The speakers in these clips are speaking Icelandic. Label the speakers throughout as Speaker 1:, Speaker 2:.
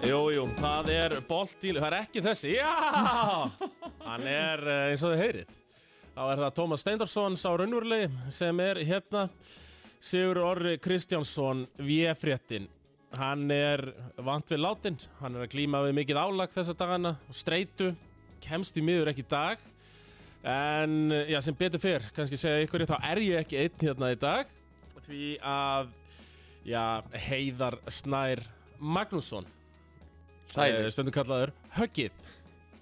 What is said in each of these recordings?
Speaker 1: Jú, jú, það er boltíl, það er ekki þessi, já! Hann er eh, eins og þið heyrið. Þá er það Tómas Steindorsson, sá raunverulegi, sem er hérna. Sigur Orri Kristjánsson, VF-réttin. Hann er vant við látin, hann er að glíma við mikið álag þessa dagana, streitu, kemst í miður ekki í dag. En, eh, já, sem betur fyrr, kannski segja ykkur, þá er ég ekki einn hérna í dag. Því að, já, Heiðar Snær Magnússon
Speaker 2: Sælir.
Speaker 1: Eh, stundum kallaður Höggið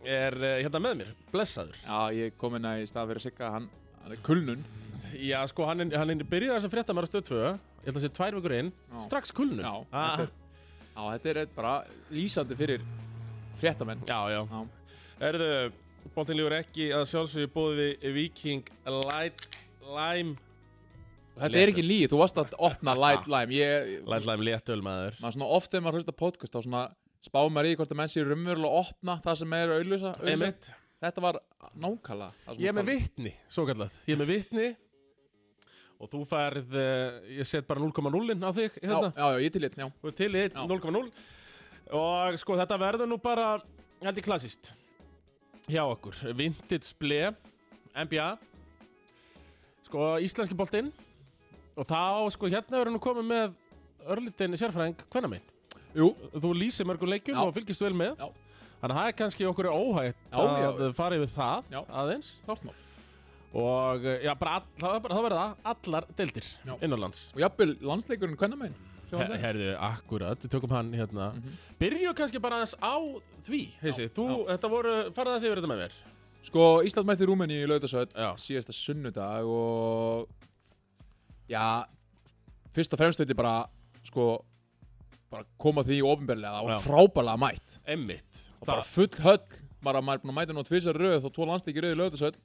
Speaker 1: er eh, hérna með mér, blessaður
Speaker 2: Já, ég kom inn að í stað fyrir Sigga, hann, hann er kulnun.
Speaker 1: Já, sko, hann, er- hann er byrjaði sem fréttamæra stöð 2 ég held að sé tvær vikur inn,
Speaker 2: Já.
Speaker 1: strax kulnum
Speaker 2: Já,
Speaker 1: ah,
Speaker 2: þetta er, já, þetta er eitt bara lýsandi fyrir fréttamenn.
Speaker 1: já, já.
Speaker 2: Já.
Speaker 1: Erðu, boltin lífur ekki að sjálfsögðu bóði við Viking Light Lime
Speaker 2: Og Þetta er ekki líð, þú varst að opna light lime. Ég,
Speaker 1: Light Lime léttöl maður
Speaker 2: maður svona oft þegar maður hlusta podcast þá svona spá maður í hvort að menn sér raunverulega að opna það sem er auðlýsa.
Speaker 1: Einmitt.
Speaker 2: Þetta var nákvæmlega. það sem
Speaker 1: Ég er
Speaker 2: maður
Speaker 1: með
Speaker 2: talaði.
Speaker 1: vitni, svo kallað Ég er með vitni og þú færð, eh, ég set bara 0,0 á þig hérna.
Speaker 2: Já, já, já, ég til eitt, já.
Speaker 1: og til í
Speaker 2: Já.
Speaker 1: 0,0 og sko þetta verður nú bara held ég klassist hjá okkur, vintage ble NBA sko íslenski boltinn og þá sko hérna verður nú komið með örlítinn sérfræðing hvenna minn
Speaker 2: Jú,
Speaker 1: þú lýsir mörgum leikjum
Speaker 2: Já.
Speaker 1: og fylgist vel með
Speaker 2: Já.
Speaker 1: þannig að það er kannski okkur óhætt
Speaker 2: Já, já.
Speaker 1: að fara yfir það
Speaker 2: Já.
Speaker 1: aðeins
Speaker 2: klárt mál.
Speaker 1: og já, bara, all, það, er bara- það verður það allar deildir
Speaker 2: Já.
Speaker 1: innanlands
Speaker 2: Og jafnvel landsleikurinn hvenna meginn?
Speaker 1: Her, herðu, akkurat, við tökum hann hérna
Speaker 2: Mhm.
Speaker 1: Byrjum kannski bara aðeins á því heisi, þú, þetta voru, farað aðeins yfir þetta með mér
Speaker 2: Sko, Ísland mætti Rúmeni í lautasöld
Speaker 1: Já.
Speaker 2: síðasta sunnudag og já, fyrst og fremst þetta er bara, sko, bara koma því ofinberlega
Speaker 1: Já.
Speaker 2: og frábælega mætt
Speaker 1: Emmitt
Speaker 2: og bara full höll, bara maður er búin að mæta nú tvisar röð og tvo landsleiki röð í lautasöld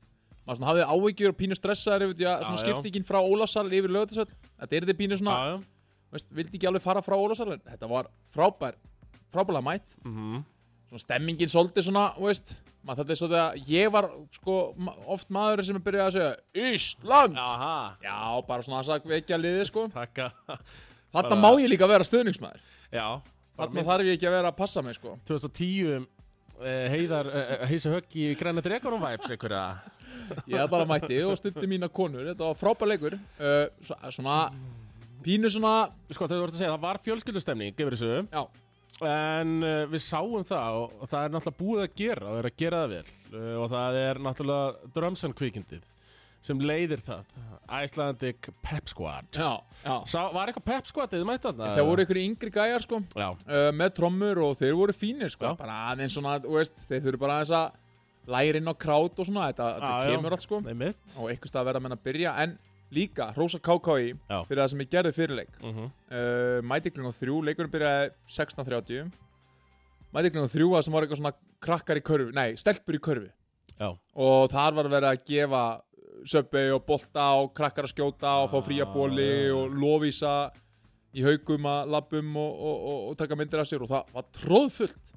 Speaker 2: maður svona hafði áhyggjur og pínu stressaður yfir því að svona
Speaker 1: Já, já.
Speaker 2: skiptingin frá Ólafsal yfir lautasöld þetta er þetta pínu svona,
Speaker 1: Já, já
Speaker 2: veist, vildi ekki alveg fara frá Ólafsal en þetta var frábær, frábælega mætt
Speaker 1: Mhm.
Speaker 2: svona stemmingin svolítið svona, þú veist maður þetta er svolítið að ég var sko ma- oft maður sem er byrjað að segja Ísland!
Speaker 1: Jaha,
Speaker 2: Já, bara svona að vekja liðið sko
Speaker 1: takka
Speaker 2: Þarna
Speaker 1: Bara-
Speaker 2: má ég líka vera stöðningsmaður
Speaker 1: Já, bara
Speaker 2: Þarna
Speaker 1: mynd
Speaker 2: þarf ég ekki að vera að passa mig sko
Speaker 1: 2010 eh, Heiðar, eh, heisi högg í Græna Dregarum Vibes einhverja
Speaker 2: Ég er bara mætti og stundi mína konur Þetta var frábær leikur uh, svo- Svona, pínu svona
Speaker 1: Sko, þetta voru að segja, það var fjölskyldustemning yfir þessu
Speaker 2: Já,
Speaker 1: En uh, við sáum það og, og það er náttúrulega búið að gera og það er að gera það vel uh, og það er náttúrulega drömsan kvikindið sem leiðir það Icelandic Pep Squad
Speaker 2: já, já
Speaker 1: Sá, var eitthvað pep skvatið þið mætti þarna?
Speaker 2: Það voru ykkur yngri gæjar sko
Speaker 1: Já,
Speaker 2: uh, með trommur og þeir voru fínir sko.
Speaker 1: Já.
Speaker 2: bara aðeins svona, þú veist, þeir þurfu bara aðeins að læra inn á krát og svona, þetta,
Speaker 1: Já,
Speaker 2: þetta
Speaker 1: já.
Speaker 2: kemur allt sko
Speaker 1: nei mitt
Speaker 2: og einhvers stað verða menn að byrja en líka, Rósa KKI
Speaker 1: Já.
Speaker 2: fyrir það sem ég gerði fyrirleik
Speaker 1: mm -hmm.
Speaker 2: uh, mætikling og þrjú, leikurinn byrjaði 16.30 mætikling og þrjú að sem var eitthvað svona krakkar í körfu nei, stelpur í körfu
Speaker 1: Já,
Speaker 2: og þar var verið að gefa söpbi og bolta og krakkar að skjóta og fá fría bóli
Speaker 1: Ah.
Speaker 2: og lofísa í haugum að labbum og, og, og, og taka myndir af sér og það var tróðfullt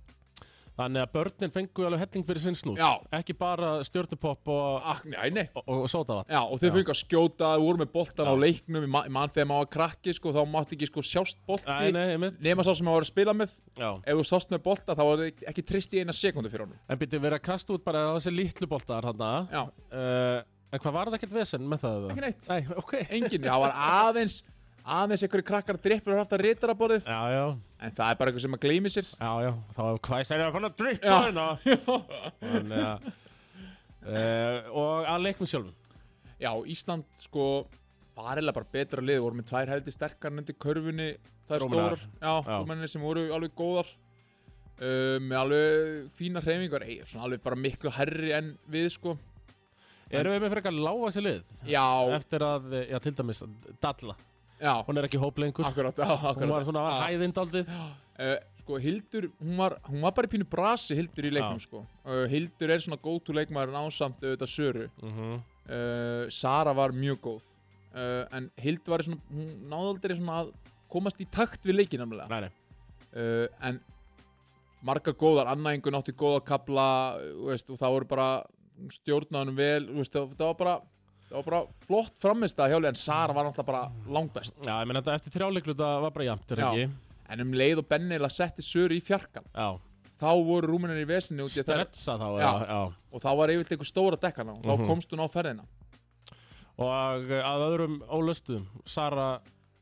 Speaker 1: þannig að börnin fengu alveg helling fyrir sinn snúð
Speaker 2: Já.
Speaker 1: Ekki bara stjórnupopp og,
Speaker 2: ah, nei, nei.
Speaker 1: og, og sótavatn
Speaker 2: Já, og þeir fengu að skjóta, voru með boltan
Speaker 1: Já.
Speaker 2: á leiknum í mann þegar maður var krakki sko, þá mátti ekki sko, sjást
Speaker 1: Nei,
Speaker 2: bolti
Speaker 1: nei, ég mitt
Speaker 2: nema sá sem maður var að spila með
Speaker 1: Já.
Speaker 2: ef þú sást með bolta þá var þið ekki trist í eina sekundu fyrir honum
Speaker 1: En byrjuðu verið að kasta út bara þessi litlu boltar hann
Speaker 2: Já,
Speaker 1: uh, En hvað var það ekkert vesen með það? eða?
Speaker 2: ekki neitt,
Speaker 1: Nei, ok
Speaker 2: engin, það var aðeins aðeins einhverju krakkar drippur og haft að rítara borðið
Speaker 1: Já, já,
Speaker 2: en það er bara eitthvað sem maður gleymi sér
Speaker 1: já, já Þá hefur hvæst þeirra að fann að drippa
Speaker 2: Já.
Speaker 1: hérna Þannig að uh, Og að leiknum sjálfum
Speaker 2: Já, Ísland sko var eða bara betra lið, voru með tvær heldi sterkar undir körfunni, tvær
Speaker 1: Rúmenar.
Speaker 2: stórar Já,
Speaker 1: Já.
Speaker 2: rúmenni sem voru alveg góðar uh, með alveg fína hreyfingar, ei, svona alveg bara miklu herri en við sko
Speaker 1: Erum við með frekar lága sér lið?
Speaker 2: Já,
Speaker 1: Eftir að, eh, já, til dæmis, Dalla
Speaker 2: já,
Speaker 1: Hún er ekki hóplengur
Speaker 2: akkurat, já,
Speaker 1: Hún var
Speaker 2: akkurat
Speaker 1: svona var
Speaker 2: Já.
Speaker 1: hæðind aldrei
Speaker 2: uh, Sko, Hildur, hún var, hún var bara í pínu brasi Hildur í leiknum sko uh, Hildur er svona go to leikmaður ásamt auðvitað Söru uh, Sara var mjög góð uh, en Hildur var í svona, hún náði aldrei svona að komast í takt við leikin namlega
Speaker 1: Nei, nei
Speaker 2: uh, en margar góðar, annaðingun átti góða kapla veist, og það voru bara hún stjórnaði hann vel þú veist, það, það var bara það var bara flott framist að hjáli en Sara var náttúrulega bara langbest
Speaker 1: Já, ég meina þetta eftir þrjáleiklu þetta var bara jafnt, er
Speaker 2: Já.
Speaker 1: það ekki?
Speaker 2: en um leið og Benni eiginlega setti Söru í fjarkan
Speaker 1: Já,
Speaker 2: þá voru rúminir í vesinni út í að þær
Speaker 1: stretsa þá, já,
Speaker 2: Já.
Speaker 1: já.
Speaker 2: og þá var yfirleitt einhver stóra dekkan á og
Speaker 1: Mhm.
Speaker 2: þá komst hún á ferðina
Speaker 1: Og eh, að öðrum ólustuðum, Sara,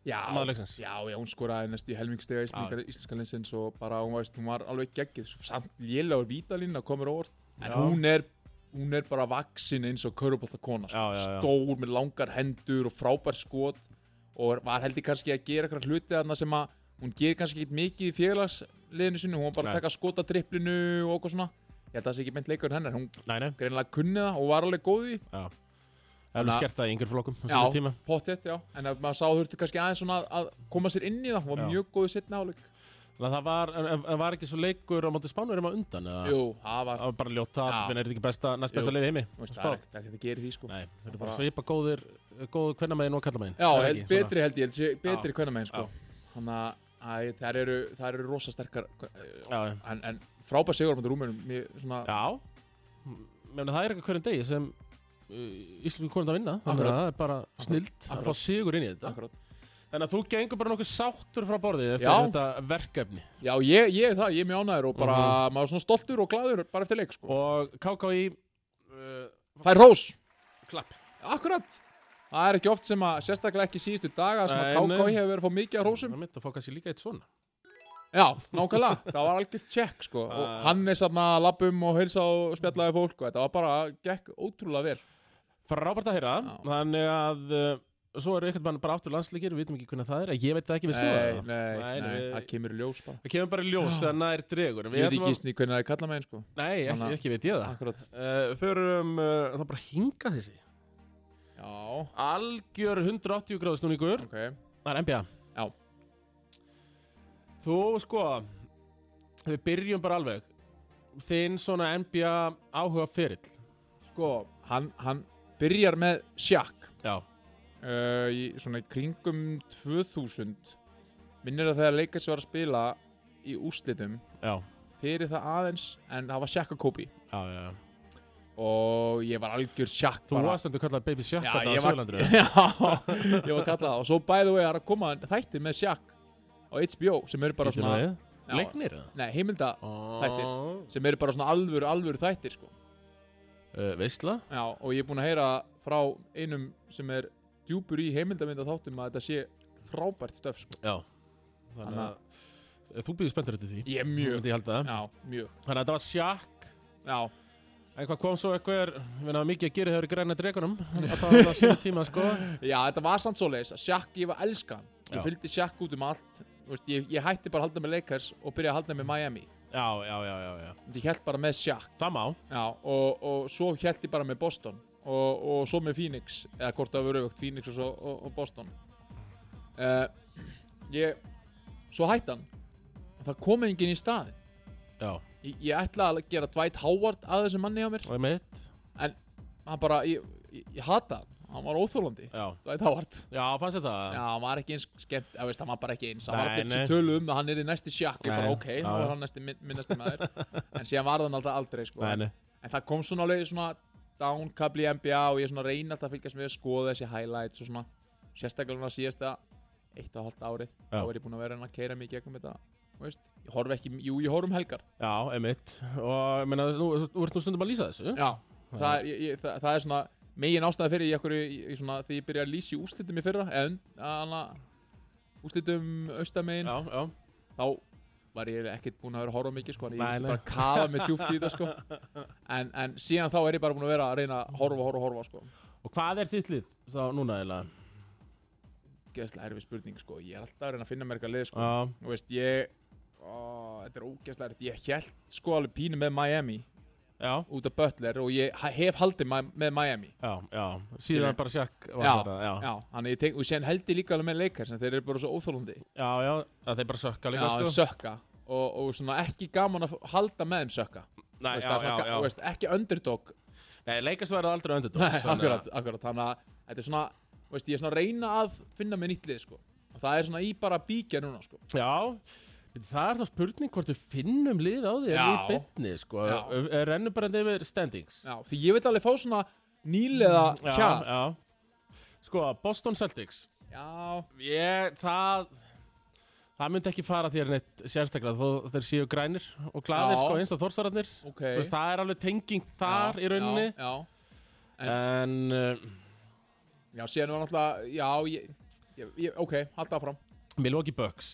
Speaker 2: já,
Speaker 1: Maðurleiksins.
Speaker 2: já, já, hún skoraði næst í helmingstega íslenska, íslenska linsins og bara hún, veist, hún var alveg geggið svo samt lélagur vítalín að komur óvart en
Speaker 1: Já.
Speaker 2: hún er hún er bara vaksin eins og körubólta kona sko.
Speaker 1: Já, já, já.
Speaker 2: stór með langar hendur og frábær skot og var heldur kannski að gera eitthvað hluti þarna sem að hún gerir kannski ekkit mikið í félagsliðinu sinu hún var bara
Speaker 1: Nei.
Speaker 2: að taka skota driplinu og okkur svona ég held að það sé ekki meint leikur hennar hún
Speaker 1: nei, nei,
Speaker 2: greinilega kunni það og var alveg góð í því.
Speaker 1: það er
Speaker 2: Þannig að-
Speaker 1: skert það í yngri flokkum á
Speaker 2: Já.
Speaker 1: sínum tíma.
Speaker 2: pottétt, já, en ef maður sá þurfti kannski aðeins svona að, að koma sér inn í það, hún var
Speaker 1: Já.
Speaker 2: mjög góð í setna áleik
Speaker 1: Þannig að það var, en, en- en var ekki svo leikur á móti spánurum að undan, eða?
Speaker 2: Jú, það var,
Speaker 1: Það var bara ljóta,
Speaker 2: Já.
Speaker 1: en er þetta ekki besta, næst besta
Speaker 2: Jú.
Speaker 1: leiði heimi?
Speaker 2: þú veist,
Speaker 1: Spá.
Speaker 2: það er ekkert ekkert að gera því sko
Speaker 1: Nei, þetta er bara
Speaker 2: Bara-
Speaker 1: svipa góðir, góður kvennamegin og kallamegin.
Speaker 2: Já, held, betri held ég, held ég, betri
Speaker 1: Já.
Speaker 2: hvernig meginn sko Þannig að- að þær eru, þær eru rosa sterkar eh,
Speaker 1: Já, já.
Speaker 2: en, en frábær sigur á mættu rúmur mér svona,
Speaker 1: Já Menni, Það er eitthvað hverjum degi sem uh, Íslensku konund að vinna Þannig að
Speaker 2: Akkurat.
Speaker 1: Það er bara snilt að fá
Speaker 2: Akkurat.
Speaker 1: sigur inn í þetta
Speaker 2: akkurat
Speaker 1: Þannig að þú gengur bara nokkuð sáttur frá borðið eftir
Speaker 2: Já.
Speaker 1: þetta verkefni
Speaker 2: Já, ég, ég er það, ég er mjög ánæður og bara,
Speaker 1: Mhm.
Speaker 2: maður er svona stoltur og gladur bara eftir leik sko
Speaker 1: Og KKÍ uh,
Speaker 2: Það er rós,
Speaker 1: Klapp
Speaker 2: akkurat Það er ekki oft sem að, sérstaklega ekki síðustu daga sem að
Speaker 1: Nei, nei.
Speaker 2: KK hefur verið að fá mikið að rósum
Speaker 1: Það er mitt að fá kannski líka eitt svona
Speaker 2: Já, nákvæmlega, það var algjört tjekk sko og
Speaker 1: Ah.
Speaker 2: hann er satt að lappum og heilsa og spjallaði fólk og þetta var bara, gekk ótrúlega vel
Speaker 1: Frábært að heyra
Speaker 2: Já.
Speaker 1: Þannig að uh, Svo eru einhvern veginn bara aftur landsleikir, við vitum ekki hvernig það er, ég veit það ekki, við
Speaker 2: Nei,
Speaker 1: það.
Speaker 2: nei,
Speaker 1: Nei,
Speaker 2: nei,
Speaker 1: nei.
Speaker 2: það kemur í ljós bara
Speaker 1: Það kemur bara í ljós
Speaker 2: Já.
Speaker 1: þegar nær dregur. en við
Speaker 2: Ég veit
Speaker 1: ætlum
Speaker 2: ekki
Speaker 1: að-
Speaker 2: gísni hvernig það er kalla með einn sko
Speaker 1: Nei, ekki,
Speaker 2: Þannig-
Speaker 1: ekki veit ég það.
Speaker 2: Akkurat
Speaker 1: Uh, förum, uh, það bara hinga þessi.
Speaker 2: Já,
Speaker 1: Algjör 180 gráðu snúningur
Speaker 2: ok
Speaker 1: Það er NBA
Speaker 2: Já.
Speaker 1: Þú sko Við byrjum bara alveg Þinn svona NBA áhuga fyrill
Speaker 2: Sko, hann, hann byrjar með sjakk
Speaker 1: Já
Speaker 2: uh, í svona í kringum 2000 minnir að þegar leikast var að spila í úrslitum
Speaker 1: Já,
Speaker 2: fyrir það aðeins en það var sjakk að kópi
Speaker 1: já, já, já.
Speaker 2: og ég var algjör sjakk
Speaker 1: Þú
Speaker 2: bara
Speaker 1: varst endur kallað Baby Shaq
Speaker 2: Já,
Speaker 1: þetta á
Speaker 2: ég var-
Speaker 1: Söðlandri
Speaker 2: Já, ég var kallað það og svo bæðu við að koma þætti með Shaq á HBO sem eru bara svona Já,
Speaker 1: Leiknir eða?
Speaker 2: Nei, heimilda Þættir.
Speaker 1: Ó,
Speaker 2: sem eru bara svona alvöru, alvöru þættir sko.
Speaker 1: uh, Veistla
Speaker 2: Já, og ég er búin að heyra frá einum sem er djúpur í heimildaminda þáttum að þetta sé frábært stöf sko.
Speaker 1: Já Þannig
Speaker 2: Þannig
Speaker 1: að Eh, Þú býður spenntur eftir því
Speaker 2: Ég er mjög
Speaker 1: Myndi ég halda það.
Speaker 2: Já, mjög
Speaker 1: Þannig að þetta var Shaq
Speaker 2: Já,
Speaker 1: En hvað kom svo eitthvað er Við erum mikið að gera þegar við græna dregunum Þetta var það síðan tíma sko
Speaker 2: já þetta var samt svoleiðis að Shaq, ég var að elska hann
Speaker 1: Já.
Speaker 2: Ég fylgdi Shaq út um allt Þú veist, ég, ég hætti bara að halda með Lakers og byrja að halda með Miami
Speaker 1: Já, já, já, já, já.
Speaker 2: Ég held bara með Shaq
Speaker 1: Það má
Speaker 2: Já, og, og svo held ég bara með Boston og, og svo með Phoenix eða hvort það var auðvögt, Phoenix og, svo, og, og Boston uh, ég svo hætti hann og það kom enginn í staðin
Speaker 1: Já,
Speaker 2: ég, ég ætla að gera Dwight Howard að þessum manni á mér
Speaker 1: og ég meitt
Speaker 2: hann bara, ég, ég, ég hata hann hann var óþólandi,
Speaker 1: Já,
Speaker 2: Dwight Howard
Speaker 1: já, fannst þetta
Speaker 2: já, hann var ekki eins skemmt, ég veist, hann var bara ekki eins hann var
Speaker 1: Nei,
Speaker 2: ekki eins
Speaker 1: nei.
Speaker 2: og tölu um að hann er í næsti sjakk ég bara,
Speaker 1: Nei,
Speaker 2: ok,
Speaker 1: já,
Speaker 2: þá
Speaker 1: já.
Speaker 2: var hann næsti minn- minnasti maður en síðan var hann alltaf aldrei sko.
Speaker 1: Nei, nei,
Speaker 2: En það kom svona alveg svona downkabli í NBA og ég svona reyni alltaf að fylgjast með að skoða þessi highlights og svona sérstaklega núna síðasta eitt og halvt árið
Speaker 1: Já.
Speaker 2: þá er ég búin að vera að keira mig í gegnum þetta þú veist, ég horf ekki, jú ég horf um helgar
Speaker 1: já, emitt Og, ég meina, þú, þú, þú ert nú stundum að lýsa þessu
Speaker 2: já, það er, ég, ég, það, það er svona megin ástæða fyrir ég okkur í svona því ég byrja að lýsa í úrslitum í fyrra en hana, úrslitum austamegin
Speaker 1: já, já.
Speaker 2: þá var ég ekkert búin að vera að horfa mikið sko, en ég
Speaker 1: Nei,
Speaker 2: er
Speaker 1: nei.
Speaker 2: bara að kafa með djúft í þetta sko. en, en síðan þá er ég bara búin að vera að reyna að horfa, horfa, horfa sko.
Speaker 1: Og hvað er þitt lið þá núna eiginlega?
Speaker 2: ógeðslega erfið spurning sko. ég er alltaf að reyna að finna mér eitthvað lið sko.
Speaker 1: Já,
Speaker 2: Þú veist, ég ó, þetta er ógeðslega erfið ég held sko alveg pínu með Miami
Speaker 1: já,
Speaker 2: út af Butler og ég ha- hef haldið ma með Miami
Speaker 1: já, já Síðan
Speaker 2: Skilur.
Speaker 1: bara sjakk var
Speaker 2: Já.
Speaker 1: þarna, já,
Speaker 2: já, þannig ég tenk, og sen held ég líka alveg með leikar sem þeir eru bara svo óþólandi já,
Speaker 1: já, já Það þeir bara sökka líka,
Speaker 2: en
Speaker 1: sko
Speaker 2: sökka og, og svona ekki gaman að f- halda með þeim sökka
Speaker 1: Nei,
Speaker 2: Þú veist,
Speaker 1: já,
Speaker 2: það er
Speaker 1: já,
Speaker 2: svona ga-
Speaker 1: já,
Speaker 2: þú veist, ekki underdog
Speaker 1: Nei, leikast verður aldrei öndur
Speaker 2: Nei, akkurat, akkurat, þannig að þetta er svona þú veist, ég er svona að reyna að finna mér nýtt lið sko. og það er svona í bara bíkja núna sko.
Speaker 1: Já Það er þá spurning hvort við finnum lið á því en
Speaker 2: Já.
Speaker 1: í bytni, sko.
Speaker 2: Já.
Speaker 1: Ö- Rennum bara yfir standings.
Speaker 2: Já, því ég vil alveg fá svona nýlega hjá já.
Speaker 1: Mm, já. Sko, Boston Celtics. Ég, það... Það myndi ekki fara þér neitt sérstaklega þó þeir séu grænir og glaðir,
Speaker 2: Já.
Speaker 1: sko, eins og þórsararnir.
Speaker 2: ok
Speaker 1: Þú veist, það er alveg tenging þar
Speaker 2: Já,
Speaker 1: í rauninni.
Speaker 2: Já, já,
Speaker 1: En, uh,
Speaker 2: já síðan var náttúrulega, já, ég, ég, ég ok, halda áfram
Speaker 1: Milwaukee Bucks.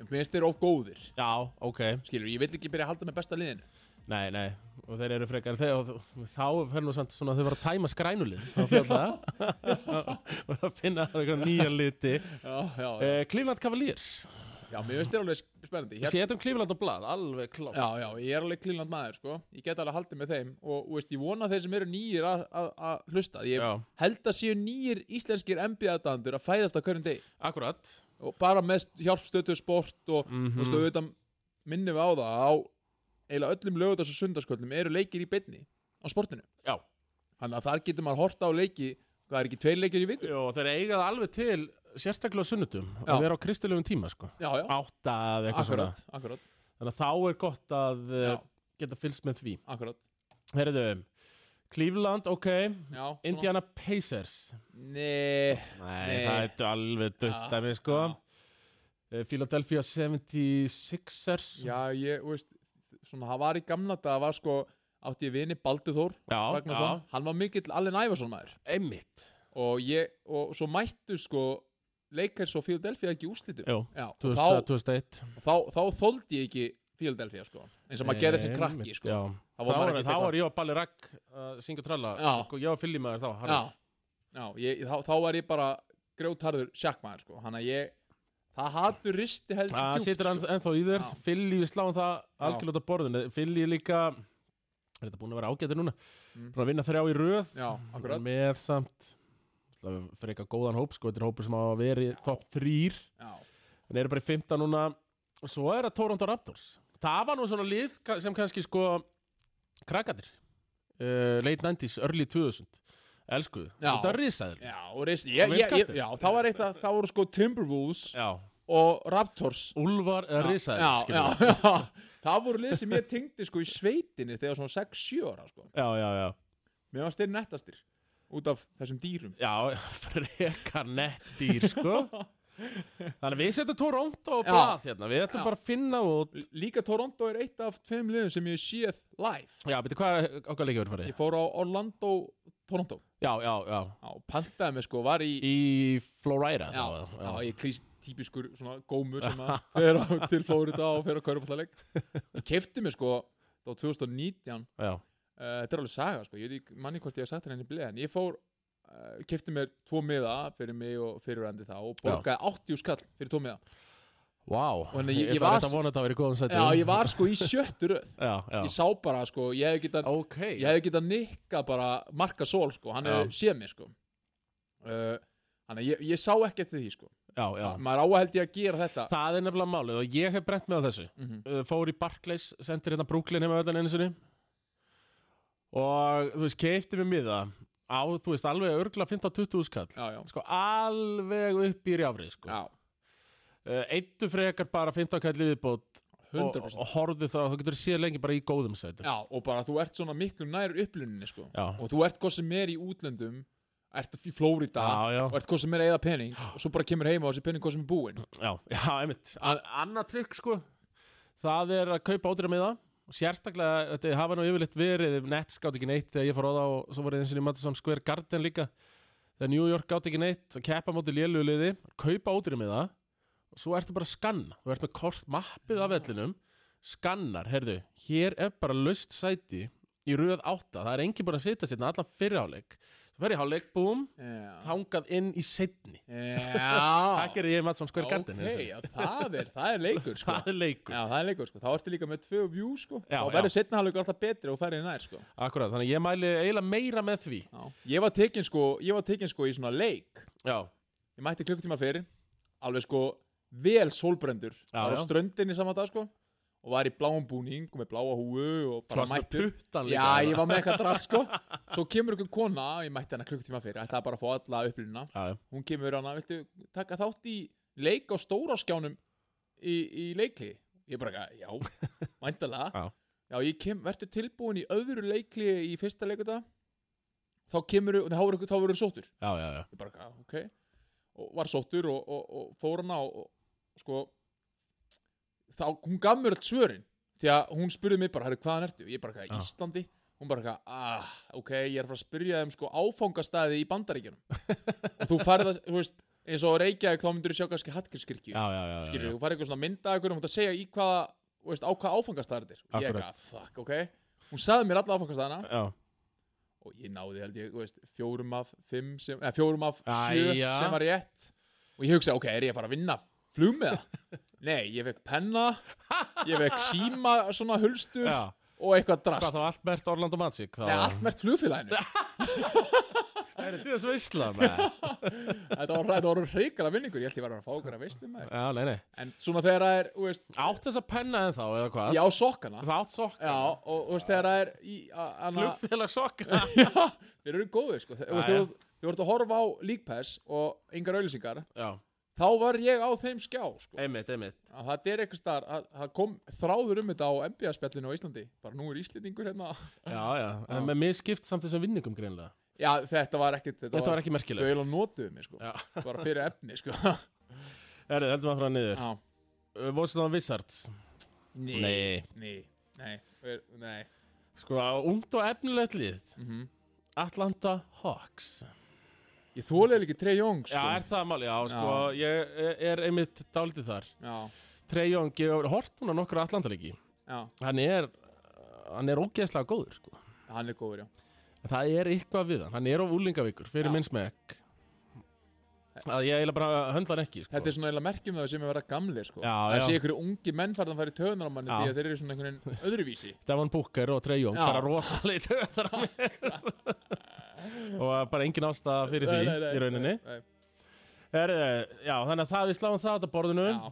Speaker 2: Ég finnst þeir of góðir,
Speaker 1: Já, ok.
Speaker 2: skilur, ég vil ekki byrja að halda með besta liðinu
Speaker 1: Nei, nei, og þeir eru frekar þeir, og þ- þá fer nú samt svona að þau voru að tæma skrænulið þá fyrir það og að finna það eitthvað nýja liti
Speaker 2: Já, já, já,
Speaker 1: uh, Cleveland Cavaliers
Speaker 2: Eh. já mér finnst þeir alveg spennandi Hér,
Speaker 1: Sétum Cleveland á blað, alveg klá
Speaker 2: Já, já, ég er alveg klínland maður, sko Ég get alveg haldið með þeim og, og veist, ég vona þeir sem eru nýjir að- að að hlusta Ég
Speaker 1: Já.
Speaker 2: held að séu nýjir íslenskir NBA-dandur að fæðast á hverjum degi
Speaker 1: Akkurat
Speaker 2: og bara með hjálpstötu sport og mm
Speaker 1: Mhm.
Speaker 2: -hmm. veist, og auðvitað minnum við á það að á eiginlega öllum lögutas og sundarskvöldum eru leikir í beinni á sportinu
Speaker 1: Já.
Speaker 2: þannig að þar getur maður horta á leiki hvað er ekki tveir leikir í viku
Speaker 1: Jó, þeir eiga það alveg til sérstaklega á sunnudum
Speaker 2: Já.
Speaker 1: að vera á kristilegum tíma sko
Speaker 2: já, já,
Speaker 1: átta eða eitthvað
Speaker 2: akkurat,
Speaker 1: svona Eh,
Speaker 2: akkurat,
Speaker 1: þannig að þá er gott að
Speaker 2: já,
Speaker 1: já. geta fylst með því
Speaker 2: akkurat
Speaker 1: Herðu, Cleveland, ok
Speaker 2: já, svona.
Speaker 1: Indiana Pacers
Speaker 2: Nei,
Speaker 1: Nei,
Speaker 2: Nei.
Speaker 1: það er alveg
Speaker 2: Já.
Speaker 1: dött af mig sko
Speaker 2: Já.
Speaker 1: Eh, Philadelphia 76ers
Speaker 2: já, ég, þú veist svona, það var í gamla dag, það var sko átti ég vini Baldur Þór
Speaker 1: já,
Speaker 2: Ragnarsson, hann var mikill Allen Iverson maður
Speaker 1: já. einmitt
Speaker 2: og ég, og svo mættu sko leikars og Philadelphia ekki í úrslitum
Speaker 1: Jú,
Speaker 2: já, og
Speaker 1: 2000,
Speaker 2: þá
Speaker 1: 2001
Speaker 2: og þá, þá þóldi ég ekki Philadelphia sko eins og maður gerði sem krakki
Speaker 1: Einmitt,
Speaker 2: sko
Speaker 1: já.
Speaker 2: það
Speaker 1: Þá
Speaker 2: var
Speaker 1: var,
Speaker 2: maður ekki
Speaker 1: þá
Speaker 2: eitthvað
Speaker 1: var ég og Balli Ragg að syngja tralla
Speaker 2: Já.
Speaker 1: og ég var fyllimaður þá
Speaker 2: já,
Speaker 1: harður.
Speaker 2: já ég, þá, þá var ég bara grjótharður sjakkmaður sko hann að ég það hattu risti heldur
Speaker 1: Það
Speaker 2: djúpt,
Speaker 1: Ah,
Speaker 2: sko.
Speaker 1: situr hann ennþá í þér
Speaker 2: Já.
Speaker 1: Fylli, við sláum það algjörlega út af borðinu Fylli er líka er þetta búin að vera ágæti núna
Speaker 2: Mm.
Speaker 1: búin að vinna þrjá í röð
Speaker 2: já, akkurat
Speaker 1: með samt freka góðan hóp sko, þetta er hópur sem hafa verið topp þrýr
Speaker 2: já,
Speaker 1: en eru bara í 15 núna og svo er það Toronto Raptors það var nú svona lið ka- sem kannski sko krakkadir uh, late 90s, early 2000 elskuðu,
Speaker 2: Já.
Speaker 1: þetta er risaður
Speaker 2: já, og risti ég,
Speaker 1: Og
Speaker 2: ég, ég,
Speaker 1: vinskapur.
Speaker 2: já, það var eitt að það voru sko Timberwolves
Speaker 1: já,
Speaker 2: og Raptors
Speaker 1: Úlfar eða
Speaker 2: já,
Speaker 1: risaður
Speaker 2: já,
Speaker 1: skilurðu.
Speaker 2: já, það voru lið sem ég tengdi sko í sveitinni þegar svona 6-7 ára sko
Speaker 1: já, já, já,
Speaker 2: mér var styr nettastir út af þessum dýrum
Speaker 1: já frekar nett dýr sko þannig að við setjum Toronto og
Speaker 2: Já.
Speaker 1: blað hérna við ætlum
Speaker 2: Já.
Speaker 1: bara að finna út
Speaker 2: líka Toronto er eitt af tveim liðum sem ég séð live
Speaker 1: já, betur hvað okkar leikja verið farið
Speaker 2: Ég fór á Orlando, Toronto
Speaker 1: já, já, já,
Speaker 2: Já, pantaði mig sko, var í
Speaker 1: í Florida
Speaker 2: Já,
Speaker 1: þá,
Speaker 2: já, ég klýst típiskur svona gómur sem að fer á til Florida og fer á Kaurupallarleik Ég kefti mig sko á 2019 uh,
Speaker 1: já, já.
Speaker 2: Þetta er alveg saga sko, ég veit ekki manni hvort ég hef sagt henni bleið En ég fór, uh, kefti mér tvo miða fyrir mig og fyrir endi þá Og borgaði 80 skall fyrir tvo miða
Speaker 1: Vá,
Speaker 2: þannig að ég-
Speaker 1: ég
Speaker 2: ég
Speaker 1: var
Speaker 2: var-
Speaker 1: þetta vonað að vera í góðum sæti
Speaker 2: Já, ég var sko í sjöttu röð
Speaker 1: já, já.
Speaker 2: Ég sá bara sko, ég hef getað
Speaker 1: Ok
Speaker 2: ég hefði getað nikka bara marka sól sko, hann
Speaker 1: Já.
Speaker 2: hefði séð mig sko uh, hann að ég, ég sá ekki eftir því sko,
Speaker 1: já, já.
Speaker 2: maður á að held ég að gera þetta
Speaker 1: Það er nefnilega málið og ég hef brent með á þessu
Speaker 2: Mhm.
Speaker 1: uh, Fór í Barclays, sendir hérna Brooklyn heima öllan einu sinni Og þú veist, keipti mér miða Á, þú veist, alveg örgla 15-20 skall
Speaker 2: já, já,
Speaker 1: Sko, alveg upp í rjáfri sko.
Speaker 2: já,
Speaker 1: uh, Eittu frekar bara 15 kall viðbót og,
Speaker 2: 100%
Speaker 1: og horfðu þá, þú getur séð lengi bara í góðum sæti
Speaker 2: já, og bara þú ert svona miklu nær uppluninni sko,
Speaker 1: já,
Speaker 2: og þú ert hvað sem er í útlöndum ert í Flórida
Speaker 1: já, já,
Speaker 2: og ert hvað sem er að eða pening og svo bara kemur heima og þessi pening hvað sem er búinn
Speaker 1: já, já einmitt An Annað trygg, sko Það er að kaupa ódýra miða og sérstaklega, þetta hafa nú yfirleitt verið Nets gátt ekki neitt þegar ég fór á það og svo var eins og í Madison Square Garden líka þegar New York gátt ekki neitt að keppa móti léluliði, kaupa ódýra miða og svo ertu bara að skanna þú ert með kort mappið af vellinum skannar, heyrðu, hér er bara löst sæti í röð átta það er engin búin að sitja sérna, allan fyrirháleik svo fer ég háleik, búm,
Speaker 2: já,
Speaker 1: þangað inn í setni það
Speaker 2: já.
Speaker 1: gerði ég í Madison Square Garden
Speaker 2: ok,
Speaker 1: eins og í.
Speaker 2: já, það er, það er leikur sko
Speaker 1: það er leikur
Speaker 2: Já, það er leikur sko, þá ertu líka með tvö vjú sko
Speaker 1: Já,
Speaker 2: þá
Speaker 1: já.
Speaker 2: verður setna hálfleikur alltaf betri og það er nær sko
Speaker 1: Akkurat, þannig að ég mæli eiginlega meira með því
Speaker 2: Já. Ég var tekin sko, ég var tekin sko í svona leik
Speaker 1: Já,
Speaker 2: Ég mætti klukkutíma fyrir Alveg sko vel sólbrendur
Speaker 1: Já,
Speaker 2: Það
Speaker 1: já.
Speaker 2: var á ströndinni saman dag sko Og var í bláum búning og með bláa húu Og bara
Speaker 1: varstu með
Speaker 2: mættur
Speaker 1: puttan líka
Speaker 2: Já, ég var með eitthvað drast sko Svo kemur ykkur kona, ég mætti hana klukkutíma fyrir Ætlaði bara að fá alla upplýnina
Speaker 1: Já, já.
Speaker 2: Hún hérna, kemur hana, viltu taka þátt í leik á stóra skjánum Í, í leikli Ég bara, eitthvað, já, væntalega
Speaker 1: Já.
Speaker 2: Já, ég kem, verður tilbúin í öðru leikli í fyrsta leikuta Þá kemur, þá verður þá verður sóttur
Speaker 1: já, já, já.
Speaker 2: Ég bara, eitthvað, ok Og var sóttur og, og, og fór hana og, og sko Þá, hún gaf mér allt svörin Því að hún spurði mig bara, herri, hvaðan ertu? Ég bara,
Speaker 1: Já.
Speaker 2: eitthvað, Íslandi Hún bara, eitthvað, ah, ok, ég er að fara að spyrja þeim sko áfangastæði í bandaríkjunum Og þú færð að, þú veist, eins og Reykjavík þá myndir sjá kannski Hallgrímskirkju
Speaker 1: já, já, já, já,
Speaker 2: skilur,
Speaker 1: já.
Speaker 2: þú farið eitthvað svona mynda eitthvað og hún það segja í hvaða, þú veist, á hvaða áfangastæðar þetta er og ég
Speaker 1: Akkurat.
Speaker 2: eitthvað, fuck, ok hún sagði mér alla áfangastæðana
Speaker 1: Já,
Speaker 2: og ég náði, held ég, þú veist, fjórum af fimm sem, eða fjórum af sjö
Speaker 1: Æja.
Speaker 2: sem var rétt og ég hugsaði, ok, er ég að fara að vinna flug með það? Nei, ég fekk penna ég fekk síma svona hulstur
Speaker 1: já.
Speaker 2: og eitthvað
Speaker 1: Hvað
Speaker 2: drast
Speaker 1: þá Albert Orlando Magic? Þá...
Speaker 2: Nei, allt mert flugfélaginu
Speaker 1: Það er djúðis veistla með.
Speaker 2: Þetta var, þetta var reikala vinningur, ég held ég var að fá okkur að veistum maður
Speaker 1: Já, nei, nei.
Speaker 2: En svona þegar það er, þú veist,
Speaker 1: Átt þess að penna en þá, eða hvað?
Speaker 2: ég á sokkana
Speaker 1: Það átt sokka.
Speaker 2: Já, og þú veist, þegar það er í, a, hana,
Speaker 1: Flugfélag sokka.
Speaker 2: Já, þeir eru góðir sko Þe- þú veist,
Speaker 1: Já, já.
Speaker 2: Þegar þú- þegar þú ert að horfa á League Pass og yngar auðlýsingar
Speaker 1: já,
Speaker 2: þá var ég á þeim skjá sko.
Speaker 1: einmitt, einmitt.
Speaker 2: að það er eitthvað star að það kom þráður um þetta á NBA-spjallinu á Íslandi bara nú er Íslendingur hérna
Speaker 1: Já, já. En með misskipt samt þessum vinningum greinlega.
Speaker 2: Já, þetta var ekkit þetta,
Speaker 1: Þetta var ekki
Speaker 2: þau
Speaker 1: merkilegt.
Speaker 2: eiginlega notuðu mig sko
Speaker 1: Já.
Speaker 2: það var fyrir efni sko
Speaker 1: Erðu, heldum að frá niður.
Speaker 2: Já.
Speaker 1: Voslan Wizards. Nei.
Speaker 2: Nei Nei Þeir- Nei
Speaker 1: Sko, ungt og efnilegt lið.
Speaker 2: mm -hmm.
Speaker 1: Atlanta Hawks.
Speaker 2: Ég þólega ekki Trey Young sko
Speaker 1: Já, er það máli? Já, sko, ég er- er einmitt dálítið þar.
Speaker 2: Já,
Speaker 1: Treyjón gefur hort núna nokkur Atlanta-leiki.
Speaker 2: já
Speaker 1: Hann er, hann er ógeðslega góður, sko.
Speaker 2: Hann er góður já
Speaker 1: En Það er eitthvað við hann, hann er á úlingavíkur fyrir
Speaker 2: Já.
Speaker 1: minn smekk að ég eiginlega bara höndla hann ekki sko.
Speaker 2: Þetta er svona eiginlega merkjum það sem er verið gamlir sko
Speaker 1: Já,
Speaker 2: Það
Speaker 1: já.
Speaker 2: sé ykkur ungi menn farðan færi töðunar á manni
Speaker 1: Já.
Speaker 2: því að þeir eru svona einhvern veginn öðruvísi
Speaker 1: Devon Booker og Trey Young
Speaker 2: Já.
Speaker 1: bara rosalegt höfðar á mér og bara engin ástæða fyrir því
Speaker 2: Nei, nei, nei,
Speaker 1: í rauninni
Speaker 2: nei, nei.
Speaker 1: er, eh, Já, þannig að það við sláum það á borðinu
Speaker 2: Já,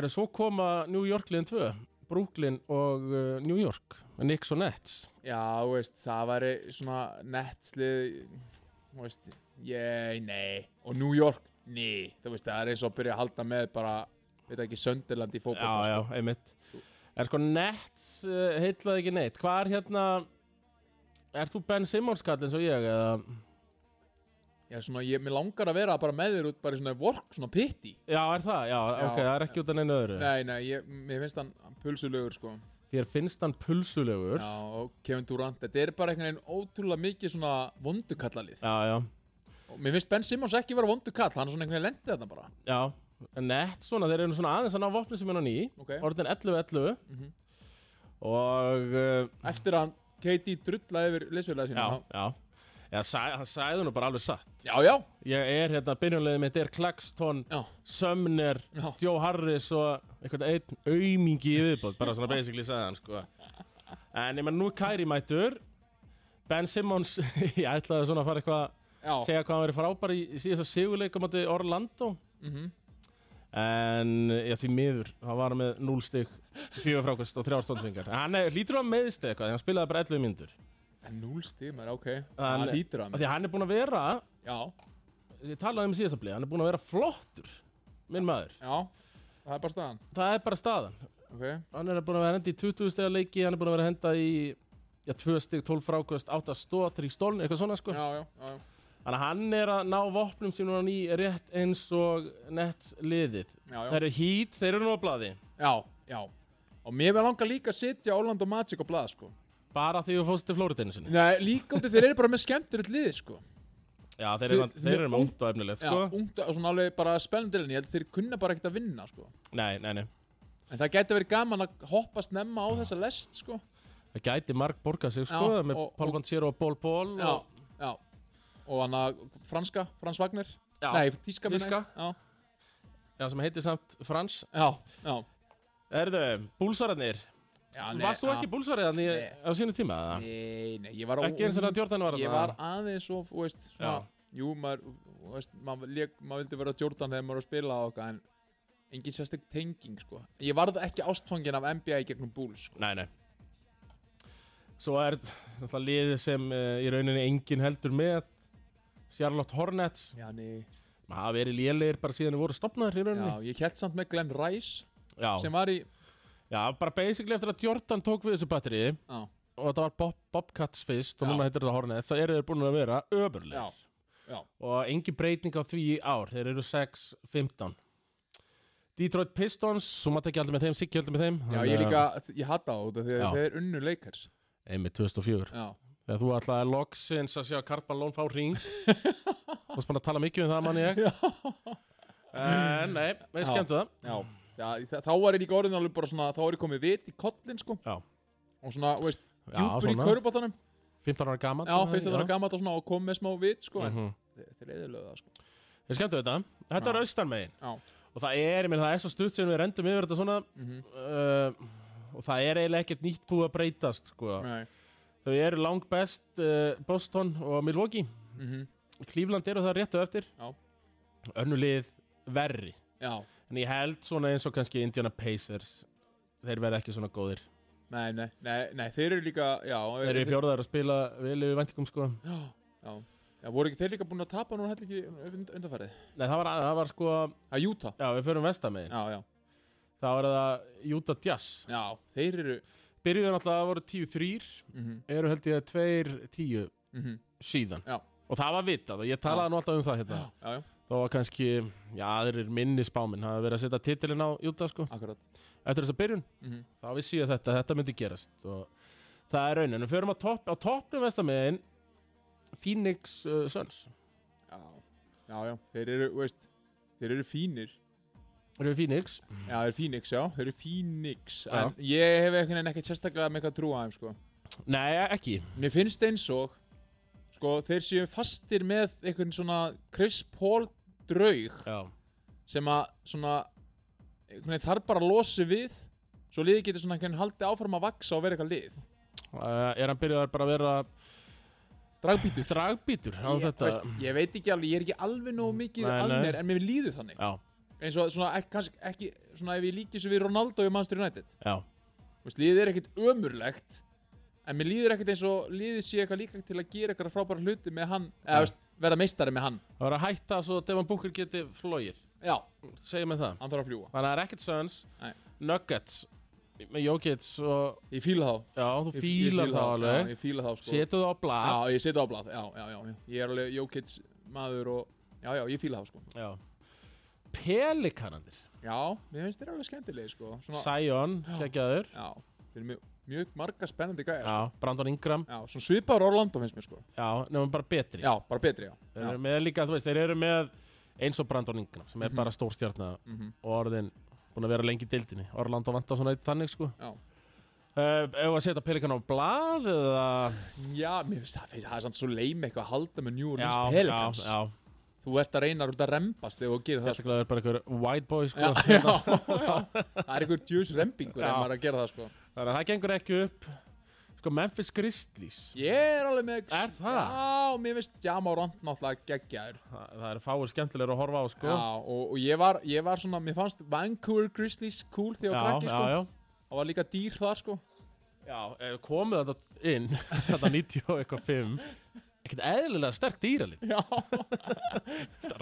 Speaker 1: er svo koma New York liðin 2 Brooklyn og uh, New York Knicks og Nets
Speaker 2: já, þú veist, það væri svona netslið, þú veist, ég, nei, og New York, nei, þú veist, það er eins og að byrja að halda með bara, veit ekki, Sönderland í
Speaker 1: Já,
Speaker 2: fótbolta, sko.
Speaker 1: já, einmitt Er sko Nets uh, heitlaði ekki neitt Hvað er hérna Er þú Ben Simmons kall eins og ég eða
Speaker 2: sko. Já, svona, ég, mér langar að vera bara með þér út, bara í svona vork, svona pitti.
Speaker 1: Já, er það? Já,
Speaker 2: Já.
Speaker 1: ok, það er ekki út af neina öðru.
Speaker 2: Nei, nei, ég, mér finnst hann pulsulegur, sko.
Speaker 1: Þér finnst hann pulsulegur.
Speaker 2: Já, og Kevin Durant, þetta er bara einhvern veginn ótrúlega mikið svona vondukallalið.
Speaker 1: Já, já,
Speaker 2: Og mér finnst Ben Simmons ekki vera vondukall, hann er svona einhvern veginn lendið þarna bara.
Speaker 1: já. En Nett svona, þeir eru svona aðeins að ná vopni sem er hann í.
Speaker 2: Ok.
Speaker 1: Orðin 11-11.
Speaker 2: Mhm.
Speaker 1: Og, uh,
Speaker 2: Eftir að KD drulla yfir leysfélaga sína.
Speaker 1: já,
Speaker 2: hann-
Speaker 1: já. Já, sæ, hann sæði nú bara alveg satt.
Speaker 2: Já, já,
Speaker 1: Ég er hérna, byrjunlegið mitt er Klagston,
Speaker 2: já,
Speaker 1: Sömner,
Speaker 2: já.
Speaker 1: Joe Harris og einhvern einn aumingi í viðbót. Bara svona basically sagði hann, sko. En ég menn, nú er Kæri mættur. Ben Simmons, ég ætlaði svona að fara eitthvað
Speaker 2: já.
Speaker 1: segja hvað hann verið frábær í, í síðasta sigurleik á móti Orlando
Speaker 2: Mhm.
Speaker 1: en já, því miður, hann var með 0 stygg, 4 frákvæmst og 3 stónsingar hann er, lítur á meðist eitthvað, því hann spilaði bara 11 myndur
Speaker 2: En núl stímar, ok
Speaker 1: Hann-
Speaker 2: Það lítur að
Speaker 1: af
Speaker 2: mér
Speaker 1: því hann er búinn að vera,
Speaker 2: Já,
Speaker 1: ég talaði um síðasta blið hann er búinn að vera flottur, minn maður
Speaker 2: já, það er bara staðan
Speaker 1: það er bara staðan,
Speaker 2: Ok,
Speaker 1: hann er búinn að vera að henda í 20 stegar leiki, hann er búinn að vera að henda í já, 2 stygg, 12 frákvæmst, 8 stóð 3 stóln, eitthvað svona sko
Speaker 2: já, já, já já.
Speaker 1: þannig að hann er að ná vopnum sem núna ný rétt eins og nett liðið
Speaker 2: Já,
Speaker 1: Það
Speaker 2: já,
Speaker 1: eru hít, þeir eru nú á blaði
Speaker 2: já, já Og mér verður langar líka að setja Orlando Magic á blað, sko
Speaker 1: Bara því þú fórst til Flóriðinu sinni
Speaker 2: Nei, líka út af þeir eru bara með skemmtilegt lið, sko
Speaker 1: Já, þeir
Speaker 2: Þeir-
Speaker 1: eru, þeir eru
Speaker 2: þeir-
Speaker 1: með ungt og efnilegt
Speaker 2: Já,
Speaker 1: sko.
Speaker 2: ungt og svona alveg bara spennandi lið, en Ég held að þeir kunna bara ekkert að vinna, sko
Speaker 1: Nei, nei, nei
Speaker 2: En það gæti verið gaman að hoppa snemma á þessa lest, sko
Speaker 1: Það gæti marg borga sig sko
Speaker 2: Já,
Speaker 1: Með
Speaker 2: og-
Speaker 1: Paul
Speaker 2: og-
Speaker 1: Vancier og Ból Ból
Speaker 2: Já,
Speaker 1: og,
Speaker 2: já Og hann að franska, Frans Wagner
Speaker 1: já,
Speaker 2: Nei, tíska minna
Speaker 1: Þýska.
Speaker 2: Já,
Speaker 1: já, sem heitir samt Frans
Speaker 2: já, já
Speaker 1: Erðu, búlsararnir
Speaker 2: Já,
Speaker 1: Þú
Speaker 2: nei,
Speaker 1: Varst þú
Speaker 2: já.
Speaker 1: ekki búlsarið í,
Speaker 2: Nei.
Speaker 1: á sínu tíma? eða?
Speaker 2: Nei, nei, ég var á
Speaker 1: Ekki eins og það Jordan var
Speaker 2: Ég
Speaker 1: þarna?
Speaker 2: var aðeins og, þú veist, svona
Speaker 1: Já.
Speaker 2: Jú, maður, þú veist, maður, leik, maður vildi vera Jordan þegar maður var að spila á okkar En engin sérstak tenging, sko Ég varð ekki ástfangin af NBA í gegnum Bulls, sko
Speaker 1: Nei, nei Svo er náttúrulega liðið sem uh, í rauninni enginn heldur með Charlotte Hornets
Speaker 2: Já, nei
Speaker 1: Maður hafa verið lélegir bara síðan við voru stopnaðir í
Speaker 2: Já,
Speaker 1: rauninni
Speaker 2: ég held samt með Glenn Rice
Speaker 1: Já,
Speaker 2: Sem var í
Speaker 1: Já, bara basically eftir að Jordan tók við þessu batteri
Speaker 2: Já,
Speaker 1: og þetta var Bob, Bobcats fyrst og
Speaker 2: Já.
Speaker 1: núna heitir þetta Hornets, það eru þeir búin að vera ömurlega
Speaker 2: já, já,
Speaker 1: og engin breyting á því í ár, þeir eru 6-15 Detroit Pistons, svo maður ekki aldrei með þeim, Siggi aldrei með þeim
Speaker 2: já, ég líka, ég hata á þetta því
Speaker 1: Já.
Speaker 2: að þeir unnu leikars
Speaker 1: Einmitt 2004
Speaker 2: Já,
Speaker 1: Þegar þú ætlaði loksins að sjá Karpan Lón fá ring Þú spannst að tala mikið um það mann ég En nei, við
Speaker 2: Já.
Speaker 1: skemmtu það
Speaker 2: já, já þa- þá var ég líka orðin alveg bara svona, þá var ég komið vit í kollin sko
Speaker 1: Já.
Speaker 2: Og svona, þú veist,
Speaker 1: Já,
Speaker 2: djúpur í
Speaker 1: svona.
Speaker 2: köruboltanum
Speaker 1: 15 ára gaman
Speaker 2: Já, feitur þarna gammalt og svona og kom með smá vit sko En
Speaker 1: -hmm.
Speaker 2: þeir- þeir eðilöðu það sko
Speaker 1: Við skemmtu þetta Þetta er
Speaker 2: Já.
Speaker 1: austarmegin
Speaker 2: Já.
Speaker 1: Og það er, minn, það er svo stutt sem við rendum yfir þetta svona
Speaker 2: Mhm.
Speaker 1: uh, Og það er eiginlega ekkert nýtt búið að breytast sko.
Speaker 2: Nei,
Speaker 1: Þau eru langt best uh, Boston og Milwaukee
Speaker 2: mhm,
Speaker 1: Cleveland eru það réttu eftir
Speaker 2: Já.
Speaker 1: Önnulið verri
Speaker 2: já,
Speaker 1: En ég held svona eins og kannski Indiana Pacers Þeir verða ekki svona góðir
Speaker 2: nei, nei, nei, nei, þeir eru líka, já
Speaker 1: Þeir eru í fjórðar að spila vel yfir væntingum sko
Speaker 2: Já, já, já, voru ekki þeir líka búin að tapa núna heldur ekki undanfærið
Speaker 1: Nei það var, það var sko
Speaker 2: Að Júta,
Speaker 1: Já við förum vestamegin
Speaker 2: já, já,
Speaker 1: Það var það Utah Jazz
Speaker 2: já, þeir eru
Speaker 1: Byrjuðu náttúrulega að voru 10-3
Speaker 2: mhm,
Speaker 1: Eru held ég 2-10
Speaker 2: mhm,
Speaker 1: síðan
Speaker 2: Já.
Speaker 1: Og það var vitað og ég talaði nú alltaf um það hérna
Speaker 2: Já, já,
Speaker 1: Þó var kannski, já þeir eru minni spáminn Það verið að setja titilin á Utah sko
Speaker 2: akkurat
Speaker 1: Eftir þessa byrjun
Speaker 2: mhm,
Speaker 1: þá vissi ég þetta, þetta myndi gerast og það er raunin, en við förum á, topp, á toppnum vestamegin Phoenix uh, Suns
Speaker 2: Já, já, já, þeir eru, veist Þeir eru fínir
Speaker 1: erum við Phoenix
Speaker 2: Já, þeir eru Phoenix, já, þeir eru Phoenix
Speaker 1: Já.
Speaker 2: En ég hef einhvern veginn ekkert sérstaklega með eitthvað að trúa þeim, sko
Speaker 1: nei, ekki,
Speaker 2: Mér finnst eins og Sko, þeir séu fastir með einhvern svona Chris Paul draug
Speaker 1: já,
Speaker 2: Sem að, svona einhvern veginn þarf bara að losi við Svo liðið getur svona einhvern veginn haldið áfram að vaksa og vera eitthvað lið
Speaker 1: uh, er hann byrjaðar bara að vera
Speaker 2: Dragbítur
Speaker 1: dragbítur á
Speaker 2: ég,
Speaker 1: þetta Mm,
Speaker 2: veist, ég veit ekki alveg, ég er ekki alveg nógu mikið
Speaker 1: Nei,
Speaker 2: að
Speaker 1: nei.
Speaker 2: mér En mér líður þannig
Speaker 1: já,
Speaker 2: eins og svona ekki, kannski ekki svona ef ég líki þessu við Ronaldo í Manchester United
Speaker 1: já,
Speaker 2: Þú veist, liðið er ekkit ömurlegt en mér líður ekkit eins og liðið sé eitthvað líklegt til að gera eitthvað frábæra hluti með hann eða
Speaker 1: Já.
Speaker 2: veist, verða meistari með hann
Speaker 1: það var að hætta svo að Devon Booker geti flóið
Speaker 2: já,
Speaker 1: segjum við það,
Speaker 2: hann þarf að fljúa
Speaker 1: þannig að það er ekkert Suns
Speaker 2: Nei.
Speaker 1: Nuggets með Jokic og,
Speaker 2: ég fíla þá
Speaker 1: já, þú
Speaker 2: Ég- ég
Speaker 1: fílar
Speaker 2: fíla
Speaker 1: það
Speaker 2: já,
Speaker 1: alveg
Speaker 2: ég fíla þá sko
Speaker 1: setu það á blad
Speaker 2: já, ég setja á blað já, já, já, já. ég er alveg Jókits maður og já, já, ég fíla þá sko
Speaker 1: já. pelikanandir
Speaker 2: já, mér finnst þeir alveg skemmtilegi sko svona,
Speaker 1: Sion,
Speaker 2: Já.
Speaker 1: geggjaður
Speaker 2: já, þeir eru mjög, mjög marga spennandi gæja sko.
Speaker 1: já, Brandon Ingram
Speaker 2: já, svona svipaður Orlando finnst mér sko
Speaker 1: Já, nefnum bara betri
Speaker 2: já, bara betri, já,
Speaker 1: Þeir
Speaker 2: já.
Speaker 1: eru með líka, þú veist, þeir eru með eins og Brandon Ingram sem er
Speaker 2: Mhm.
Speaker 1: bara stórstjarnar
Speaker 2: Mm
Speaker 1: og orðin búin að vera lengi í deildinni Orlando vantar svona eitt þannig sko
Speaker 2: Já.
Speaker 1: Uh, ef að setja pelikan á blað eða
Speaker 2: Já, mér finnst það, finnst, það er samt svo leim eitthvað að halda með New Orleans
Speaker 1: já,
Speaker 2: Pelicans
Speaker 1: já, já,
Speaker 2: Þú ert að reyna út að rembast ef þú gerir það sko.
Speaker 1: sérstaklega er bara einhver white boy sko
Speaker 2: já, já, já, það er einhver djús rembingur
Speaker 1: Já.
Speaker 2: ef maður er að gera það sko
Speaker 1: þannig að það gengur ekki upp sko Memphis Grizzlies
Speaker 2: Ég er alveg með
Speaker 1: Er það?
Speaker 2: Já, mér finnst Jamal Rond náttúrulega geggjaður
Speaker 1: það, það er fáir skemmtilegur að horfa á sko
Speaker 2: Já, og, og ég, var, ég var svona, mér fannst Vancouver Grizzlies cool þegar ég var
Speaker 1: já,
Speaker 2: krakki sko
Speaker 1: já,
Speaker 2: Það var líka dýr þar sko
Speaker 1: já eh, komuð þetta inn þetta 90 og eitthvað 5 ekkert eðlilega sterk dýralið
Speaker 2: Já,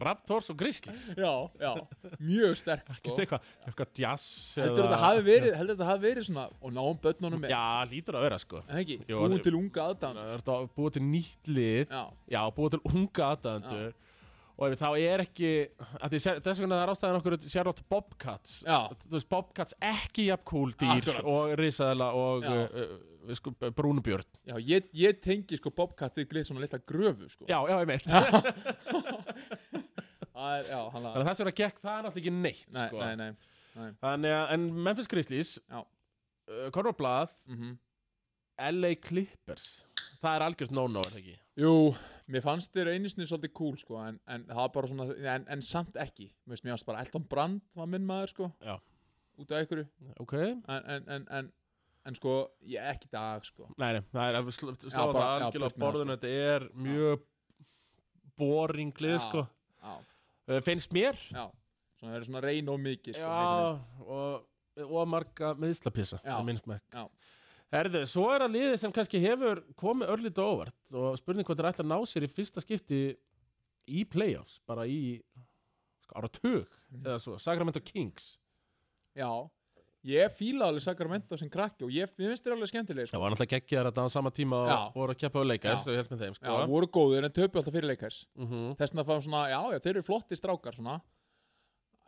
Speaker 1: Raptors og Grizzlies
Speaker 2: já, já, mjög sterk sko
Speaker 1: Sko? eitthvað, eitthvað jazz
Speaker 2: Heldur þetta hafi verið, heldur þetta hafi verið svona og náum börnunum með
Speaker 1: Já, hlýtur að vera sko
Speaker 2: En ekki,
Speaker 1: Jú,
Speaker 2: búin
Speaker 1: þetta-
Speaker 2: til unga
Speaker 1: Það
Speaker 2: aðdáðan
Speaker 1: er þetta að búa til nýtt lið
Speaker 2: Já,
Speaker 1: Já, búa til unga aðdæðendur Og ef þá er ekki að því, sér- Þess vegna það er ástæðan okkur Sérlótt Bobcats
Speaker 2: Já.
Speaker 1: Þú veist, Bobcats ekki jafn kúl dýr
Speaker 2: Akkurat.
Speaker 1: Og risaðela og
Speaker 2: Já.
Speaker 1: uh, uh, sko, brúnubjörn
Speaker 2: Já, ég, ég tengi sko Bobcat við glið svona litla gröfu sko
Speaker 1: Já, já, ég meitt Þannig
Speaker 2: Það er, já, hann að
Speaker 1: að þess vegna gekk það náttúrulega ekki neitt
Speaker 2: Nei,
Speaker 1: sko.
Speaker 2: nei, nei
Speaker 1: Þannig að, en Memphis Grizzlies
Speaker 2: Já.
Speaker 1: uh, Conor Blað,
Speaker 2: mm
Speaker 1: LA Clippers Það er algjört no-no, er það ekki?
Speaker 2: Jú, mér fannst þér einu sinni svolítið cool sko En, en það var bara svona, en, en samt ekki Mér veist, mér fannst bara Elton Brand var minn maður sko
Speaker 1: Já.
Speaker 2: Út af ykkur En,
Speaker 1: Ok, nei,
Speaker 2: en, en, en, en sko, ég ekki í dag sko
Speaker 1: nei, það er slá það
Speaker 2: Já, bara-
Speaker 1: algjörlega á
Speaker 2: já, burt með það, sko.
Speaker 1: borðinu Þetta er mjög boring lið,
Speaker 2: Já.
Speaker 1: sko
Speaker 2: Já,
Speaker 1: Uh, finnst mér
Speaker 2: já Svona það er svona reyn og mikið sko einhvern veginn.
Speaker 1: Já, og, og marga meðslapissa
Speaker 2: Já, já.
Speaker 1: Herðu, svo er að liðið sem kannski hefur komið örlítið á óvart og spurning hvað það er ætla að ná sér í fyrsta skipti í playoffs, bara
Speaker 2: Mhm.
Speaker 1: í sko, ára tug eða svo, Sacramento Kings
Speaker 2: Já, Ég fíla alveg Sacramento sem krakki og ég, ég finnst þér alveg skemmtileg sko.
Speaker 1: Það var náttúrulega geggjaðar að það á sama tíma
Speaker 2: Já.
Speaker 1: og voru að keppa á leikast
Speaker 2: Já.
Speaker 1: og helst með þeim,
Speaker 2: Já,
Speaker 1: sko.
Speaker 2: voru góðir en töpu alltaf fyrir leikars
Speaker 1: Mhm.
Speaker 2: Þess vegna fáum svona, já, já, þeir eru flotti strákar svona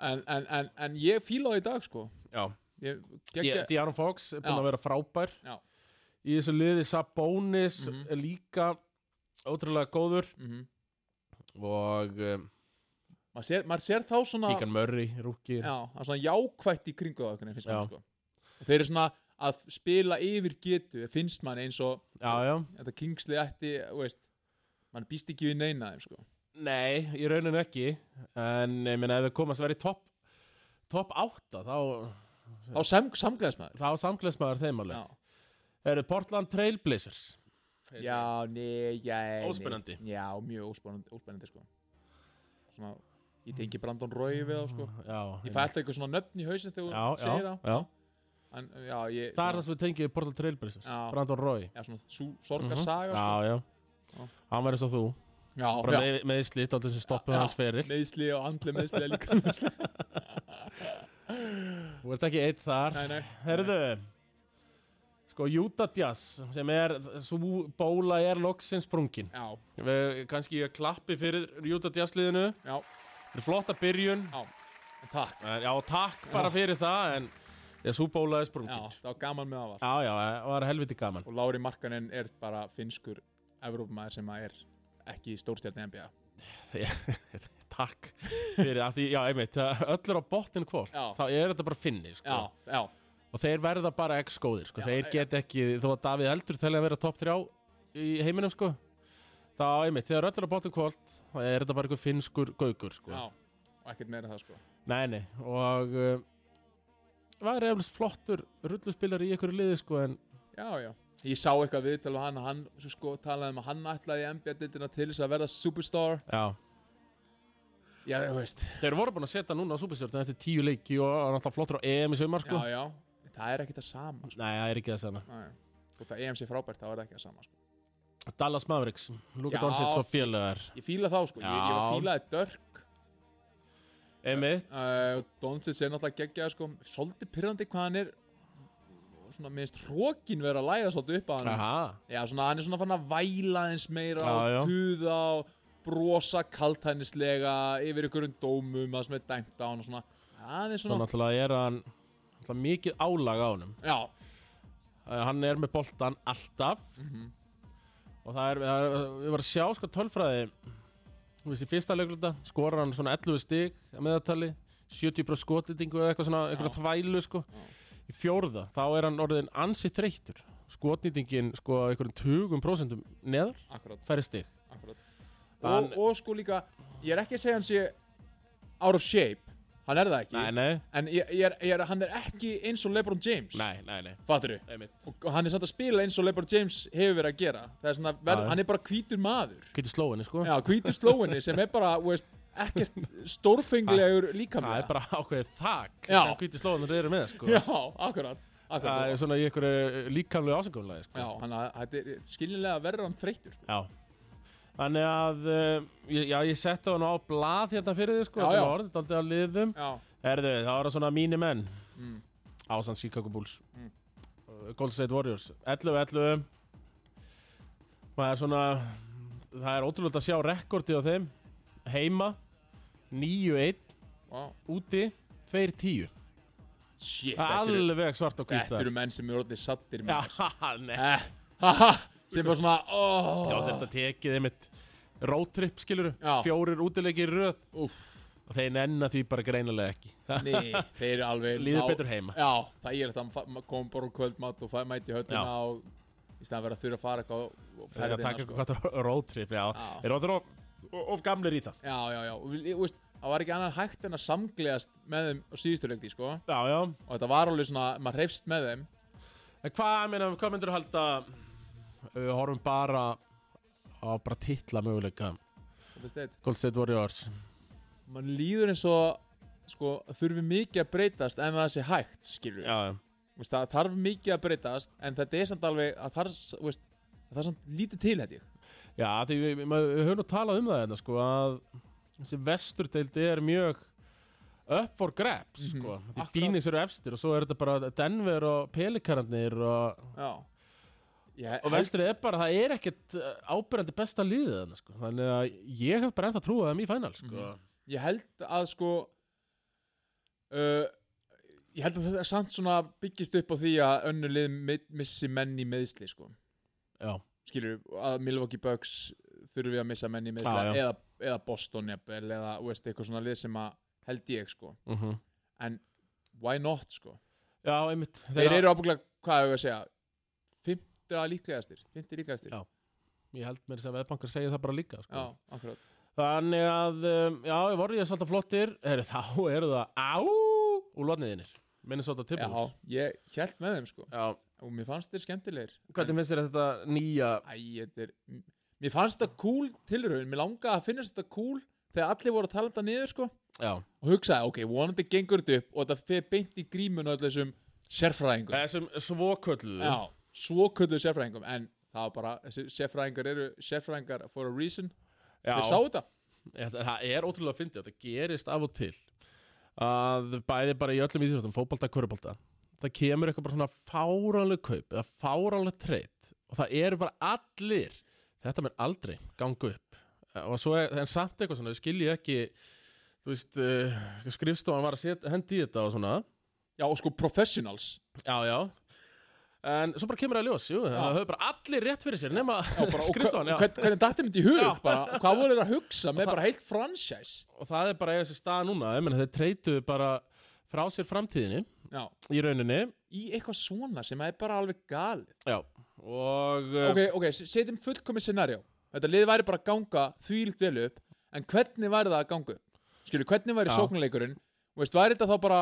Speaker 2: En, en, en, en ég fíla það í dag sko
Speaker 1: Já.
Speaker 2: Ég,
Speaker 1: Ég-
Speaker 2: geggja,
Speaker 1: De'Aaron Fox er búinn
Speaker 2: Já.
Speaker 1: að vera frábær
Speaker 2: Já.
Speaker 1: í þessu liði Sabonis
Speaker 2: Mhm.
Speaker 1: er líka ótrúlega góður
Speaker 2: mhm.
Speaker 1: og um,
Speaker 2: maður, sér, maður sér þá svona
Speaker 1: Keegan Murray, rúki
Speaker 2: Já, það er svona jákvætt í kringu það einhvern veginn, finnst
Speaker 1: Já.
Speaker 2: maður sko Og þeir eru svona að spila yfir getu finnst mann eins og
Speaker 1: já, já.
Speaker 2: þetta Kingsley ætti, þú veist mann býst ekki við neina þeim sko
Speaker 1: Nei, í rauninu ekki en eh, ég meina ef þau komast að vera í topp topp átta þá,
Speaker 2: Þá sem, samgleðs maður
Speaker 1: þá samgleðsmaður þeim alveg
Speaker 2: Já,
Speaker 1: eru Portland Trailblazers
Speaker 2: já, nei, já nei.
Speaker 1: Óspennandi.
Speaker 2: Já, mjög óspennandi, óspennandi sko Svona, ég tengi Brandon Roy við þá sko
Speaker 1: já,
Speaker 2: Ég fæ alltaf eitthvað svona nöfn í hausin þegar
Speaker 1: já,
Speaker 2: hún segir
Speaker 1: já,
Speaker 2: það
Speaker 1: já.
Speaker 2: En, já, ég
Speaker 1: það er það
Speaker 2: svona,
Speaker 1: sem við tengjum við Portland Trailblazers
Speaker 2: Já.
Speaker 1: Brandon Roy
Speaker 2: Já, svona sú, sorgarsaga sko
Speaker 1: Mhm. já, já.
Speaker 2: Já.
Speaker 1: hann verður svo þú
Speaker 2: Já,
Speaker 1: bara
Speaker 2: já,
Speaker 1: með, með slít alltaf sem stoppuð
Speaker 2: Já.
Speaker 1: hans feril
Speaker 2: meðsli og andli meðsli er líka Nei,
Speaker 1: Þú ert ekki eitt þar
Speaker 2: nei
Speaker 1: Herðu Sko Utah Jazz sem er svo bóla er loksins sprungin
Speaker 2: Já,
Speaker 1: Við kannski ég klappi fyrir Utah Jazz liðinu
Speaker 2: já,
Speaker 1: Þetta er flotta byrjun
Speaker 2: já En Takk
Speaker 1: En Já, takk bara fyrir það en ég svo bóla er
Speaker 2: Já,
Speaker 1: sprungin Já,
Speaker 2: það var gaman með það var
Speaker 1: já, það var helviti gaman
Speaker 2: Og Lári Markanen er bara finskur Evrópumæður sem að er ekki stórstjarni NBA
Speaker 1: Takk fyrir að því, já, einmitt það- Öll er á botnin hvort
Speaker 2: Já.
Speaker 1: Þá er þetta bara finni, sko
Speaker 2: Já, já,
Speaker 1: Og þeir verða bara ex-góðir, sko
Speaker 2: Já,
Speaker 1: Þeir
Speaker 2: já.
Speaker 1: get ekki, þó að Davíð Eldur telja að vera top 3 í heiminum, sko Þá, einmitt, þegar öll er á botnin hvort þá er þetta bara eitthvað finnskur gaukur, sko
Speaker 2: já Og ekkert meira en það sko
Speaker 1: Nei, nei, og uh, var eflust flottur rulluspilar í ykkur liði, sko, en
Speaker 2: Já, já. Ég sá eitthvað viðtal og hann, hann svo sko, talaði um að hann ætlaði NBA-dildina til þess að verða superstar.
Speaker 1: já,
Speaker 2: Já, þú veist.
Speaker 1: þeir voru búin að setja núna á Superstjórn eftir tíu leiki og hann alltaf flottur á EM í saumar, sko.
Speaker 2: Já, já. Það er ekki það sama. Sko.
Speaker 1: Nei, það er ekki þess að
Speaker 2: Nei. Þótt að EM sé frábært, þá er það ekki það sama. Sko.
Speaker 1: Dallas Mavericks, Luka
Speaker 2: Já.
Speaker 1: Doncic og félagar.
Speaker 2: Ég fíla þá, sko. Ég, ég var
Speaker 1: Já.
Speaker 2: fílaði Dörk.
Speaker 1: Einmitt,
Speaker 2: Uh, Donsic er náttúrulega geggjað, sko. Svolítið pyrrandi hvað hann er svona minnst hrókin vera að læða svolítið upp á hann.
Speaker 1: aha,
Speaker 2: Já, svona hann er svona fann að væla eins meira
Speaker 1: Já, já.
Speaker 2: og tuða og brosa kaltænislega yfir ykkur dómum að sem er dæmt á hann og svona aðeins
Speaker 1: svo
Speaker 2: svona,
Speaker 1: náttúrulega er hann náttúrulega mikið álag á honum.
Speaker 2: já,
Speaker 1: Uh, hann er með boltan alltaf
Speaker 2: Mhm.
Speaker 1: og það er, það er, við varum að sjá sko tölfræði þú veist, í fyrsta leikluta skorar hann svona 11 stig að meðatali 70% skotlýtingu eða eitthvað svona eitthvað
Speaker 2: Já.
Speaker 1: þvælu sko í fjórða, þá er hann orðin ansi þreyttur skotnýtingin sko einhverjum 20 prosentum neðar
Speaker 2: akkurat,
Speaker 1: færri stig
Speaker 2: akkurat
Speaker 1: Hann-
Speaker 2: og, og sko líka, ég er ekki að segja hann sé out of shape, hann er það ekki
Speaker 1: nei, nei,
Speaker 2: en ég, ég er, ég er, hann er ekki eins og Lebron James
Speaker 1: nei, nei, nei.
Speaker 2: fattur
Speaker 1: einmitt
Speaker 2: og, og hann er samt að spila eins og Lebron James hefur verið að gera það er svona, verð,
Speaker 1: Já, já.
Speaker 2: hann er bara hvítur maður
Speaker 1: getur slóinni sko
Speaker 2: já, hvítur slóinni sem er bara, þú veist ekkert stórfenglegur
Speaker 1: það
Speaker 2: líkamlega
Speaker 1: er bara ákveðið þak
Speaker 2: Já.
Speaker 1: sem getur slóinni þeir eru með sko
Speaker 2: Já, akkurat,
Speaker 1: það er
Speaker 2: akkurat.
Speaker 1: svona í einhverju líkamlu ásengumlega sko
Speaker 2: Já, hann að þetta er skilnilega verður hann þreyttur sko.
Speaker 1: Já Þannig að, uh, ég- já ég setti hann á blað hérna fyrir þig sko,
Speaker 2: Já,
Speaker 1: þetta
Speaker 2: já.
Speaker 1: var orðið aldrei að liðum
Speaker 2: Já,
Speaker 1: Erðu, það var svona mínir menn
Speaker 2: mm,
Speaker 1: Ásand Chicago Bulls
Speaker 2: Mm.
Speaker 1: uh, Golden State Warriors 11-11 Það er svona, það er ótrúlega að sjá rekordi á þeim Heima 9-1
Speaker 2: wow.
Speaker 1: úti 2-10
Speaker 2: Shit, þetta eru,
Speaker 1: Alveg svart og hvítt
Speaker 2: þetta eru menn sem eru orðið sattir
Speaker 1: Já,
Speaker 2: með
Speaker 1: nei
Speaker 2: Eh, haha, sem bara svona
Speaker 1: Já,
Speaker 2: oh,
Speaker 1: þetta tekið einmitt Roadtrip skilur,
Speaker 2: Já.
Speaker 1: fjórir útileikir í röð
Speaker 2: Úff,
Speaker 1: og þeir nennan því bara greinilega ekki
Speaker 2: nei, þeir eru alveg
Speaker 1: líður
Speaker 2: ná-
Speaker 1: betur heima
Speaker 2: Já, það er þetta, hann kom bara úr kvöldmatt og fæ- mæti í höllina
Speaker 1: Já.
Speaker 2: og í staðan verið að þurfa að fara eitthvað á- á
Speaker 1: þeir eru að taka
Speaker 2: ferðina sko.
Speaker 1: eitthvað sko. roadtrip já.
Speaker 2: Já.
Speaker 1: þeir eru orðnir of, of gamlir í það
Speaker 2: Já, já, já, og við- ég- þú veist, það var ekki annan hægt en að samgleðast með þeim á síðustu leikti, sko og
Speaker 1: já, já.
Speaker 2: þetta var alveg svona, maður hreifst með þeim
Speaker 1: en hvað, meina, hvað myndir þú halda ef við horfum bara á bara titla möguleika
Speaker 2: Þetta er steitt
Speaker 1: Gold State Warriors
Speaker 2: mann líður eins og sko, þurfi mikið að breytast en það sé hægt, skilur
Speaker 1: já, já.
Speaker 2: við það þarf mikið að breytast en þetta er samt alveg að þar, s- þú veist, að það er samt lítið til held ég
Speaker 1: já, því við, við, við höfum nú talað um það hérna, sko, að þessi vesturdeildi er mjög up for grabs
Speaker 2: Mhm.
Speaker 1: sko. því
Speaker 2: Akkurat.
Speaker 1: Phoenix eru efstir og svo er þetta bara Denver og Pelikarnir og,
Speaker 2: Já Ég
Speaker 1: og
Speaker 2: held,
Speaker 1: vestrið er bara, það er ekkert eh, áberandi besta liðið þarna, sko. þannig að ég hef bara ennþá trúið þeim í final sko.
Speaker 2: Mhm. ég held að sko uh, Ég held að þetta samt svona byggist upp á því að önnur lið mi- missi menn í meðsli sko
Speaker 1: já,
Speaker 2: skilur að Milwaukee Bucks þurfi að missa menn í
Speaker 1: Já,
Speaker 2: meðsli
Speaker 1: já.
Speaker 2: eða, eða Boston jafnvel eða þú veist, eitthvað svona lið sem að held ég sko
Speaker 1: mm
Speaker 2: en why not sko
Speaker 1: já, einmitt
Speaker 2: þeir eru ábygglega, hvað hefur að segja fymta líklegastir, fymti líklegastir
Speaker 1: Já. ég held mér sem veðbankar segja það bara líka
Speaker 2: já,
Speaker 1: sko.
Speaker 2: akkurat
Speaker 1: þannig að, um, já, ég voru ég svolítið flottir Heri, þá eru það, á úr lotniðinir, minnum svolítið
Speaker 2: já,
Speaker 1: tilbúins
Speaker 2: ég held með þeim sko
Speaker 1: já,
Speaker 2: og mér fannst þeir skemmtilegir
Speaker 1: hvernig finnst þér þetta nýja
Speaker 2: Æ, þetta er, m- mér fannst þetta cool tilraun, mér langaði að finnast þetta cool þegar allir voru að tala þetta niður sko
Speaker 1: já,
Speaker 2: og hugsaði, ok, vonandi gengur þetta upp og þetta fer beint í grímun öll þessum sérfræðingum
Speaker 1: þessum Eh, svokölluðu
Speaker 2: Já, svo kölluðu sérfræðingum en það var bara, þessi sérfræðingar eru sérfræðingar for a reason
Speaker 1: Já.
Speaker 2: þeir sáu þetta
Speaker 1: Ég- Eh, Það það er ótrúlega fyndið, þetta gerist af og til að bæði bara í öllum íþjóttum, fótbolta, körubólta það kemur eitthvað bara svona fáránleg kaup eða fáránleg treyt og það eru bara allir þetta mér aldrei gangu upp Eh, og svo er, en samt eitthvað svona, þau skilji ekki þú veist, uh, skrifstofan var að set, hendi í þetta og svona
Speaker 2: Já, og sko professionals
Speaker 1: já, já en svo bara kemur það í ljós, jú, það höfðu bara allir rétt fyrir sér nema
Speaker 2: Já, bara, og
Speaker 1: skrifstofan, já
Speaker 2: hver- Hvernig dætti myndi í hug
Speaker 1: Já.
Speaker 2: bara, hvað voru þeir að hugsa
Speaker 1: það-
Speaker 2: með bara heilt franchise
Speaker 1: og það er bara eða þessi stað núna, ég meina þeir treytuðu bara frá sér framtíðinni
Speaker 2: Já,
Speaker 1: í rauninni
Speaker 2: í eitthvað svona sem er bara alveg galið
Speaker 1: já. og eh,
Speaker 2: Ok,
Speaker 1: okay.
Speaker 2: ok, s- setjum fullkomið scenarjó Þetta lið væri bara að ganga þvílitt vel upp en hvernig væri það að ganga upp Skilju, hvernig væri
Speaker 1: Já.
Speaker 2: sóknarleikurinn og veist, væri þetta þá bara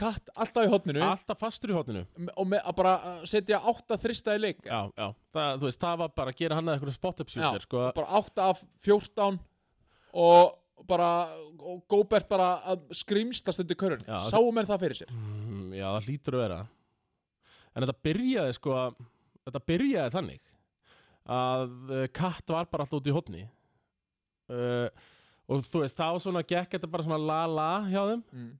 Speaker 2: katt alltaf í hotninu
Speaker 1: alltaf fastur í hotninu
Speaker 2: og með, að bara uh, setja átta þrista í leik
Speaker 1: já, já. Það, þú veist, það var bara að gera hann að eitthvað spot-up shooter sko.
Speaker 2: bara 8 af 14 og bara og Góbert bara að skrýmstast undir körun,
Speaker 1: Já,
Speaker 2: sáu menn það fyrir sér
Speaker 1: Mm, já, það hlýtur að vera en þetta byrjaði sko þetta byrjaði þannig að eh, katt var bara alltaf út í hotni uh, og þú veist, þá svona gekk þetta bara svona la-la hjá þeim
Speaker 2: mm.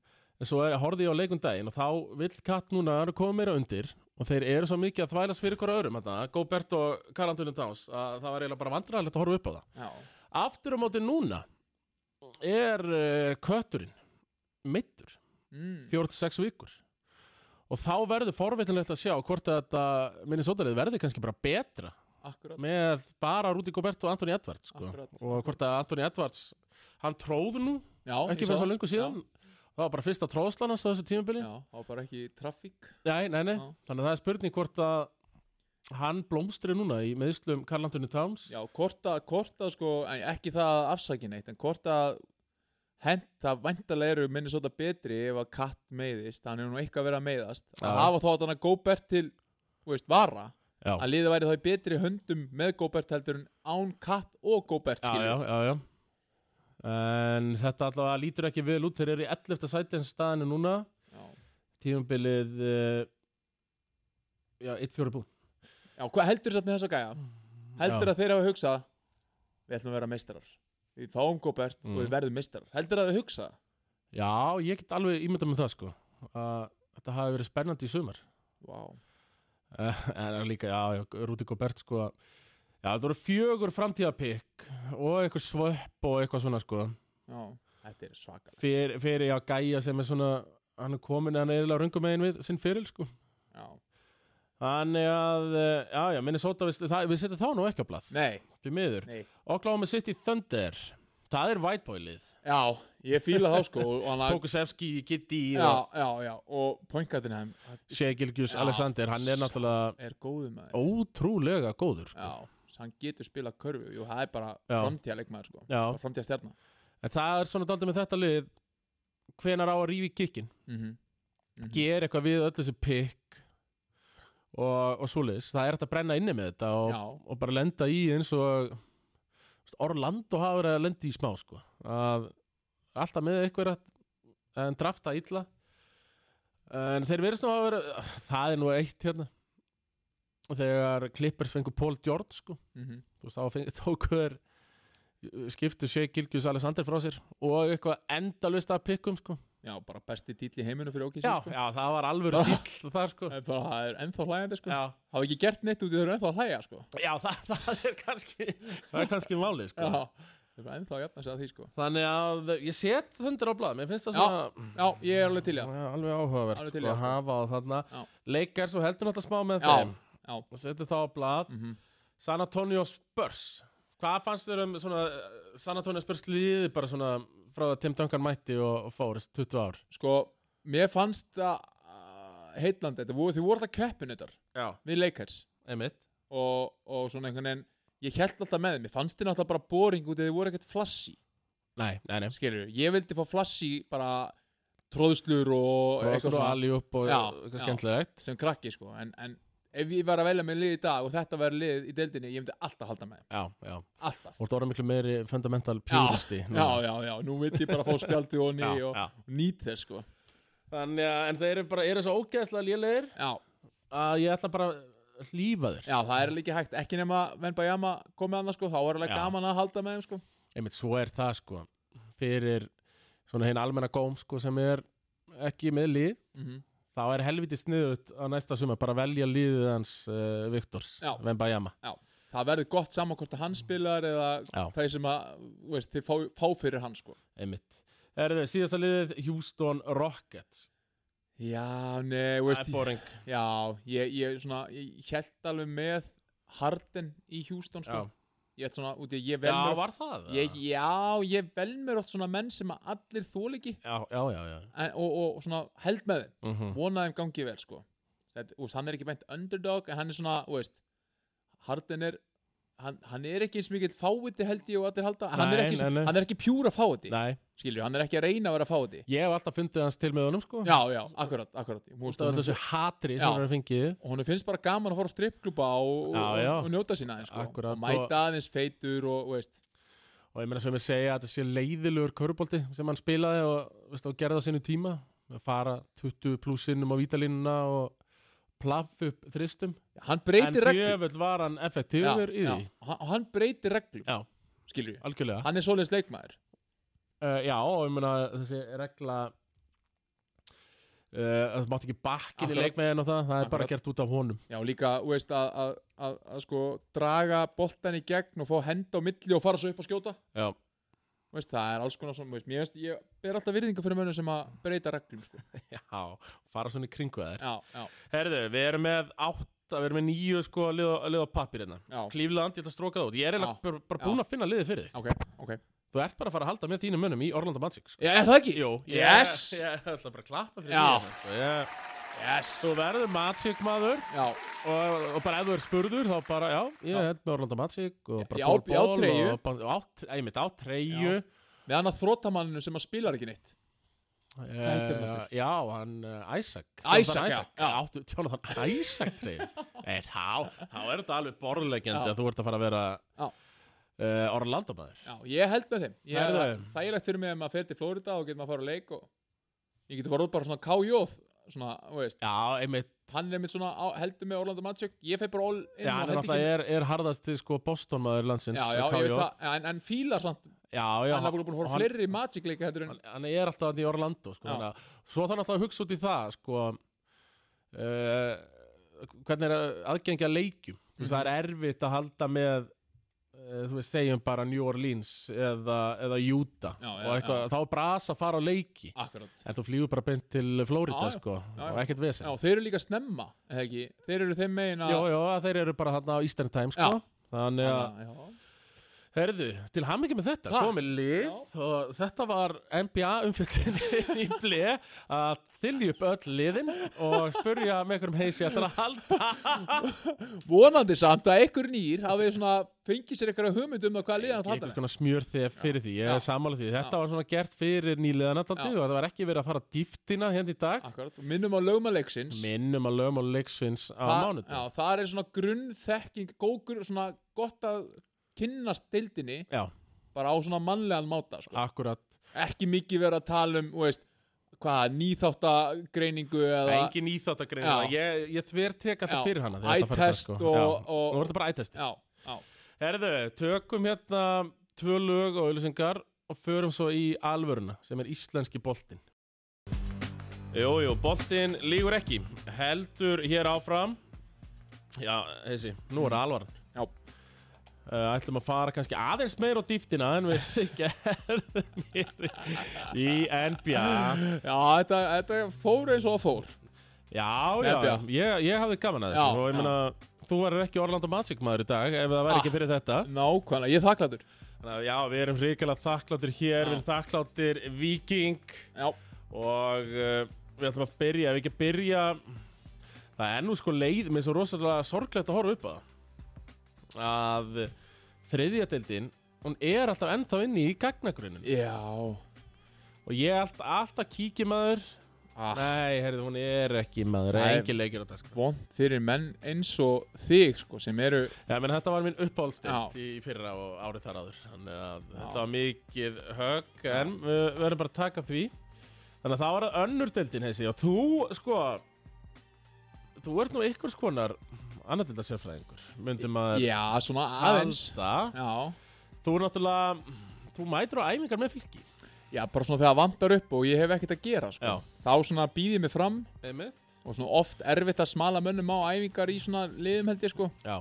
Speaker 1: En svo er, horfði ég á leikum daginn og þá vill katt núna að koma meira undir og þeir eru svo mikið að þvælast fyrir hverja öðrum þarna, Góbert og Karl Antonin Towns að það var eiginlega bara vandræðilegt að horfa upp á það
Speaker 2: já,
Speaker 1: Aftur á móti núna er uh, kötturinn mittur,
Speaker 2: mm.
Speaker 1: 4-6 vikur og þá verður forveitinlegt að sjá hvort að þetta minnisótarið verður kannski bara betra
Speaker 2: akkurat
Speaker 1: með bara Rúti Góbert og Anthony Edwards sko.
Speaker 2: Akkurat.
Speaker 1: og hvort að Anthony Edwards hann tróð nú
Speaker 2: já,
Speaker 1: ekki fyrir svo lengur síðan það var bara fyrsta tróðslan hans á þessu tímabili
Speaker 2: já, það var bara ekki trafík
Speaker 1: Nei, nei, nei,
Speaker 2: Já.
Speaker 1: þannig að það er spurning hvort að hann blómstri núna í meðslum Karl-Antoni Towns
Speaker 2: já, hvort að, hvort að sko en ekki það að afsaki neitt, en hvort að hent, það væntalega eru minni svolítið betri ef að katt meiðist hann er nú eitthvað að vera að meiðast að
Speaker 1: Já.
Speaker 2: hafa þá þannig að Góbert til, þú veist, vara
Speaker 1: Já,
Speaker 2: að liðið væri þá í betri höndum með Góbert heldur en án katt og Góbert
Speaker 1: já,
Speaker 2: skilur
Speaker 1: já, já, já En þetta allavega lítur ekki vel út þeir eru í 11. sæti en staðinu núna
Speaker 2: Já.
Speaker 1: tímabilið uh, já, 1-4 bú
Speaker 2: Já, hvað heldur satt með þessa gæja? Heldur
Speaker 1: Já.
Speaker 2: að þeir hafa hugsað Við ætlum að vera meistarar Við fáum Góbert
Speaker 1: Mm.
Speaker 2: og við verðum meistarar Heldur að þau hugsað?
Speaker 1: Já, ég get alveg ímyndað með það sko að þetta hafi verið spennandi í sumar
Speaker 2: Vá
Speaker 1: Eh, en líka, já, já, Rúti Gobert sko, já, þetta voru fjögur framtíðapikk og eitthvað svöpp og eitthvað svona sko
Speaker 2: Já. Þetta er svakalega
Speaker 1: fyrir, fyrir já, gæja sem er svona hann er komin, hann er eiginlega röngum megin við sinn fyrir sko
Speaker 2: Já.
Speaker 1: þannig að, eh, já, já, Minnesota við, það, við setjum þá nú ekki á blað,
Speaker 2: Nei,
Speaker 1: því miður
Speaker 2: nei
Speaker 1: Oklahoma City Thunder, það er white boy lið
Speaker 2: Já, ég fíla þá sko og hann að
Speaker 1: Pokusevski, Gitti
Speaker 2: Já,
Speaker 1: og
Speaker 2: já, já, og poingatinn hann
Speaker 1: Shea Gilgjus
Speaker 2: Já.
Speaker 1: Alexander, hann er náttúrulega
Speaker 2: er góðum að
Speaker 1: ótrúlega góður sko.
Speaker 2: Já, svo hann getur spilað körfu Jú, það er bara
Speaker 1: Já.
Speaker 2: framtíða leikmaður sko
Speaker 1: já,
Speaker 2: bara Framtíða stjarnar
Speaker 1: en það er svona daldið með þetta lið hvenar á að rífi kikkin
Speaker 2: mm -hmm.
Speaker 1: gera eitthvað við öll þessi pikk og, og svoleiðis það er hægt að brenna inni með þetta
Speaker 2: Já.
Speaker 1: og, og bara lenda í eins og þú veist, Orlando hafa verið að lenda í smá sko. að alltaf með eitthvað en drafta illa en þeir verðist nú að vera það er nú eitt hérna þegar Clippers fengur Paul George sko.
Speaker 2: mm -hmm.
Speaker 1: þú veist þá feng- tóku þeir skiptu Shea Gilgjus Alexander frá sér og eitthvað endalust að pikkum sko.
Speaker 2: Já, bara besti dýll í heiminu fyrir OKC
Speaker 1: já,
Speaker 2: sko.
Speaker 1: já, það var alvöru dýll þar sko
Speaker 2: Það er bara, það er ennþá hlægandi sko.
Speaker 1: Já,
Speaker 2: Hafa ekki gert neitt út í þau eru ennþá að hlæja sko.
Speaker 1: já það, það er kannski það er kannski málið sko
Speaker 2: Já, það er bara ennþá að jafna sig að því sko.
Speaker 1: Þannig að ég set hundur á blað, mér finnst það
Speaker 2: Já,
Speaker 1: svona
Speaker 2: Já, ég er alveg til í það.
Speaker 1: Já, alveg áhugavert
Speaker 2: Alveg
Speaker 1: sko,
Speaker 2: til í það,
Speaker 1: að
Speaker 2: sko.
Speaker 1: hafa á þarna
Speaker 2: Já.
Speaker 1: Leikar svo heldur náttúrulega smá með
Speaker 2: Já,
Speaker 1: þeim
Speaker 2: já.
Speaker 1: og setur þá á blað
Speaker 2: Mhm.
Speaker 1: San Antonio Spurs Hvað fannst þér um svona, eh, San Antonio Spurs liðið bara svona frá það Tim Duncan mætti og, og fór þessi 20 ár
Speaker 2: Sko, mér fannst það uh, heitlandi, þetta voru, þið voru alltaf keppin þetta
Speaker 1: Já,
Speaker 2: við leikars
Speaker 1: einmitt
Speaker 2: og, og svona einhvern veginn, ég held alltaf með þeim, ég fannst þið náttúrulega bara boring út eða þið voru ekkert flassi,
Speaker 1: Nei, nei, nei
Speaker 2: skilur ég vildi fá flassi bara tróðslur og
Speaker 1: Eitthvað svo alí upp og
Speaker 2: Já,
Speaker 1: eitthvað
Speaker 2: já.
Speaker 1: skemmtilegt
Speaker 2: sem krakki sko, en, en ef ég var að velja með lið í dag og þetta var lið í deildinni, ég myndi alltaf halda með þeim,
Speaker 1: Já, já
Speaker 2: alltaf
Speaker 1: Þú ert orðið miklu meiri fundamental
Speaker 2: Já,
Speaker 1: puristi
Speaker 2: já, já, já, nú vill ég bara fá spjaldi og ný og,
Speaker 1: já.
Speaker 2: og nýt þess sko
Speaker 1: Þannig að, en þeir eru bara, eru svo ógeðslega lélegir
Speaker 2: já,
Speaker 1: að ég ætla bara að hlífa þér
Speaker 2: já, það er líka hægt, ekki nema venn bæjama komið annað sko, þá er alveg
Speaker 1: Já.
Speaker 2: gaman að halda með þeim sko
Speaker 1: einmitt svo er það sko fyrir svona hinn almenna góm sko sem er ekki með lið
Speaker 2: mm
Speaker 1: þá er helviti sniðut á næsta suma bara að velja liðið hans uh, Viktors,
Speaker 2: Já.
Speaker 1: Vembayama
Speaker 2: það verður gott saman hvort að hann spilar eða
Speaker 1: Já.
Speaker 2: það sem að, þú veist, þið fá, fá fyrir hann sko.
Speaker 1: einmitt. Er þið síðasta liðið Houston Rockets
Speaker 2: Já, nei, þú
Speaker 1: Það
Speaker 2: veist,
Speaker 1: er boring
Speaker 2: já, ég, ég svona, ég held alveg með Harden í Houston sko.
Speaker 1: Já,
Speaker 2: Ég held svona, út í, ég vel
Speaker 1: já
Speaker 2: mér oft,
Speaker 1: var það?
Speaker 2: ég, já, ég vel mér oft svona menn sem að allir þóliki
Speaker 1: Já, já, já, já.
Speaker 2: en, og, og, og svona held með þeim,
Speaker 1: Mm -hmm.
Speaker 2: vona þeim gangi vel sko. Þetta, úst, hann er ekki beint underdog en hann er svona, þú veist, Harden er, hann, hann er ekki eins mikill fáiti held ég og allir halda, hann er
Speaker 1: Nei,
Speaker 2: ekki,
Speaker 1: nei, nei.
Speaker 2: hann er ekki pjúra fáiti.
Speaker 1: Nei,
Speaker 2: skilur, hann er ekki að reyna að vera fáti
Speaker 1: ég hef alltaf fundið hans til með honum sko
Speaker 2: já, já, akkurat, akkurat Þú veist,
Speaker 1: Það var
Speaker 2: hún,
Speaker 1: þessu hatri sem
Speaker 2: Já.
Speaker 1: hann er fengið
Speaker 2: og hún finnst bara gaman að fara á strippklúpa og,
Speaker 1: Já, já.
Speaker 2: og, og njóta sína aðeins, sko.
Speaker 1: Akkurat,
Speaker 2: og mæta aðeins feitur og, og veist,
Speaker 1: og ég meina sem ég segja að þetta sé leiðilegur körubólti sem hann spilaði og, veist, og gerði á sinu tíma að fara 20 plussinnum á vítalínuna og plaff upp þristum
Speaker 2: hann
Speaker 1: en
Speaker 2: breytir reglum
Speaker 1: djöfull var hann effektífur í
Speaker 2: já,
Speaker 1: því
Speaker 2: og hann- og hann breytir reglum
Speaker 1: Já.
Speaker 2: skilur,
Speaker 1: algjörlega
Speaker 2: hann er svoleiðis leikmaður
Speaker 1: uh, já og ég meina þessi regla uh, að það mátt ekki bakkin í
Speaker 2: Akkurat.
Speaker 1: leikmeðin og það það er bara
Speaker 2: Akkurat.
Speaker 1: gert út af honum
Speaker 2: já, líka, þú veist, að, að, að, að sko, draga boltan í gegn og fá henda á milli og fara svo upp og skjóta
Speaker 1: já,
Speaker 2: Þú veist, það er alls konar svona, þú veist, mér veist, ég ber alltaf virðingu fyrir mönnum sem að breyta reglum sko.
Speaker 1: já fara svona í kringu þær
Speaker 2: já, já,
Speaker 1: herðu, við erum með 8 við erum með 9 sko að liða á pappir hérna
Speaker 2: já,
Speaker 1: Klífland, ég ætla að stróka það út ég er eiginlega
Speaker 2: Já.
Speaker 1: bara, bara
Speaker 2: Já.
Speaker 1: búin að finna liðið fyrir þig
Speaker 2: ok, ok
Speaker 1: Þú ert bara að fara að halda með þínum mönnum í Orlando Magic sko.
Speaker 2: já, er það ekki?
Speaker 1: Jú, ég,
Speaker 2: yes,
Speaker 1: ég, ætla bara að klappa fyrir
Speaker 2: Já.
Speaker 1: því hérna, sko. ég,
Speaker 2: yes
Speaker 1: Þú verður Magic maður
Speaker 2: já,
Speaker 1: og, og bara ef þú er spurður þá bara, já, ég
Speaker 2: Já.
Speaker 1: held með Orlando Magic og
Speaker 2: Ég
Speaker 1: bara
Speaker 2: á-
Speaker 1: Paul
Speaker 2: ég á
Speaker 1: Ball
Speaker 2: treyju.
Speaker 1: og, bara- og á, ég mitt á treyju
Speaker 2: Já. með hann að þróttamanninu sem að spilar ekki neitt
Speaker 1: Eh,
Speaker 2: heitir hann aftur?
Speaker 1: Já, hann uh, Isaac
Speaker 2: Isaac,
Speaker 1: Jonathan
Speaker 2: já,
Speaker 1: Isaac,
Speaker 2: já.
Speaker 1: Áttu, Jonathan Isaac treyju Nei, þá, þá er þetta alveg borðlegjandi
Speaker 2: Já.
Speaker 1: að þú ert að fara að vera
Speaker 2: Já.
Speaker 1: uh, Orlando maður
Speaker 2: já, ég held með þeim ég
Speaker 1: Herðu.
Speaker 2: það þægilegt fyrir mig að maður fer til Flórida og getur maður að fara að leik og ég getur bara út bara svona kájóð svona, þú veist,
Speaker 1: Já, einmitt
Speaker 2: hann er mitt svona á, heldur með Orlando Magic, ég fer bara all inn
Speaker 1: Já,
Speaker 2: og
Speaker 1: hann er
Speaker 2: hendi
Speaker 1: alltaf
Speaker 2: ekki-
Speaker 1: er, er harðast til sko Boston maður landsins
Speaker 2: já, já, ég
Speaker 1: KJ.
Speaker 2: veit það, en, en fílar samt
Speaker 1: Já, já,
Speaker 2: hann er búin að búin að
Speaker 1: og
Speaker 2: fara fleiri Magic leika heldur en
Speaker 1: hann, hann er alltaf þarna í Orlando sko,
Speaker 2: Já.
Speaker 1: þannig að, svo þannig alltaf að hugsa út í það sko, uh, hvernig er að- aðgengi að leikjum mm -hmm. það
Speaker 2: Mhm.
Speaker 1: er erfitt að halda með uh, þú veist, segjum bara New Orleans eða, eða Utah
Speaker 2: Já, já,
Speaker 1: og eitthvað, þá er brasa að fara á leiki
Speaker 2: akkurat
Speaker 1: en þú flýgur bara beint til Florida
Speaker 2: Já, já.
Speaker 1: sko,
Speaker 2: Já, já.
Speaker 1: og ekkert
Speaker 2: já,
Speaker 1: vesend
Speaker 2: þeir eru líka snemma, eða ekki þeir eru þeim megin að
Speaker 1: Jó, jó, að þeir eru bara þarna á Eastern Time sko.
Speaker 2: Já.
Speaker 1: þannig að
Speaker 2: að- já.
Speaker 1: Herðu, til ham ekki með þetta,
Speaker 2: Takk.
Speaker 1: komið lið og þetta var NBA umfjöldin í blei að þylja upp öll liðin og spurja með einhverjum heisi að það að halda
Speaker 2: vonandi samt að einhver nýr hafi svona fengið sér eitthvað hugmynd um það hvað liðan að halda
Speaker 1: einhvers
Speaker 2: með
Speaker 1: konar smjör þef fyrir því, ég
Speaker 2: Já.
Speaker 1: er sammála því, þetta var svona gert fyrir nýliðan og
Speaker 2: Já.
Speaker 1: það var ekki verið að fara dýftina hérna í dag,
Speaker 2: akkurat, og minnum á lögmaleiksins
Speaker 1: minnum að lögum og leiksins á
Speaker 2: Þa-
Speaker 1: mánudag.
Speaker 2: Já, það er svona grunnþekking, gókur, svona gott að kynnast deildinni
Speaker 1: Já,
Speaker 2: bara á svona mannlegan máta, sko.
Speaker 1: akkurat,
Speaker 2: Ekki mikið verið að tala um, þú veist, hvað, nýþáttagreiningu eða
Speaker 1: engin íþáttagrein, ég, ég þverteka
Speaker 2: Já.
Speaker 1: það fyrir hana. þegar þetta fara í dag,
Speaker 2: ættest
Speaker 1: sko.
Speaker 2: og,
Speaker 1: Já.
Speaker 2: og,
Speaker 1: Nú er þetta bara ættest.
Speaker 2: já, já,
Speaker 1: Herðu, tökum hérna tvö lög og auðlýsingar og förum svo í alvöruna sem er íslenski boltinn. Jú, jú, boltinn lígur ekki. Heldur hér áfram. Já, þessi, nú er það alvaran.
Speaker 2: Já.
Speaker 1: Uh, ætlum að fara kannski aðeins meir á dýftina en við gerðum hér í NBA.
Speaker 2: Já, þetta, þetta fór eins og það fór
Speaker 1: Já, já,
Speaker 2: NBA.
Speaker 1: ég, ég hafði gaman að þessu
Speaker 2: Já,
Speaker 1: og ég
Speaker 2: já.
Speaker 1: meina, þú verður ekki Orlando Magic maður í dag ef það væri ekki fyrir þetta.
Speaker 2: Nákvæmlega, ég er þakkláttur
Speaker 1: Þannig að já, við erum hrikalega þakkláttir hér, við erum þakkláttir Viking
Speaker 2: Já,
Speaker 1: og uh, við ætlum að byrja, ef við ekki að byrja, það er nú sko leið, mér er svo rosalega sorglegt að horfa upp á það, að þriðjadeildin, hún er alltaf ennþá inni í gagnagrunin
Speaker 2: já
Speaker 1: og ég er alltaf, alltaf kíkja maður,
Speaker 2: ah,
Speaker 1: nei, heyrðu, hún er ekki maður,
Speaker 2: Það er-
Speaker 1: engin leikir á dagskrá.
Speaker 2: Vont fyrir menn eins og þig sko, sem eru
Speaker 1: Já, menn þetta var minn uppáhaldstilt í fyrra og árið þar áður Þannig að þetta var mikið högg En við við verðum bara að taka því Þannig að það var að önnur deildin hessi Og þú, sko Þú ert nú ykkurs konar Annardelda sérfræðingur Myndum að
Speaker 2: Já, svona aðeins Já,
Speaker 1: Þú er náttúrulega Þú mætir á æfingar með fylki
Speaker 2: já bara svona þegar vantar upp og ég hef ekkert að gera sko.
Speaker 1: Já.
Speaker 2: Þá svona býð ég mig fram
Speaker 1: Einmitt
Speaker 2: og svona oft erfitt að smala mönnum á æfingar í svona liðum held ég sko
Speaker 1: Já,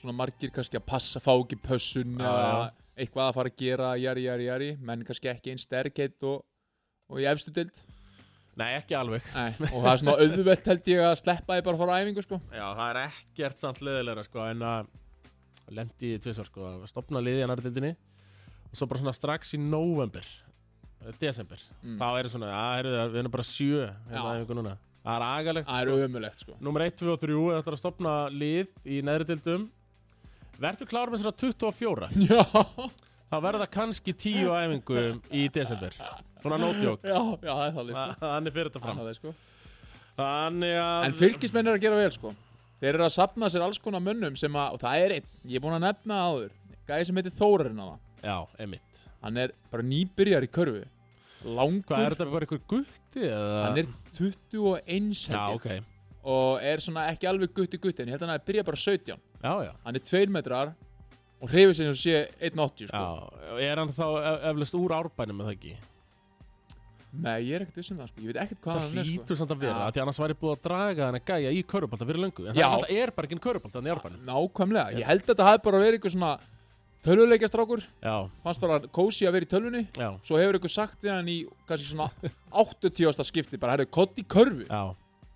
Speaker 2: Svona margir kannski að passa, fá ekki pössun
Speaker 1: Já,
Speaker 2: eða eitthvað að fara að gera, jari, jari, jari menn kannski ekki einn sterkheit og, og í efstu dild
Speaker 1: nei ekki alveg
Speaker 2: Nei, og það er svona auðvelt held ég að sleppa því bara að fara á æfingu sko.
Speaker 1: Já, það er ekkert samt leðilegra sko en að lendi í tvisar sko að stopna liði í annar dildinni og svo bara svona strax í november eh, desember,
Speaker 2: Mm.
Speaker 1: þá er svona að heyrðu, það- við erum bara sjö hérna
Speaker 2: Já.
Speaker 1: æfingu núna. það er agalegt
Speaker 2: Það er ömulegt sko.
Speaker 1: Númer 1, 2 og 3 er alltaf að stopna lið í neðri dildum Vertu klára með svona 24
Speaker 2: Já,
Speaker 1: þá verða kannski 10 á æfingu í desember svona nótjók
Speaker 2: já, já, það er það sko.
Speaker 1: Þannig fyrir þetta
Speaker 2: Það er
Speaker 1: fram
Speaker 2: það, sko.
Speaker 1: Þannig að
Speaker 2: En fylgismenn er að gera vel sko. Þeir eru að sapna sér alls konar mönnum sem að, og það er einn, ég er búin að nefna áður gæði sem heitir Þórarinn hana
Speaker 1: Já, emitt
Speaker 2: Hann er bara nýbyrjar í körfu Langur
Speaker 1: Hvað er þetta, var eitthvað gutti? eða?
Speaker 2: Hann er 21
Speaker 1: Já,
Speaker 2: held ég.
Speaker 1: ok
Speaker 2: og er svona ekki alveg gutti gutti en ég held að hann að byrja bara 17
Speaker 1: Já, já
Speaker 2: Hann er 2 metrar og hreyfir sér eins og sé 1.80 sko. Ah,
Speaker 1: Já, er hann þá ef- eflaust úr árbænum eða ekki?
Speaker 2: Nei, ég er ekkert vissum það sko. Ég veit ekkert hvað
Speaker 1: Það
Speaker 2: hann er sko.
Speaker 1: hlýtur samt að vera,
Speaker 2: Já.
Speaker 1: af því annars væri búið að draga hann að gæja í körubólta fyrir löngu En
Speaker 2: Já.
Speaker 1: það náttúrulega er bara ekki körubólta hann í árbænum
Speaker 2: Nákvæmlega, ég held að þetta hafi bara verið eitthvað svona tölvuleikja strákur,
Speaker 1: Já,
Speaker 2: fannst bara kósi að vera í tölvunni
Speaker 1: já,
Speaker 2: svo hefur eitthvað sagt við hann í kannski svona 80. skipti bara herrðu kott í körfu,
Speaker 1: já,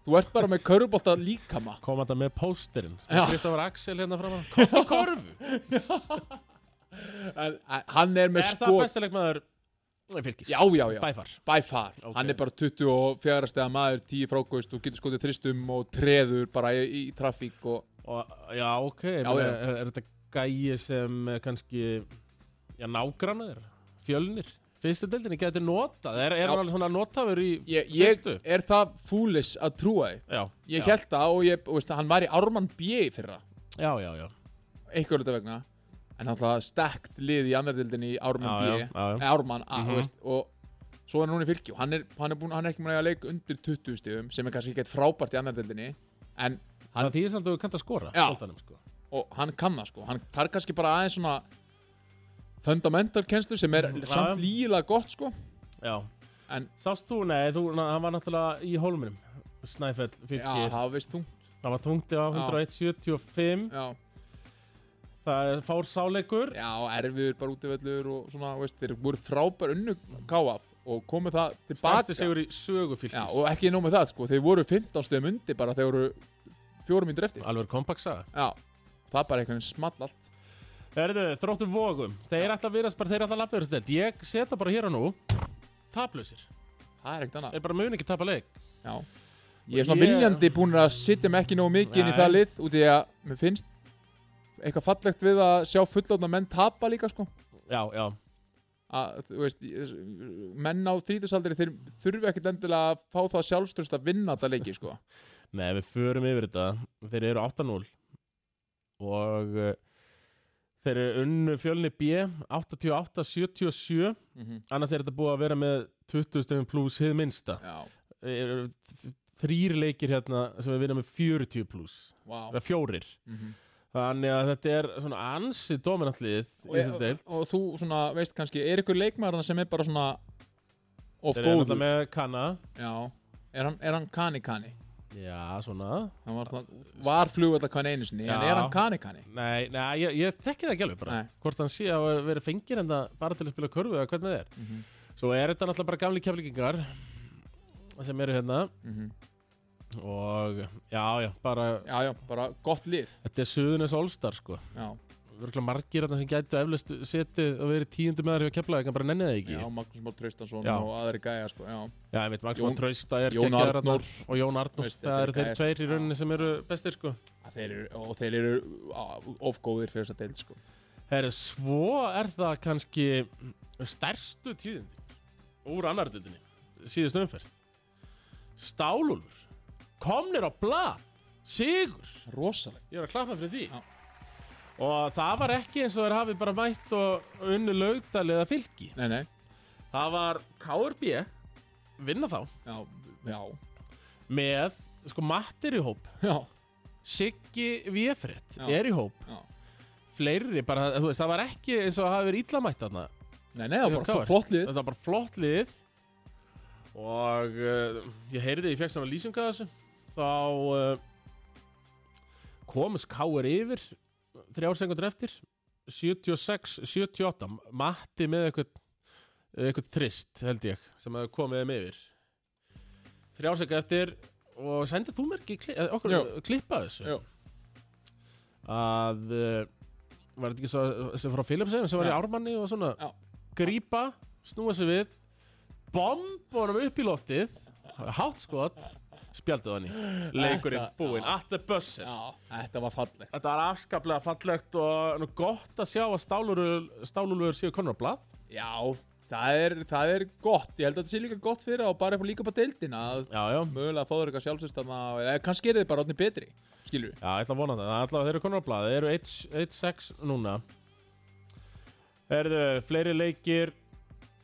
Speaker 2: þú ert bara með körfubolta líkama
Speaker 1: kom þetta með pósterinn
Speaker 2: Já.
Speaker 1: Kristofar Axel hérna fram að Kom í körfu
Speaker 2: en, en hann er með
Speaker 1: Er það
Speaker 2: skot
Speaker 1: bestileg maður fylgis?
Speaker 2: já, já, já,
Speaker 1: Bæfar
Speaker 2: by far
Speaker 1: Ok.
Speaker 2: hann er bara 24 stegar maður 10 frákvist og getur skotið þristum og treður bara í, í trafík og
Speaker 1: og, Já, ok, já,
Speaker 2: já.
Speaker 1: Er, er þetta gæji sem eh, kannski Já, nágrannaður, fjölnir Fyrstu deildinni getur notað Er, er
Speaker 2: Já.
Speaker 1: hann alveg svona notafur í
Speaker 2: ég, ég
Speaker 1: fyrstu?
Speaker 2: er það fúlis að trúa þig
Speaker 1: Já,
Speaker 2: ég
Speaker 1: já,
Speaker 2: held það og ég, og veist, hann var í Ármann B. fyrra
Speaker 1: já, já, já.
Speaker 2: einhver þetta vegna en náttúrulega stekt lið í annaðildinni í Ármann
Speaker 1: Já,
Speaker 2: B
Speaker 1: já, já, já.
Speaker 2: Eh, Ármann A
Speaker 1: Mhm.
Speaker 2: veist, og svo er hann núna í fylki og hann er, hann er, búin, hann er ekki múin að leika undir 20 stíðum sem er kannski ekki eitt frábært í annaðildinni en
Speaker 1: Hann þýðir samt að þú kannt að skora
Speaker 2: Já.
Speaker 1: boltanum, sko.
Speaker 2: og hann kann það sko hann tar kannski bara aðeins svona fundamental kennslu sem er
Speaker 1: Mhm, já,
Speaker 2: samt
Speaker 1: já.
Speaker 2: lígilega gott sko
Speaker 1: Já
Speaker 2: En-
Speaker 1: Sást þú, nei, þú, na, hann var náttúrulega í hólminum Snæfell,
Speaker 2: já,
Speaker 1: fylgir
Speaker 2: það veist þú
Speaker 1: Það var tungt á 175
Speaker 2: já,
Speaker 1: Það er fár sáleikur
Speaker 2: já erfiður bara útivellur og svona veist, þeir voru frábær unnu káaf og komu það
Speaker 1: Basti
Speaker 2: tilbaka
Speaker 1: sigur í sögu fylgis
Speaker 2: já, og ekki nóg með það sko þeir voru 15 stíðum undir bara þeir voru fjórum mínútur eftir
Speaker 1: Alveg kompaksa
Speaker 2: Já, það er bara einhvern veginn small allt
Speaker 1: Erðu, þróttu vogum Þeir ætla að virast bara, þeir ætla að lappa yfir stil Ég seta bara hér og nú Taplausir
Speaker 2: Það er ekkert annað
Speaker 1: Þeir bara mun ekki tapa leik
Speaker 2: Já. Ég er svona
Speaker 1: Ég-
Speaker 2: viljandi búin að sitja með ekki nógu mikið inn í
Speaker 1: Nei.
Speaker 2: það lið út í að mér finnst eitthvað fallegt við að sjá fullotna menn tapa líka sko
Speaker 1: Já, já,
Speaker 2: að, þú veist, ég- menn á þrítusaldri þeir þurfi ekkert endilega að fá það sjálfströst að vinna þetta leiki sko
Speaker 1: Nei, við förum yfir þetta Þeir eru 8-0 Og uh, Þeir eru unnu fjölni B 88-77 annars er þetta búið að vera með 20 stöfum pluss hið minnsta
Speaker 2: Já,
Speaker 1: Er- þrír leikir hérna sem við vinna með 40 pluss
Speaker 2: vá
Speaker 1: eða fjórir,
Speaker 2: Mhm.
Speaker 1: Þannig að þetta er svona ansi dominantlið í
Speaker 2: og,
Speaker 1: þessi
Speaker 2: og,
Speaker 1: deild
Speaker 2: og þú svona veist kannski er ykkur leikmaður sem er bara svona of
Speaker 1: Þeir eru
Speaker 2: góður
Speaker 1: náttúrulega með Kanna
Speaker 2: já, er hann, er hann kani kani
Speaker 1: Já, svona
Speaker 2: hann var, það, var flugvöld að einu sinni en
Speaker 1: Já.
Speaker 2: er hann kani kani
Speaker 1: Nei, nei ég, ég þekki það ekki alveg bara
Speaker 2: Nei.
Speaker 1: Hvort hann sé að hafa verið fengir en það bara til að spila körfu eða hvernig það er
Speaker 2: Mhm.
Speaker 1: Svo er þetta náttúrulega bara gamli keflingingar sem eru hérna
Speaker 2: mm
Speaker 1: og já, já, bara
Speaker 2: já, já, bara gott lið
Speaker 1: Þetta er suðunis allstar sko
Speaker 2: já,
Speaker 1: Vörgulega margir þarna sem gætu eflaust setið og verið tíundu með þar hjá keflaði en bara nenni það ekki
Speaker 2: já Magnús Már Traustason
Speaker 1: Já.
Speaker 2: og aðri gæja sko, já.
Speaker 1: Já, ég veit, Magnús
Speaker 2: Jón-
Speaker 1: Már Trausta er
Speaker 2: Jón
Speaker 1: geggjaður
Speaker 2: Arnór.
Speaker 1: þarna og Jón Arnór,
Speaker 2: Veist, þetta
Speaker 1: það
Speaker 2: eru
Speaker 1: eru þeir
Speaker 2: gæjar sem-
Speaker 1: tveir í
Speaker 2: já.
Speaker 1: rauninni sem eru bestir sko
Speaker 2: Að þeir eru, og þeir eru á, of góðir fyrir þess að deild sko.
Speaker 1: Herri, svo er það kannski stærstu tíðindi úr annardildinni, síðust umferð Stálúlfur komnir á blað, sigur
Speaker 2: rosalegt
Speaker 1: ég er að klappa fyrir því
Speaker 2: Já.
Speaker 1: og það var ekki eins og þeir hafi bara mætt og unnu lögdal eða fylki
Speaker 2: nei, nei,
Speaker 1: það var KRB vinna þá
Speaker 2: já, já,
Speaker 1: með sko Mattir í hóp
Speaker 2: já,
Speaker 1: Siggi Viefrétt
Speaker 2: Já.
Speaker 1: er í hóp
Speaker 2: já.
Speaker 1: fleiri bara, þú veist, það var ekki eins og það hafi verið illa mætt þarna
Speaker 2: nei, nei, það var
Speaker 1: Jú,
Speaker 2: bara
Speaker 1: KR.
Speaker 2: flott lið
Speaker 1: þetta var bara flott lið og uh, ég heyrði ég fekk svona lýsinga þessu þá eh, uh, komist Káur yfir þrjár sekundur eftir 76-78 Matti með eitthvað eh, eitthvað þrist held ég sem að komið þeim yfir þrjár sekundur eftir og sendið þú mér ekki kli, eh, okkur
Speaker 2: Jú.
Speaker 1: klippa þessu
Speaker 2: Jú.
Speaker 1: að uh, var þetta ekki svo sem frá Philipsheim sem var í
Speaker 2: Já.
Speaker 1: Ármanni og svona
Speaker 2: Já.
Speaker 1: grípa, snúa sig við bomb honum upp í loftið hátt skot spjaldið hann í leikurinn
Speaker 2: Þetta-
Speaker 1: búinn
Speaker 2: já.
Speaker 1: at the buzzer
Speaker 2: já, þetta var fallegt
Speaker 1: þetta var afskaplega fallegt og nú gott að sjá að Stálúlur Stálúlur séu konur á blað
Speaker 2: Já, það er, það er gott Ég held að þetta sé líka gott fyrir og bara upp- líka upp á deildina að
Speaker 1: já, já,
Speaker 2: mögulega fá þér eitthvað sjálfsvistana eða kannski er þið bara orðin betri skilur við
Speaker 1: já, ég ætla að vona það Það er allavega þeir eru konur á blað, þeir eru 1 1-6 núna Erðu, fleiri leikir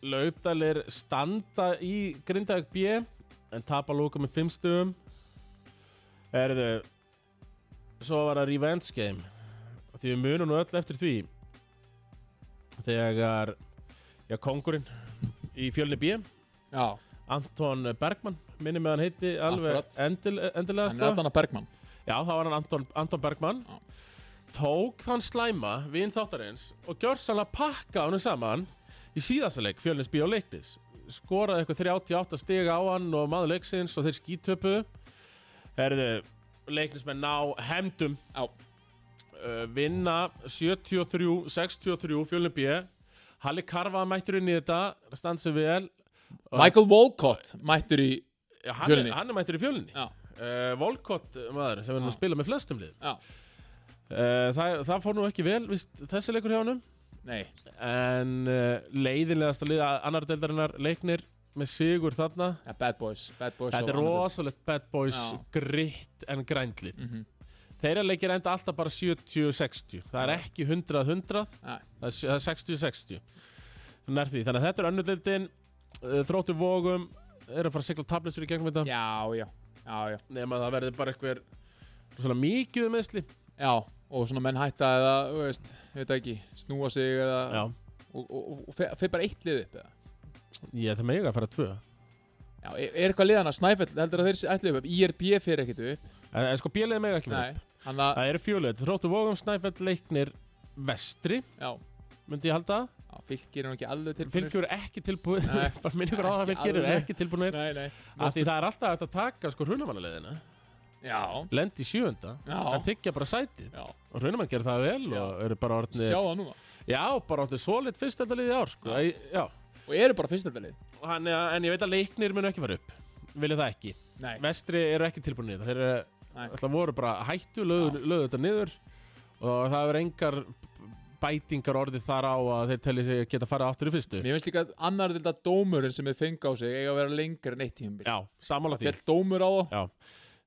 Speaker 1: Laugdalir standa í Grindavík B en tapa lóka með 5 stugum Erðu svo var það revenge game því við munum nú öll eftir því þegar já, kongurinn í fjölni B
Speaker 2: Já,
Speaker 1: Anton Bergman minni með hann heiti alveg
Speaker 2: Akkurat.
Speaker 1: endil, endilega sko.
Speaker 2: hann er allan að Bergman
Speaker 1: Já, það var hann Anton, Anton Bergman
Speaker 2: Já.
Speaker 1: Tók þann slæma Vinn þáttarins og gjör sannlega pakka hann saman Í síðastaleg Fjölnins bí á leiknis Skoraði eitthvað 38 stiga á hann Og maður leiksins og þeir skítöpu Herðu Leiknismenn ná hemdum
Speaker 2: Já,
Speaker 1: uh, Vinna 73-63 Fjölnins bí Halli Karfa mættur inn í þetta Stand sem vel
Speaker 2: Michael Walcott mættur í
Speaker 1: Já, hann, er,
Speaker 2: Fjölni.
Speaker 1: hann er mættur í fjölni
Speaker 2: Já,
Speaker 1: uh, Volkott maður sem er nú að
Speaker 2: Já.
Speaker 1: spila með flestum lið
Speaker 2: já,
Speaker 1: Uh, það, það fór nú ekki vel, víst, þessi leikur hjá honum
Speaker 2: nei
Speaker 1: En uh, leiðinlegasta liða annar deildarinnar leiknir með sigur þarna
Speaker 2: ja, Bad Boys, Bad Boys
Speaker 1: Þetta er rosalegt bad boys,
Speaker 2: Já.
Speaker 1: gritt en grændli
Speaker 2: mm
Speaker 1: Þeirra leikir enda alltaf bara 70-60 Það er ekki 100-100
Speaker 2: Nei.
Speaker 1: Það er s- það er 60-60 Nær því, þannig að þetta er önnur deildin uh, Þróttu vógum Er að fara að sigla tablisur í gegnum þetta
Speaker 2: Já, já, já, já
Speaker 1: Nefn að það verði bara einhver Svona mikið um meðsli
Speaker 2: Já, og svona menn hætta eða, þú veist, ég veit ekki snúa sig eða
Speaker 1: Já,
Speaker 2: og, og, og, og fe- fer bara eitt lið upp eða
Speaker 1: ég það mega að fara tvö
Speaker 2: Já, er er eitthvað liðana, Snæfell, heldur að þeir sé- ætli upp IRB fer ekkit upp,
Speaker 1: En, en sko bjöliði mega ekki verið
Speaker 2: nei hann að,
Speaker 1: Það eru fjólöð, Þróttu Vógum, Snæfell, Leiknir, Vestri,
Speaker 2: já
Speaker 1: myndi ég halda.
Speaker 2: Já, fylgir er nú ekki alveg tilbúinir
Speaker 1: Fylgjur eru ekki tilbúið,
Speaker 2: Nei.
Speaker 1: bara minni ykkur á það að
Speaker 2: Ekki
Speaker 1: fylgjur eru
Speaker 2: alveg.
Speaker 1: ekki tilbúinir.
Speaker 2: Nei, nei
Speaker 1: Af því það er alltaf hægt að taka sko hrunamannulegðina,
Speaker 2: Já,
Speaker 1: lend í sjöunda,
Speaker 2: Já.
Speaker 1: en þykja bara sætið.
Speaker 2: já,
Speaker 1: Og hrunamann gerir það vel
Speaker 2: Já.
Speaker 1: og eru bara orðnir,
Speaker 2: sjá það núna
Speaker 1: já, bara orðnir svolít fyrstöldarlið í ár, sko. Já. já.
Speaker 2: Og eru bara fyrstendalið
Speaker 1: Hann, en ég veit að Leiknir munu ekki fara upp, vilja það ekki.
Speaker 2: Nei,
Speaker 1: Vestri eru ekki tilbúinir, þeir eru,
Speaker 2: Nei.
Speaker 1: alltaf voru bara hættu, lögðu, lögðu þetta niður og það eru engar bætingar orðið þar á að þeir telli sig geta farið aftur í fyrstu.
Speaker 2: mér finnst líka að annar til þetta dómurinn sem þið fengi á sig eiga að vera lengur en eitt tímabil
Speaker 1: Já, samála því.
Speaker 2: Fjall dómur á það,
Speaker 1: Já.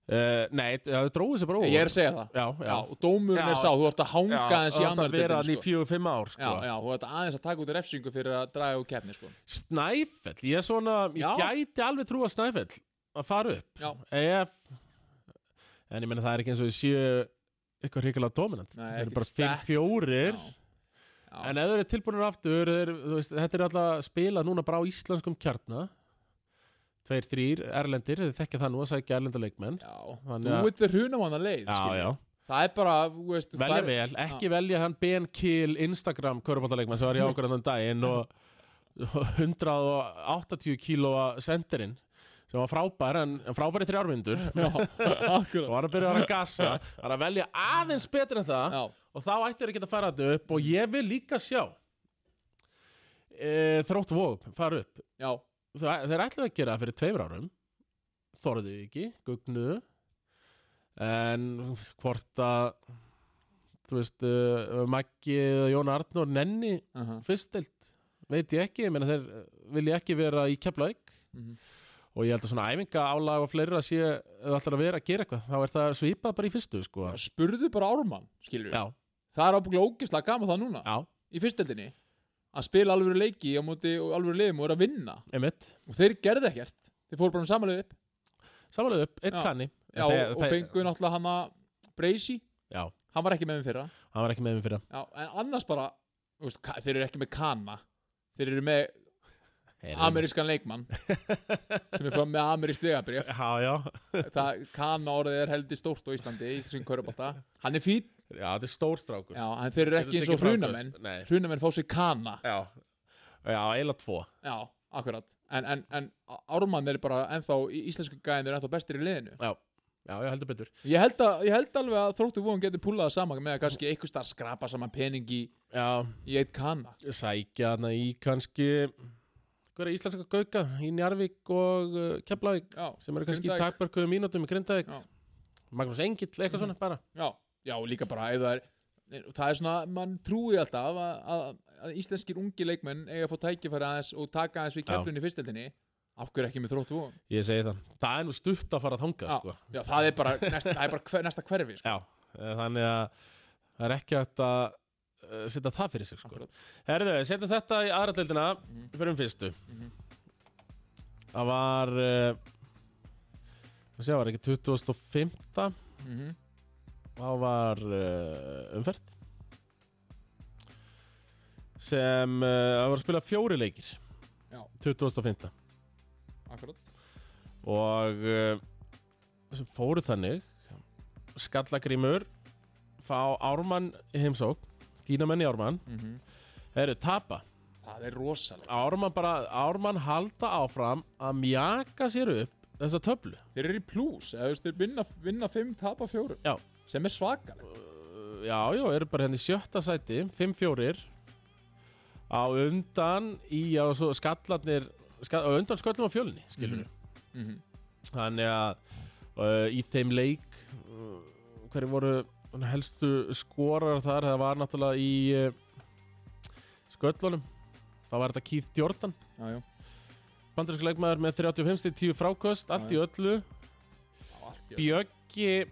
Speaker 1: Uh, nei, það dróðu sér bara óvart.
Speaker 2: ég er að segja það
Speaker 1: Já,
Speaker 2: Já,
Speaker 1: já.
Speaker 2: og dómurinn
Speaker 1: Já.
Speaker 2: er sá, þú ert að hanga aðeins í
Speaker 1: það
Speaker 2: annar
Speaker 1: vera hann í
Speaker 2: til sko.
Speaker 1: fjögur, fimm ár,
Speaker 2: Já,
Speaker 1: sko.
Speaker 2: já, þú ert aðeins að taka út refsingu fyrir að draga úr kefni sko.
Speaker 1: Snæfell, ég er svona, ég
Speaker 2: Já.
Speaker 1: gæti alveg trúa Snæfell að fara upp.
Speaker 2: Já,
Speaker 1: Ef, en ég meina það er ekki eins og ég séu eitthvað hrikalega dominant
Speaker 2: Nei,
Speaker 1: Þeir eru
Speaker 2: ekkert
Speaker 1: bara fimm
Speaker 2: stacked.
Speaker 1: fjórir
Speaker 2: Já. Já.
Speaker 1: en ef þeir eru tilbúinir aftur þeir, þú veist, þetta er alltaf að spila núna bara á íslenskum kjarna tveir, þrýr, erlendir þeir þekkja það nú að sækja erlenda leikmenn
Speaker 2: Já,
Speaker 1: Þannig
Speaker 2: þú
Speaker 1: að-
Speaker 2: veit þér hunamanna leið
Speaker 1: já,
Speaker 2: skilur.
Speaker 1: já,
Speaker 2: Það er bara, þú veist
Speaker 1: velja
Speaker 2: það er-
Speaker 1: vel ekki velja hann Ben Kill Instagram körubáttaleikmann sem var í ákvörðan þann daginn og 180 kílóa sendirinn sem var frábær en en frábær í þrjármyndur
Speaker 2: Já, akkurat
Speaker 1: og var að byrja að vera að gassa það er að velja aðeins betur en það
Speaker 2: Já,
Speaker 1: og þá ættir ekki að fara þetta upp og ég vil líka sjá e, þrótt vóg fara upp
Speaker 2: já,
Speaker 1: þeir, þeir ætluðu að gera það fyrir tveimur árum þorðu ekki, gugnu en hvort að þú veist uh, Maggi eða Jón Arnór nenni
Speaker 2: uh
Speaker 1: fyrstild veit ég ekki, ég meina þeir eh, vilja ekki vera í Keflavík
Speaker 2: Mhm.
Speaker 1: og ég held að svona æfinga álag og fleira sé ef það ætlar að vera að gera eitthvað, þá er það svipað bara í fyrstu sko,
Speaker 2: Spurðu bara Ármann, skilur
Speaker 1: já,
Speaker 2: Það er ábygglega ógislega gaman það núna
Speaker 1: já,
Speaker 2: Í fyrsteldinni Að spila alvöru leiki á móti og alvöru liðum og er að vinna
Speaker 1: einmitt
Speaker 2: Og þeir gerðu ekkert Þeir fóru bara um samanlega upp
Speaker 1: samanlega upp, eitt
Speaker 2: Já.
Speaker 1: kanni
Speaker 2: Já,
Speaker 1: Þeir-
Speaker 2: og
Speaker 1: þeir-
Speaker 2: fengu náttúrulega hann að Breysi
Speaker 1: já,
Speaker 2: Hann var ekki með mér fyrra
Speaker 1: hann var ekki með mér fyrir
Speaker 2: Já, en annars bara þú veist, ka- Þeir eru ekki með Kana Þeir eru með amerískan leikmann sem er frá með amerískt vegabrif
Speaker 1: já, já,
Speaker 2: það Kana orðið er heldur stórt á Íslandi í Íslandsinn körubálta hann er fýtt,
Speaker 1: já, þetta er stór strákur
Speaker 2: já, en þeir eru ekki eins og
Speaker 1: tekið fram,
Speaker 2: hrunamenn
Speaker 1: þú veist, Nei,
Speaker 2: hrunamenn fá sér Kana
Speaker 1: já Já, eiginlega tvo
Speaker 2: já, akkurat en, en, en Ármann er bara ennþá í íslensku gæðin er ennþá bestir í liðinu
Speaker 1: Já, já, ég heldur betur
Speaker 2: ég held, að, ég held alveg að þróttu vóðum getur púlaða saman með að kannski einhvers starf skrapa saman pening í,
Speaker 1: Já,
Speaker 2: í eitt Kana
Speaker 1: sækja hana í kannski Hver er íslenska gauka? Í Njarvík og uh, Keflavík
Speaker 2: já,
Speaker 1: Sem eru kannski í
Speaker 2: Grindavík.
Speaker 1: takmörkuðu mínútum í Grindavík
Speaker 2: Já. Mhm.
Speaker 1: Magnús Engill, eitthvað svona bara
Speaker 2: já, já, og líka bara ef það er og það er svona, mann trúi alltaf að, að, að íslenskir ungi leikmenn eiga að fá tækifæri aðeins og taka aðeins við
Speaker 1: Já.
Speaker 2: keflunni í fyrstildinni af hverju ekki með þróttu vóðum
Speaker 1: Ég segi það Það er nú stutt að fara þangað, sko
Speaker 2: já, það er bara, næst, það er bara hver, næsta hverfi sko.
Speaker 1: Já, eh, þannig að það er ekki hægt að eh, setja það fyrir sig, sko
Speaker 2: Akkurat.
Speaker 1: Herðu, setjum þetta í aðra deildina
Speaker 2: Mhm.
Speaker 1: fyrir um fyrstu
Speaker 2: Mhm.
Speaker 1: Það var uh, það sé, var ekki 2005 þá
Speaker 2: mm -hmm.
Speaker 1: var uh, umferð sem uh, það var að spila fjóri leikir
Speaker 2: Já.
Speaker 1: 2005
Speaker 2: Akkurat
Speaker 1: og uh, sem fóru þannig Skallagrímur fá Ármann í heimsók Dínamenn í Ármann, þeir eru tapa
Speaker 2: Mhm, Það er rosalegt
Speaker 1: Ármann bara, Ármann halda áfram að mjaka sér upp þessa töflu
Speaker 2: Þeir eru í plús, eða þú veist, þeir vinna, vinna fimm, tapa fjórum
Speaker 1: Já.
Speaker 2: Sem er svakalegt
Speaker 1: Uh, Já, já, eru bara henni sjötta sæti 5-4 á undan í á svo skallarnir skall, á undan sköllum á fjölinni, skilur við
Speaker 2: mm -hmm.
Speaker 1: þannig að uh, í þeim leik uh, hverju voru svona helstu skorar þar það var náttúrulega í uh, sköllunum þá var þetta Keith Jordan
Speaker 2: Já, já,
Speaker 1: bandarinsk leikmaður með 35 stig 10 frákost, allt í
Speaker 2: Já,
Speaker 1: öllu
Speaker 2: Já, allt í öllu.
Speaker 1: Bjöggi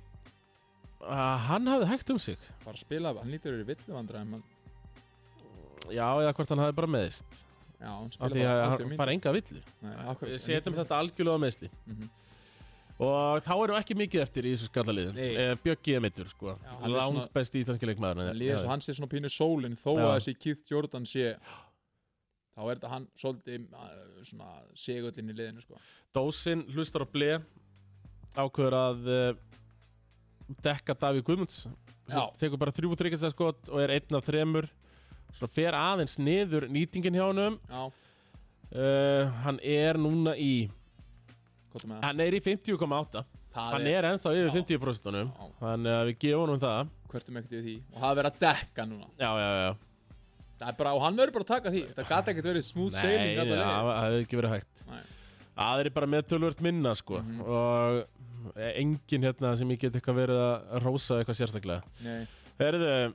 Speaker 1: uh, hann hafði hægt um sig
Speaker 2: bara að spila, hann lítur yfir villu vandra en hann,
Speaker 1: já, eða hvort hann hafði bara meðist
Speaker 2: já, hann
Speaker 1: af
Speaker 2: spila
Speaker 1: því að
Speaker 2: bara
Speaker 1: hann fara enga villu
Speaker 2: fara
Speaker 1: við setjum þetta algjörlega á meðsli
Speaker 2: Mhm.
Speaker 1: og þá eru ekki mikið eftir í þessu skallaliðum
Speaker 2: Nei.
Speaker 1: Eh, Bjöggi er mittur sko
Speaker 2: Já, hann er
Speaker 1: langt
Speaker 2: svona-
Speaker 1: besti íslenski eh, leikmaður
Speaker 2: Það líður svo hann sé svona pínu sólin þó
Speaker 1: Já.
Speaker 2: að þessi Keith Jordan sé þá er þetta hann svolítið uh, svona segullin í liðinu sko.
Speaker 1: Dósin hlustar á ble ákveður að uh, dekka Davíð Guðmunds
Speaker 2: Já.
Speaker 1: sem tekur bara þrjú þryggjastæðskot og er einn af þremur svo fer aðeins niður nýtingin hjá honum
Speaker 2: Já,
Speaker 1: uh, hann er núna í
Speaker 2: hvað það með það?
Speaker 1: hann er í 50,8
Speaker 2: Það
Speaker 1: hann er ennþá yfir
Speaker 2: Já.
Speaker 1: 50%
Speaker 2: Já.
Speaker 1: þannig að við gefum honum það
Speaker 2: Hvertum ekkert við því og það er verið að dekka núna
Speaker 1: já, já, já
Speaker 2: Það er bara, og hann verður bara að taka því Það gata ekkert verið smooth
Speaker 1: Nei,
Speaker 2: sailing
Speaker 1: já,
Speaker 2: alla leið.
Speaker 1: það hefði ekki verið hægt
Speaker 2: Nei.
Speaker 1: Aðri bara með tölvöld minna sko
Speaker 2: Mhm.
Speaker 1: og engin hérna sem ég get eitthvað verið að rósa eitthvað sérstaklega
Speaker 2: Nei,
Speaker 1: Herðu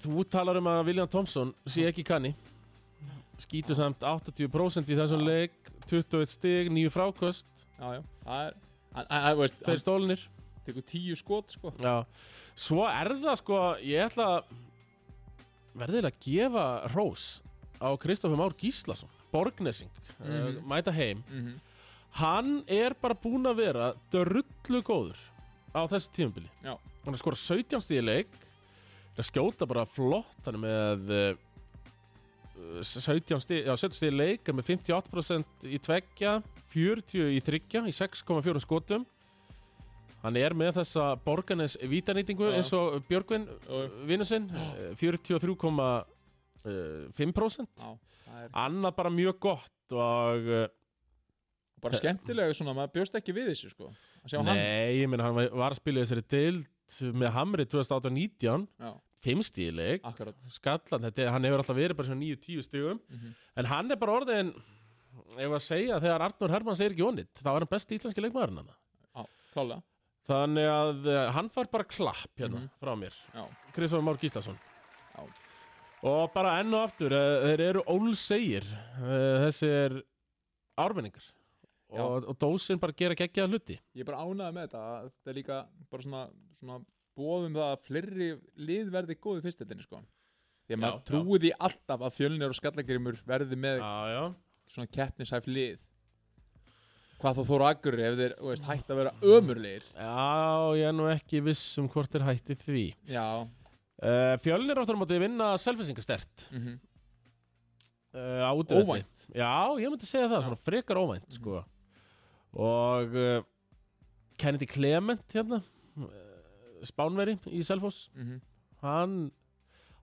Speaker 1: Þú talar um að William Thompson sé ekki kanni Skýtur samt 80% í þessum leik 21 stig, 9 frákost
Speaker 2: já, já, það er Hann, hann, hann, veist,
Speaker 1: Þeir stólnir
Speaker 2: hann tekur tíu skot, sko
Speaker 1: Já. Svo er það sko Ég ætla að verðilega að gefa Rós á Kristoffer Már Gíslason Borgnesing, mm
Speaker 2: Mhm.
Speaker 1: mæta heim
Speaker 2: mm
Speaker 1: Hann er bara búinn að vera drullu góður á þessu tímabili
Speaker 2: Já.
Speaker 1: Hún er að skora 17 stíði leik er að skjóta bara flott hann er með eh, 17 stíði, já 17 stíði leik er með 58% í tveggja 40 í þryggja í 6,4 skotum hann er með þessa borganes vítanýtingu
Speaker 2: Já.
Speaker 1: eins og Björgvin
Speaker 2: Já.
Speaker 1: vinnu sinn, eh, 43,5%
Speaker 2: Já, það er
Speaker 1: eh, annað bara mjög gott og eh,
Speaker 2: bara skemmtilega svona, maður bjóst ekki við þessu sko að sjá hann
Speaker 1: nei, ég menn hann var- var að spila í þessari dild með Hamri 2018-19
Speaker 2: Já,
Speaker 1: fimmstíðileg
Speaker 2: akkurat
Speaker 1: skallan, þetta, er- hann hefur alltaf verið bara svona 9-10 stigum
Speaker 2: Mhm.
Speaker 1: en hann er bara orðin ef að segja, þegar Arnur Hermanns er ekki onnit þá er hann besti íslenski leikmaðurinn hann
Speaker 2: Já, klálega
Speaker 1: þannig að eh, hann far bara klapp hérna
Speaker 2: Mhm.
Speaker 1: frá mér,
Speaker 2: Já,
Speaker 1: Kristofur Már Gíslason
Speaker 2: Já.
Speaker 1: og bara enn og aftur eh, þeir eru ólsegir eh, þessir ármenningar
Speaker 2: Já.
Speaker 1: og, og dósin bara gera geggjaða hluti
Speaker 2: ég er bara ánaði með þetta að þetta er líka bara svona, svona bóðum það að fleiri lið verði góði fyrstildinni sko því að maður
Speaker 1: já.
Speaker 2: trúi því alltaf að fjölnir og skallagrimur verði með
Speaker 1: já, já,
Speaker 2: svona keppnishæf lið hvað þá þóra agurri ef þeir þú veist, hætt að
Speaker 1: Mm.
Speaker 2: vera ömurlegir
Speaker 1: já, ég er nú ekki viss um hvort er hætti því
Speaker 2: já,
Speaker 1: uh, Fjölnir áttur á móti vinna selfisingastert
Speaker 2: mm -hmm.
Speaker 1: uh, á útivelli.
Speaker 2: óvænt
Speaker 1: Já, ég myndi segja það, svona frekar óvænt sko. Og uh, Kennedy Clement hérna uh, Spánveri í Selfoss
Speaker 2: mm
Speaker 1: hann,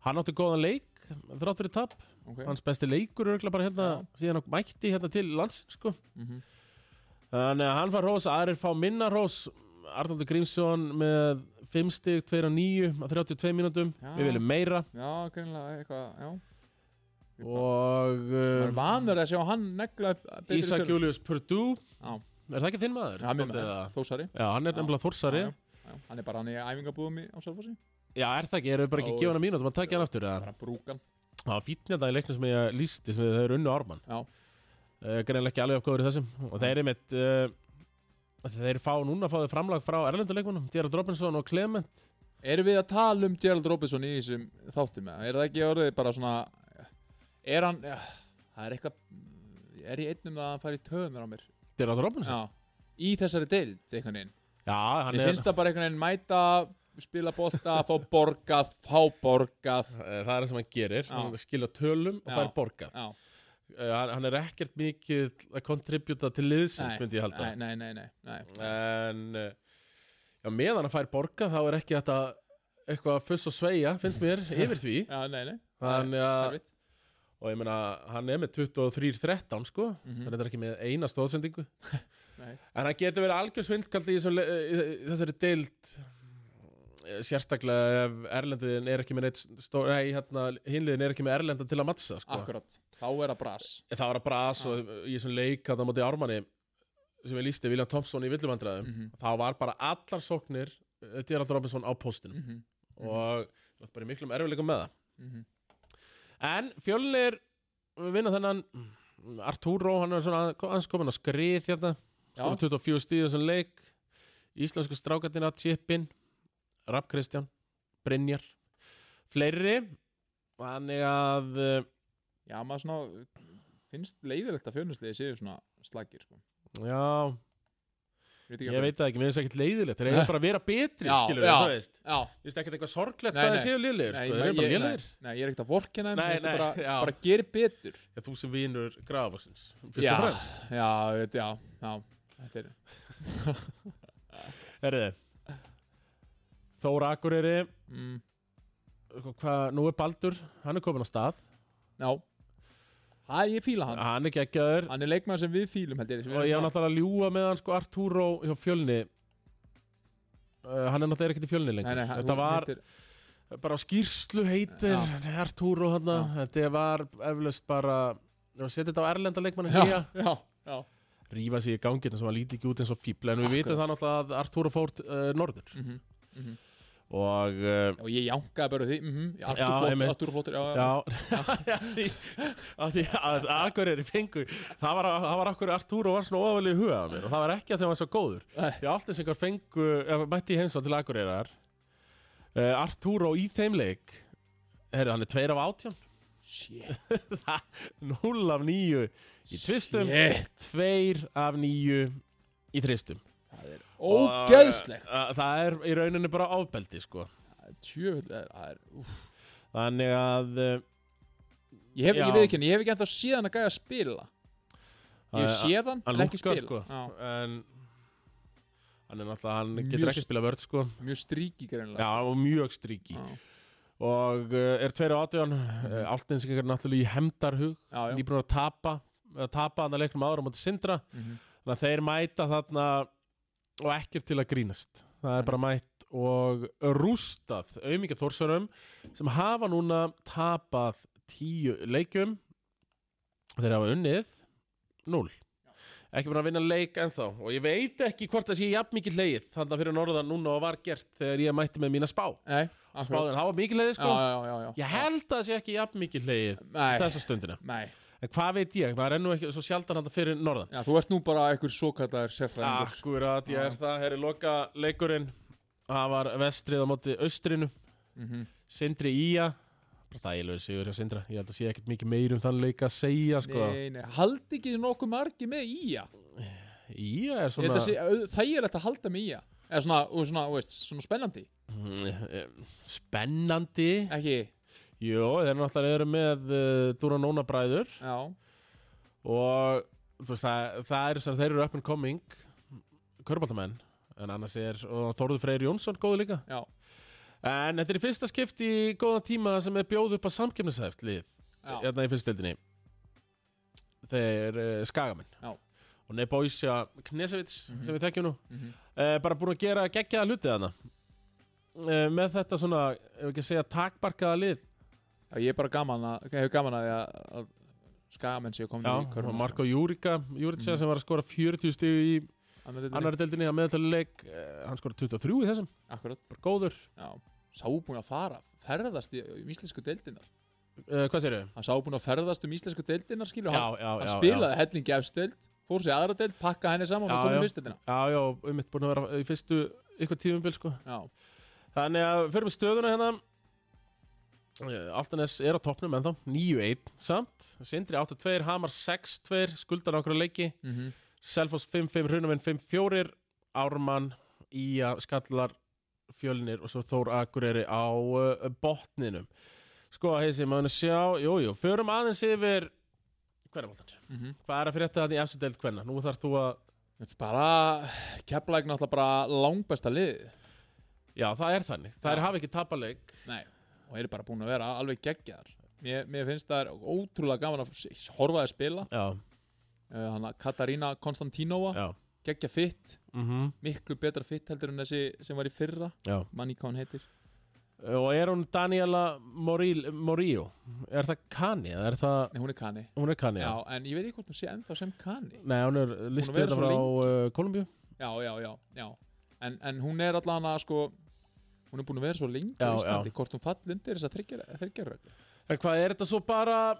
Speaker 1: hann átti góðan leik þrátt fyrir tap,
Speaker 2: ok
Speaker 1: hans besti leikur örgulega bara hérna, síðan hann mætti hérna til lands sko.
Speaker 2: Mhm.
Speaker 1: Þannig að hann fær rós, aðrir fá minna rós Arnaldur Grímsson með 5 stig, 2 og 9 á 32 mínútum,
Speaker 2: Já.
Speaker 1: við viljum meira
Speaker 2: já, greinlega eitthvað, já og
Speaker 1: og
Speaker 2: maður er
Speaker 1: uh,
Speaker 2: vanverð að sjá hann negla upp betri
Speaker 1: Ísak
Speaker 2: tölur.
Speaker 1: Július Purdú
Speaker 2: Já.
Speaker 1: er það ekki þinn maður?
Speaker 2: Já, mér
Speaker 1: Dálítið
Speaker 2: með
Speaker 1: eða?
Speaker 2: þósari
Speaker 1: Já, hann er
Speaker 2: Já.
Speaker 1: nefnilega þórsari
Speaker 2: Já, já, já. hann er bara hann í æfingabúðum í á Selfossi
Speaker 1: Já, er það ekki, erum við bara ekki
Speaker 2: Ó,
Speaker 1: að gefa hann að mínútum að
Speaker 2: já.
Speaker 1: taka hann aftur eða?
Speaker 2: bara brúkan
Speaker 1: Það var fítnið það hérna í leiknum sem ég lísti sem þau eru unnu Ármann
Speaker 2: Já.
Speaker 1: uh, Greinlega ekki alveg afgóður í þessum og þeir eru mitt uh, þeir fá núna fá þau framlag frá Erlenduleikunum Gerald Robinson og Clement
Speaker 2: Erum við að tala um Gerald Robinson í þessum þáttum eða? Er það ekki orðið bara svona Er hann ja, Það er eitthvað Er ég einn um það að hann fari í töðunar á mér
Speaker 1: Gerald Robinson?
Speaker 2: Já Í þessari deild einhvern veginn
Speaker 1: Já, hann
Speaker 2: Mér
Speaker 1: er,
Speaker 2: finnst það bara einhvern veginn mæta Spila bolta Fá borgað Fá borgað
Speaker 1: Eh, það er það sem hann gerir
Speaker 2: Já.
Speaker 1: hann skilja tölum og
Speaker 2: Já.
Speaker 1: það er borgað
Speaker 2: Já
Speaker 1: uh, hann- Hann er ekkert mikið að kontributa til liðsins
Speaker 2: Nei,
Speaker 1: myndi ég halda
Speaker 2: Nei, nei, nei, nei, nei.
Speaker 1: en eh, já, meðan að fær borga þá er ekki þetta eitthvað fuss og sveia, finnst mér, yfir því
Speaker 2: Já, nei, nei
Speaker 1: þannig að,
Speaker 2: Erfitt
Speaker 1: og ég meina hann er með 23-13 sko mm
Speaker 2: Mhm.
Speaker 1: -hmm. hann er ekki með eina stóðsendingu
Speaker 2: Nei.
Speaker 1: en hann getur verið algjör svindkaldi í, þessum le- í í þessari deild eh, sérstaklega ef erlendiðin er ekki með neitt stó, nei, hérna, hinliðin er ekki með erlenda til að mattsa sko.
Speaker 2: Akkurat Þá er það bras
Speaker 1: En það var að bras og í þessum leik að það móti Ármanni sem ég lísti Viljan Thompson í villumandræðum
Speaker 2: Mhm.
Speaker 1: þá var bara allar sóknir eh, Gerald Robinson á póstinum
Speaker 2: mm -hmm.
Speaker 1: og það var bara í miklum erfileikum með það
Speaker 2: Mm
Speaker 1: en fjölnir vinna þennan mm, Arturo, hann er svona hans komin á skrið hérna,
Speaker 2: Já,
Speaker 1: skora 24 stíð þessum leik íslensku strákatina, Chipin Rapp Kristján, Brynjar fleiri þannig að eh,
Speaker 2: já, maður svona finnst leiðilegt að fjönunsliði séu svona slagir sko.
Speaker 1: já,
Speaker 2: Ég veit ekki
Speaker 1: Ég
Speaker 2: af
Speaker 1: veit það ekki, mér finnst það ekkert leiðilegt Þeir eiga bara að vera betri,
Speaker 2: Já,
Speaker 1: skilur við,
Speaker 2: já.
Speaker 1: það veist
Speaker 2: hverju. Já,
Speaker 1: Ég veist ekkert eitthvað sorglegt
Speaker 2: Nei,
Speaker 1: hvað
Speaker 2: nei.
Speaker 1: þeir séu liðlegir,
Speaker 2: Nei,
Speaker 1: sko
Speaker 2: ég-
Speaker 1: Þeir eru bara
Speaker 2: ég-
Speaker 1: liðlegir
Speaker 2: Nei, nei, ég er ekkert að vorkina þeim
Speaker 1: Nei,
Speaker 2: Nei,
Speaker 1: nei,
Speaker 2: bara,
Speaker 1: já.
Speaker 2: bara ger betur
Speaker 1: Ég, Þú sem vinur grafaksins Fyrst
Speaker 2: Já,
Speaker 1: og fremst
Speaker 2: já, þetta- já, já Þetta er,
Speaker 1: Herriði Þóra Akureyri
Speaker 2: mm,
Speaker 1: sko, Hvað, nú er Baldur, hann er komin á stað
Speaker 2: já Hæ, ég fíla hann
Speaker 1: Hann er geggjaður
Speaker 2: Hann er leikmaður sem við fílum held ég sem
Speaker 1: Og
Speaker 2: við erum
Speaker 1: ég á
Speaker 2: svona-
Speaker 1: náttúrulega að ljúga með hann, sko, Arturo hjá fjölni Uh, hann er náttúrulega ekkert í fjölni lengur
Speaker 2: Nei, nei, hann-
Speaker 1: þetta
Speaker 2: hún
Speaker 1: var
Speaker 2: heitir-
Speaker 1: bara á skýrslu heitir Arturo hann þetta var eflaust bara setja þetta á erlenda leikmann
Speaker 2: Já, já, já
Speaker 1: rífa sig í ganginu sem hann líti ekki út eins og fíbla en við vitum
Speaker 2: Akkurat.
Speaker 1: það náttúrulega að Artúra fór uh, norður
Speaker 2: mm
Speaker 1: og uh,
Speaker 2: Og ég jánkaði bara því mm -hmm.
Speaker 1: Já, einmitt.
Speaker 2: Artur flottur, já, já,
Speaker 1: já að því að, því að Akureyri fengu það var, það var akkur Artúra var svona ofalega í huga á mér og það var ekki að þeim var svo góður
Speaker 2: Nei.
Speaker 1: því allt eins einhver fengu ef mætti ég heimsvað til Akureyrar uh, Artúra í þeim leik herru hann er tveir af átján
Speaker 2: Shit,
Speaker 1: 0 af 9 í tvistum
Speaker 2: Shit.
Speaker 1: tveir af 9 í tristum
Speaker 2: það það er ógeðslegt
Speaker 1: Að- Það er í rauninni bara ofbeldi sko
Speaker 2: Tjöfull, það er- það er, úff.
Speaker 1: Þannig að eh,
Speaker 2: ég hef
Speaker 1: Já.
Speaker 2: ekki við ekki ég hef ekki ennþá síðan að gæja að spila ég hef
Speaker 1: að-
Speaker 2: séð hann,
Speaker 1: hann
Speaker 2: en ekki
Speaker 1: lúkkar,
Speaker 2: spila
Speaker 1: sko.
Speaker 2: Já,
Speaker 1: En hann er náttúrulega, hann
Speaker 2: Mjög
Speaker 1: getur
Speaker 2: s-
Speaker 1: ekki spila vörð sko
Speaker 2: mjög stríki greinlega
Speaker 1: Já, og mjög stríki Og uh, er 2 og 18 uh, Altninsingar er náttúrulega í hemdarhug
Speaker 2: Mhm. já, já.
Speaker 1: Nýbúin að tapa að tapa hann að leiknum áður á móti sindra
Speaker 2: Mhm.
Speaker 1: þannig að þeir mæta þarna og ekkert til að grínast það er bara mætt og rústað auðmikið þórsönum sem hafa núna tapað tíu leikjum þeir hafa unnið núl ekki bara að vinna leik ennþá og ég veit ekki hvort það sé jafn mikið leið þannig að fyrir norðan núna og var gert þegar ég mætti með mína spá
Speaker 2: Nei, akkurat.
Speaker 1: spáðin hafa mikið leið
Speaker 2: já,
Speaker 1: sko
Speaker 2: já, já, já.
Speaker 1: ég held að það sé ekki jafn mikið leið
Speaker 2: Nei,
Speaker 1: þessa stundina
Speaker 2: nei.
Speaker 1: en hvað veit ég, maður er nú ekki svo sjaldan hann fyrir norðan
Speaker 2: Já, þú ert nú bara einhver svo kallar sérfræðingur
Speaker 1: Akkurat, ég er
Speaker 2: Já.
Speaker 1: það, herri loka leikurinn Það var vestrið á móti austrinu
Speaker 2: Mhm.
Speaker 1: Sindri Ía Bara þægilegu sigur hjá Sindra Ég held að sé ekkert mikið meir um þann leik að segja sko.
Speaker 2: Nei, nei, haldi ekki nokkuð margi með ía
Speaker 1: Ía er
Speaker 2: Svona...
Speaker 1: svona
Speaker 2: sé, auð- þægilegt að halda með ía eða svona, og svona, þú veist, svona spennandi
Speaker 1: Mm, Spennandi
Speaker 2: ekki,
Speaker 1: Jó, þeir eru náttúrulega eru með uh, Dúran Óna bræður
Speaker 2: já,
Speaker 1: Og þú veist, það, það er sem þeir eru up and coming Körbáltamenn En annars er, og Þórður Freyr Jónsson góðu líka
Speaker 2: já
Speaker 1: En þetta er í fyrsta skipti í góðan tíma sem er bjóð upp á samkefnishæft lið
Speaker 2: Já,
Speaker 1: hérna í fyrstildinni þeir uh, skagamenn
Speaker 2: Já.
Speaker 1: og Nebojsa Knesevits sem við þekkjum nú
Speaker 2: Mhm.
Speaker 1: uh, bara búin að gera geggjaða hluti þarna uh, með þetta svona ef ekki að segja takbarkaða lið
Speaker 2: Já, ég er bara gaman að, ég hefur gaman að, því að, að skagamenn séu komin
Speaker 1: Já,
Speaker 2: Mhm. í körfuna, sko.
Speaker 1: og Marko Júrika Júrica
Speaker 2: Mhm.
Speaker 1: sem var að skora 40 stig í
Speaker 2: sko. Annar deildinni.
Speaker 1: annari deildinni að meðaltali leik uh, hann skora 23 í þessum,
Speaker 2: Akkurat,
Speaker 1: bara góður
Speaker 2: já Sá búin að fara, ferðast í, um íslensku deildinar
Speaker 1: uh, hvað segir þau?
Speaker 2: Hann sá búin að ferðast um íslensku deildinar, skilur hann
Speaker 1: já,
Speaker 2: Hann
Speaker 1: já,
Speaker 2: spilaði já. hellingi efstild, fór sér aðra deild, pakka henni saman
Speaker 1: Já,
Speaker 2: og komið
Speaker 1: já.
Speaker 2: fyrstildina
Speaker 1: já, já, um mitt búin að vera í fyrstu ykkur tífumbil sko
Speaker 2: Já,
Speaker 1: Þannig að við fyrir með stöðuna hérna Eh, Altanes er á toppnum ennþá 9-1 samt Sindri 8-2, Hamar 6-2 Skuldar okkur að leiki
Speaker 2: mm
Speaker 1: Selfoss 5-5, Runavinn 5-4 Ármann, Ía, Skallar Fjölnir og svo Þór Akureyri á uh, botninum Sko, heisi, maður sjá Jú, jú, förum aðeins yfir Hvernaboltan,
Speaker 2: mhm.
Speaker 1: hvað er að fyrir þetta þannig í efstu deild hverna? Nú þarf þú að
Speaker 2: Bara, Keflæk náttúrulega bara langbesta liðið
Speaker 1: Já, það er þannig, það er
Speaker 2: Já.
Speaker 1: hafa ekki tapaleik
Speaker 2: Nei, og eru bara búin að vera alveg geggjar Mér, mér finnst það er ótrúlega gaman að s- horfa að spila
Speaker 1: Já,
Speaker 2: uh, hana Katarina Konstantínova,
Speaker 1: já
Speaker 2: geggja fitt
Speaker 1: mm
Speaker 2: miklu betra fitt heldur en þessi sem var í fyrra
Speaker 1: Já
Speaker 2: manni hvað hún heitir
Speaker 1: Og er hún Daniela Moríl- Morío? Er það Kani? eða Er það,
Speaker 2: Nei, hún er Kani
Speaker 1: hún er Kani?
Speaker 2: já.
Speaker 1: Já.
Speaker 2: en ég veit ekki hvort hún sé ennþá sem Kani
Speaker 1: Nei, hún er
Speaker 2: Hún er
Speaker 1: listið
Speaker 2: verið svo
Speaker 1: frá uh, Kolumbíu.
Speaker 2: Já, já, já, já En, en hún er allan að sko hún er búin að vera svo lengi
Speaker 1: Já,
Speaker 2: í Íslandi hvort hún fall undir þess að þryggja rögg
Speaker 1: En hvað er þetta svo bara,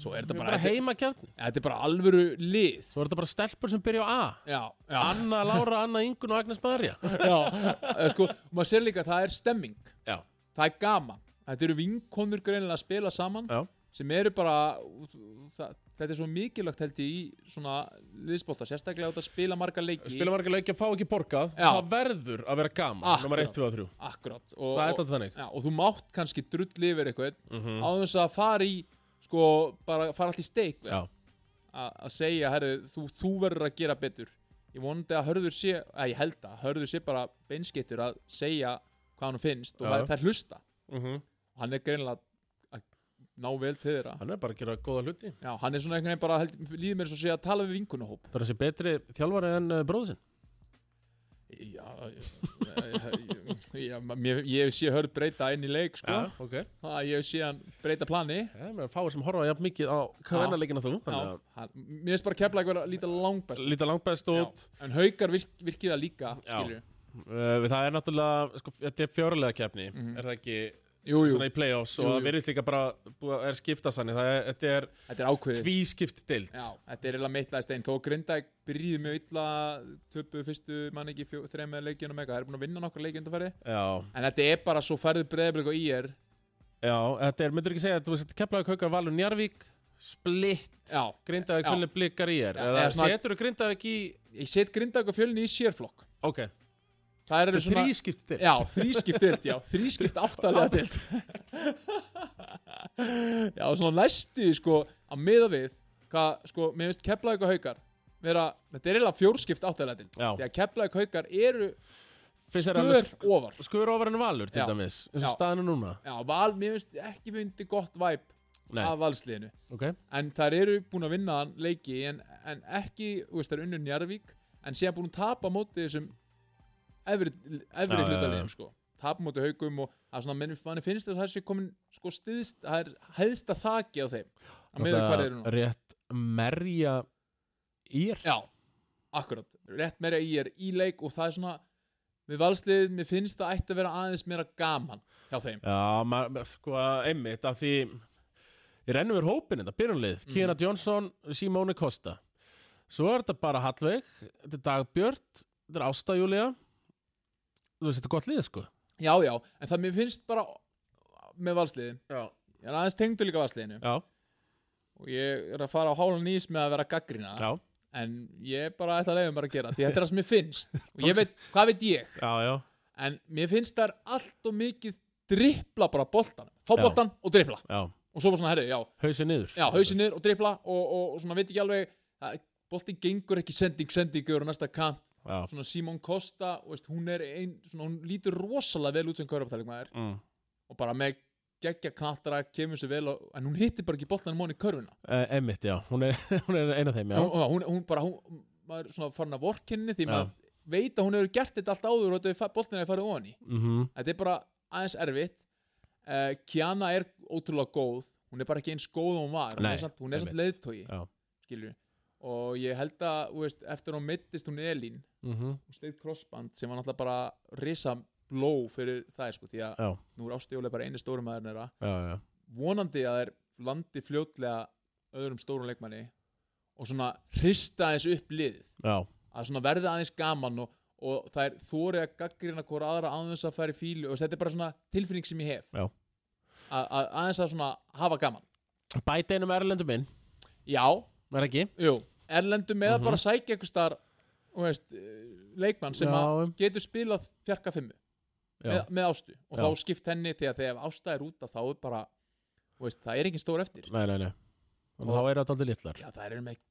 Speaker 2: Svo er þetta
Speaker 1: bara,
Speaker 2: bara,
Speaker 1: bara
Speaker 2: þetta,
Speaker 1: heimakjarni?
Speaker 2: þetta er bara alvöru lið
Speaker 1: Svo er þetta bara stelpur sem byrja á A.
Speaker 2: Já, já,
Speaker 1: Anna Lára, Anna Ingun og Agnes Marja.
Speaker 2: já eh, sko, og maður sér líka að það er stemming
Speaker 1: Já.
Speaker 2: það er gaman þetta eru vinkonur greinilega að spila saman
Speaker 1: Já.
Speaker 2: sem eru bara það, þetta er svo mikilvægt held ég í svona liðspólta, sérstaklega út að spila marga leiki
Speaker 1: Spila marga leiki að fá ekki borgað.
Speaker 2: Já.
Speaker 1: Það verður að vera gaman.
Speaker 2: Akkurat.
Speaker 1: Númer 1, 2 og 3.
Speaker 2: akkurat og,
Speaker 1: Það er
Speaker 2: og,
Speaker 1: þetta þannig.
Speaker 2: já, og þú mátt kannski drull yfir eitthvað
Speaker 1: Mm
Speaker 2: á þess að fara í sko, bara fara allt í steik við.
Speaker 1: Já.
Speaker 2: A- að segja, herru, þú, þú verður að gera betur ég vonandi að hörður sé að ég held að hörður sé bara beinskittur að segja hvað hann finnst og
Speaker 1: Já.
Speaker 2: það, það er hlusta
Speaker 1: -hmm.
Speaker 2: hann er greinilega að ná vel til þeirra
Speaker 1: Hann er bara að gera góða hluti.
Speaker 2: Já, hann er svona einhvern veginn bara, held, líður mér svo að segja að tala við vinkunahóp
Speaker 1: Það er þessi betri þjálfari en uh, bróðsinn.
Speaker 2: Já, ég, ég, ég, ég, ég sé hörð breyta inn í leik, sko
Speaker 1: ok.
Speaker 2: ja. Ég sé hann breyta plani Já,
Speaker 1: Það er fáið sem horfa jafn mikið á kvennarleikina þú. þannig að-
Speaker 2: hann, mér finnst bara kepla ekki vera líta langbæst
Speaker 1: Líta langbæst
Speaker 2: Já,
Speaker 1: út.
Speaker 2: En haukar virk, virkir það líka,
Speaker 1: Já.
Speaker 2: skilur
Speaker 1: Uh, það er náttúrulega, sko, þetta er fjórulega keppni,
Speaker 2: Mhm.
Speaker 1: er það ekki
Speaker 2: Jú, jú,
Speaker 1: svona í play-offs
Speaker 2: Jú,
Speaker 1: og
Speaker 2: jú.
Speaker 1: það virðist líka bara búið að- er skiptast þannig, það er, þetta er
Speaker 2: þetta er ákveðið
Speaker 1: tvískipt dild.
Speaker 2: Já, þetta er eiginlega mittlaðist einn Þó Grindæk byrjuði mjög illa töpu fyrstu mann ekki fjó, þreim með leikjunum eitthvað Það er búin að vinna nokkur leiki undanfæri
Speaker 1: Já,
Speaker 2: En þetta er bara svo færðu breyðblik og í er
Speaker 1: já, þetta er, myndur ekki segja, þú veist, keplaðu kaukar Valur Njarvík, splitt
Speaker 2: já,
Speaker 1: Grindavík
Speaker 2: Já.
Speaker 1: fjölni blikkar í er
Speaker 2: Já,
Speaker 1: eða
Speaker 2: eða svona-
Speaker 1: setur þú Grindavík í
Speaker 2: ég set Grindavík og fjölni í sérflokk
Speaker 1: ok,
Speaker 2: það
Speaker 1: þetta
Speaker 2: eru
Speaker 1: er
Speaker 2: svona
Speaker 1: þrískipt til
Speaker 2: Já, þrískipt dild, já, þrískipt áttalega dild Já, svona næstu, sko, að miða við hvað, sko, mér finnst Keflavík og Haukar vera, þetta er eiginlega fjórskipt áttalega dild
Speaker 1: Já.
Speaker 2: því að Keflavík og Haukar eru
Speaker 1: Finnst þér alveg
Speaker 2: skör ofar
Speaker 1: skur ofar en valur til
Speaker 2: Já.
Speaker 1: dæmis eins og
Speaker 2: Já.
Speaker 1: staðinu núna
Speaker 2: Já, val, mér finnst ekki fundi gott væp
Speaker 1: Nei,
Speaker 2: af valsliðinu
Speaker 1: ok,
Speaker 2: en þær eru búin að vinna hann leiki en, en ekki, þú veist, þær er unnur Njarvík en síðan búin að tapa móti þessum efri, efri
Speaker 1: Já, já, já.
Speaker 2: hlutaliðum sko tapa móti haugum og það er svona menn, manni finnst þess að það sé komin sko stiðst, það er hæðsta þaki á þeim að meða hvað þeir eru nú
Speaker 1: rétt merja ír
Speaker 2: já, akkurat, rétt meira í er í leik og það er svona við valslið, mér finnst það ætti að vera aðeins meira gaman hjá þeim
Speaker 1: Já, ma- ma- sko, einmitt af því ég rennum við hópin þetta, byrjunlið mm. Kiana Johnson, Simone Costa svo er þetta bara Hallveig þetta er Dagbjört, þetta er Ásta Júlia þú veist, þetta er gott lið sko
Speaker 2: já, já, en það mér finnst bara með valsliðin,
Speaker 1: Já,
Speaker 2: ég er aðeins tengdur líka valsliðinu
Speaker 1: já,
Speaker 2: og ég er að fara á hálan ís með að vera gaggrina
Speaker 1: já,
Speaker 2: en ég bara ætla að leiða bara að gera því þetta er það sem mér finnst og ég veit, hvað veit ég
Speaker 1: já, já.
Speaker 2: en mér finnst það er allt og mikið dripla bara boltan fá
Speaker 1: Já.
Speaker 2: boltan og dripla
Speaker 1: já.
Speaker 2: og svo bara svona, herri, já,
Speaker 1: hausin niður
Speaker 2: já hausin niður og dripla og, og, og svona veit ekki alveg að boltin gengur ekki sending, sendingur og næsta kant
Speaker 1: já.
Speaker 2: svona Simon Costa, og veist, hún er ein, svona, hún lítur rosalega vel út sem kaurapatælikmaður
Speaker 1: Mm.
Speaker 2: og bara með geggja knatra kemur sér vel og, en hún hittir bara ekki boltanum honi í körfuna
Speaker 1: Eh, Einmitt, já, hún er, hún er eina þeim já.
Speaker 2: hún, hún, hún bara, hún, maður er svona farin að vorkenni því
Speaker 1: Já.
Speaker 2: maður veit að hún hefur gert þetta allt áður og þetta er boltin að fara ofan í
Speaker 1: Mhm.
Speaker 2: þetta er bara aðeins erfitt uh, Kiana er ótrúlega góð hún er bara ekki eins góð og hún var hún
Speaker 1: Nei,
Speaker 2: er samt, hún er samt leiðtogi
Speaker 1: Já.
Speaker 2: skilur og ég held að þú veist, eftir hún mittist hún Elín
Speaker 1: Mhm.
Speaker 2: hún sleið crossband sem var náttúrulega bara risa bló fyrir það sko, því að
Speaker 1: Já.
Speaker 2: nú er ástjóðlega bara einu stórum maður nera
Speaker 1: já, já,
Speaker 2: vonandi að þeir landi fljótlega öðrum stórum leikmanni og svona hrista eins upp liðið
Speaker 1: já
Speaker 2: að svona verða aðeins gaman og, og það er þórið að gaggrina hvora aðra án þess að færi fílu og þetta er bara svona tilfinning sem ég hef
Speaker 1: Já.
Speaker 2: Að- að aðeins að svona hafa gaman
Speaker 1: Bæta einum erlendum inn,
Speaker 2: já,
Speaker 1: er ekki?
Speaker 2: jú, erlendum með
Speaker 1: Mhm.
Speaker 2: að bara sækja einhvers þar veist, eh, leikmann sem
Speaker 1: Já,
Speaker 2: að
Speaker 1: um.
Speaker 2: getur spilað fjarka fimmu með,
Speaker 1: Já,
Speaker 2: með ástu og
Speaker 1: Já.
Speaker 2: þá skipt henni þegar þegar ásta er út þá er bara, þú veist, það er engin stór eftir
Speaker 1: nei, nei, nei Og þá er þetta aldrei litlar
Speaker 2: já, það er með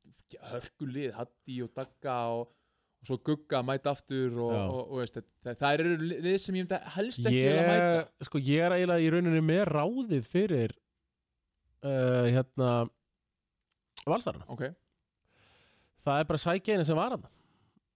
Speaker 2: hörkulið Hatti og Dagga og, og svo Gugga að mæta aftur og,
Speaker 1: Já.
Speaker 2: og, og veist, það, það eru lið sem ég myndi helst ekki vilja mæta
Speaker 1: ég, sko, ég er eiginlega í rauninni með ráðið fyrir uh, hérna valsarana
Speaker 2: ok,
Speaker 1: það er bara sækja einu sem var hann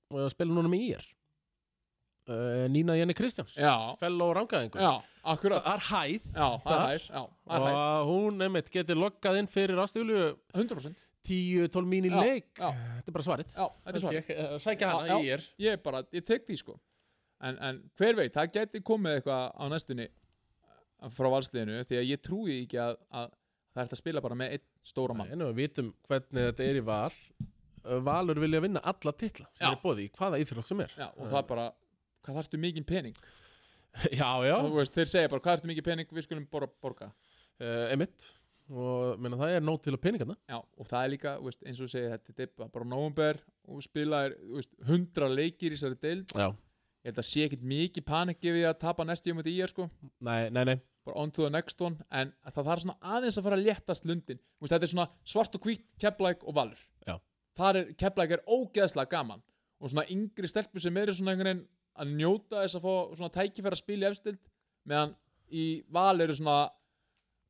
Speaker 1: og ég spila núna með ír uh, Nína Jenny Kristjáns
Speaker 2: já,
Speaker 1: fellow rangaðingur
Speaker 2: já, akkurat
Speaker 1: er hæð
Speaker 2: já, það er
Speaker 1: Þar.
Speaker 2: hægt, já, það er hægt,
Speaker 1: og hún einmitt getur loggað inn fyrir ástuglu
Speaker 2: 100%
Speaker 1: 10-12 mín í
Speaker 2: Já,
Speaker 1: leik
Speaker 2: já.
Speaker 1: þetta er bara svarið
Speaker 2: já, þetta er uh, svar,
Speaker 1: Held ég, eh, sækja hana
Speaker 2: Já,
Speaker 1: í ír
Speaker 2: ég er bara, ég tek því sko en, en hver veit, það gæti komið eitthvað á næstunni eh, frá valsliðinu því að ég trúi ekki að, að það er hægt að spila bara með einn stóra mann
Speaker 1: en við vitum hvernig þetta er í val Uh, Valur vilja vinna alla titla sem
Speaker 2: Já.
Speaker 1: er bóði í hvaða íþrótt sem er
Speaker 2: já, og það er bara, hvað þarftu mikið pening
Speaker 1: já, já,
Speaker 2: Þú veist, þeir segja bara, hvað þarftu mikið pening við skulum borga, borga.
Speaker 1: uh, emitt og menna, það er nóg til að peningarna
Speaker 2: Já, og það er líka, þú veist, eins og segið þetta þetta er bara- bara nóvumber og spilaðir þú veist, 100 leikir í þessari deild
Speaker 1: já.
Speaker 2: ég held að sé ekkit mikið panikki við að tapa næstu um þetta í er sko,
Speaker 1: Nei, nei, nei,
Speaker 2: bara on to the next one en það þarf svona aðeins að fara að léttast lundin Þú veist, þetta er svona svart og hvít, keplæk og valur
Speaker 1: Já.
Speaker 2: Þar er, keplæk er ógeðslega gaman og svona yngri stelpur sem eru svona einhvern veginn að njóta þess að fá svona tækifæra spil í efstild meðan í val eru svona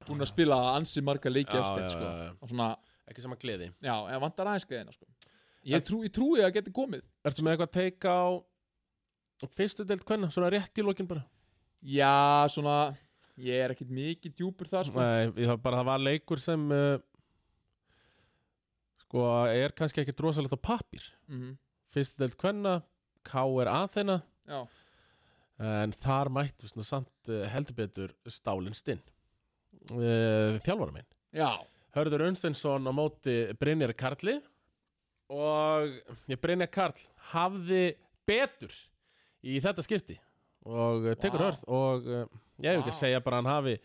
Speaker 2: búin að spila ansi marga
Speaker 1: Já,
Speaker 2: leiki efstild
Speaker 1: já,
Speaker 2: sko,
Speaker 1: já, já.
Speaker 2: og svona
Speaker 1: ekki sama gleði
Speaker 2: Já, ég vantar aðeins gleðina sko. ég, trú, ég trúi að það geti komið
Speaker 1: Ertu með eitthvað að teika á fyrstu deild hvenna, svona rétt í lokin bara
Speaker 2: Já, svona Ég er ekkit mikið djúpur þar sko.
Speaker 1: Nei, ég- það, bara, það var leikur sem uh, sko, er kannski ekki drosalegt á pappir
Speaker 2: mm
Speaker 1: Fyrstu deild hvenna, K er aðeina
Speaker 2: Já,
Speaker 1: en þar mættu svona samt uh, heldur betur stálinn stinn uh, þjálfara minn
Speaker 2: já,
Speaker 1: Hörður Unstensson á móti Brynjar Karli og ég Brynjar Karl hafði betur í þetta skipti og eh, tekur
Speaker 2: Vá.
Speaker 1: hörð og eh, ég hef ekki að
Speaker 2: Vá.
Speaker 1: segja bara að hann hafi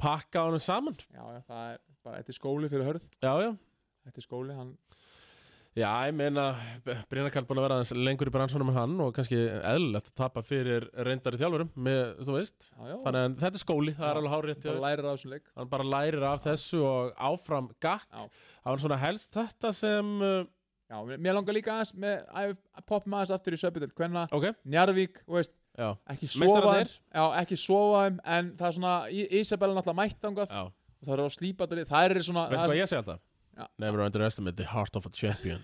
Speaker 1: pakka honum saman
Speaker 2: já, já það, er, bara þetta er skóli fyrir hörð
Speaker 1: já, já
Speaker 2: þetta er skóli, hann
Speaker 1: Já, ég meina, Brynjar Karl búin að vera aðeins lengur í bransunum en hann og kannski eðlilegt að tapa fyrir reyndari þjálfurum, með, þú veist.
Speaker 2: já, já,
Speaker 1: Þannig að þetta er skóli, það er
Speaker 2: Já,
Speaker 1: alveg hárétt. hjá
Speaker 2: bara
Speaker 1: þér.
Speaker 2: lærir á þessum leik
Speaker 1: Hann bara lærir af þessu og áfram gakk.
Speaker 2: Já.
Speaker 1: Það var svona helst þetta sem, uh,
Speaker 2: já, mér- mér langar líka aðeins með, að poppa maður aðeins aftur í söpudelt hvenna,
Speaker 1: ok,
Speaker 2: Njarvík, þú veist
Speaker 1: já,
Speaker 2: ekki sofa
Speaker 1: Meistararnir.
Speaker 2: þeim, já, ekki sofa þeim en það er svona, Í- Isabella er náttúrulega mættangað
Speaker 1: já.
Speaker 2: það er á slípatali, það er svona
Speaker 1: Veistu
Speaker 2: það
Speaker 1: hvað
Speaker 2: er-
Speaker 1: ég segi alltaf?
Speaker 2: Já.
Speaker 1: Never underestimate the heart of a champion.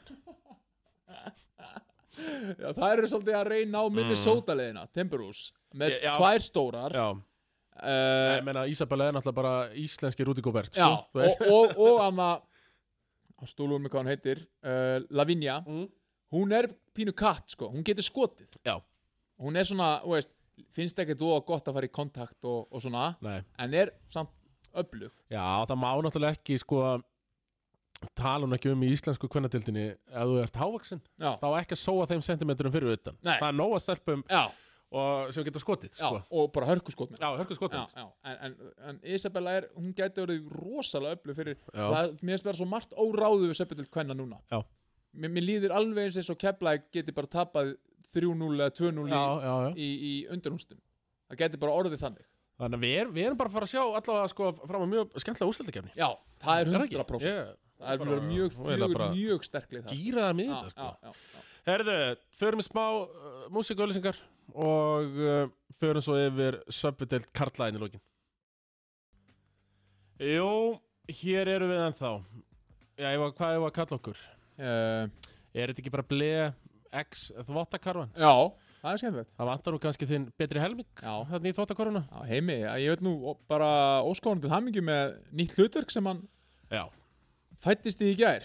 Speaker 2: já, það eru svolítið að reyna á minni sótaleðina, Timberus með
Speaker 1: Já, já.
Speaker 2: tvær stórar
Speaker 1: Já,
Speaker 2: uh,
Speaker 1: Eh, ég meina, Isabella er náttúrulega bara íslenski Rúti Góbert,
Speaker 2: Já,
Speaker 1: sko, þú veist.
Speaker 2: og, og, og anna á stúlum með hvað hún heitir uh, Lavinia,
Speaker 1: Mm.
Speaker 2: hún er pínu katt sko, hún getur skotið
Speaker 1: Já.
Speaker 2: hún er svona, þú veist, finnst ekki þú gott að fara í kontakt og, og svona
Speaker 1: Nei.
Speaker 2: en er samt öflug
Speaker 1: Já, það má náttúrulega ekki sko tala hún ekki um í íslensku kvennadildinni ef þú ert hávaksin,
Speaker 2: já,
Speaker 1: þá á ekki að sóa þeim sentimetrum fyrir utan.
Speaker 2: Nei.
Speaker 1: Það er nóg að stelpum
Speaker 2: já,
Speaker 1: og sem getur skotið,
Speaker 2: já,
Speaker 1: sko.
Speaker 2: og bara hörku skot með
Speaker 1: Já, hörku skotið.
Speaker 2: Já, já, en, en, en Isabella er, hún gæti verið rosalega öflug fyrir,
Speaker 1: Já.
Speaker 2: það, mér finnst vera svo margt óráðu við söpudelt hvenna núna
Speaker 1: Já.
Speaker 2: mér, mér líður alveg eins eins og Keflæk geti bara tapað 3-0 eða 2-0 í,
Speaker 1: já, já, já.
Speaker 2: í, í undirhúnstum það gæti bara orðið þannig
Speaker 1: Þannig að við, er, við erum bara að fara að sjá allavega sko fram að mjög skemmtilega úrstöldakefni.
Speaker 2: já, það er
Speaker 1: það ekki?
Speaker 2: 100%
Speaker 1: Ég-
Speaker 2: það
Speaker 1: bara-
Speaker 2: er bara,
Speaker 1: ég
Speaker 2: mjög,
Speaker 1: er
Speaker 2: fjögur,
Speaker 1: bara-
Speaker 2: mjög sterklið það
Speaker 1: Gýraða mig í
Speaker 2: Já,
Speaker 1: þetta, sko.
Speaker 2: já, já, já.
Speaker 1: Herðu, förum í smá uh, músikauðlýsingar og uh, förum svo yfir söpudelt karlæðin í lókin. Jú, hér eru við ennþá. Já, ég var, hvað ég var að kalla okkur?
Speaker 2: Eh,
Speaker 1: Er þetta ekki bara bleið X þvottakarvan?
Speaker 2: já, það er skemmtilegt
Speaker 1: Það vantar nú kannski þinn betri helming
Speaker 2: Já.
Speaker 1: þarna í þvottakarvuna.
Speaker 2: já, heimi, ég vil nú ó- bara óskáðan til hamingju með nýtt hlutverk sem hann
Speaker 1: Já.
Speaker 2: fættist í í gær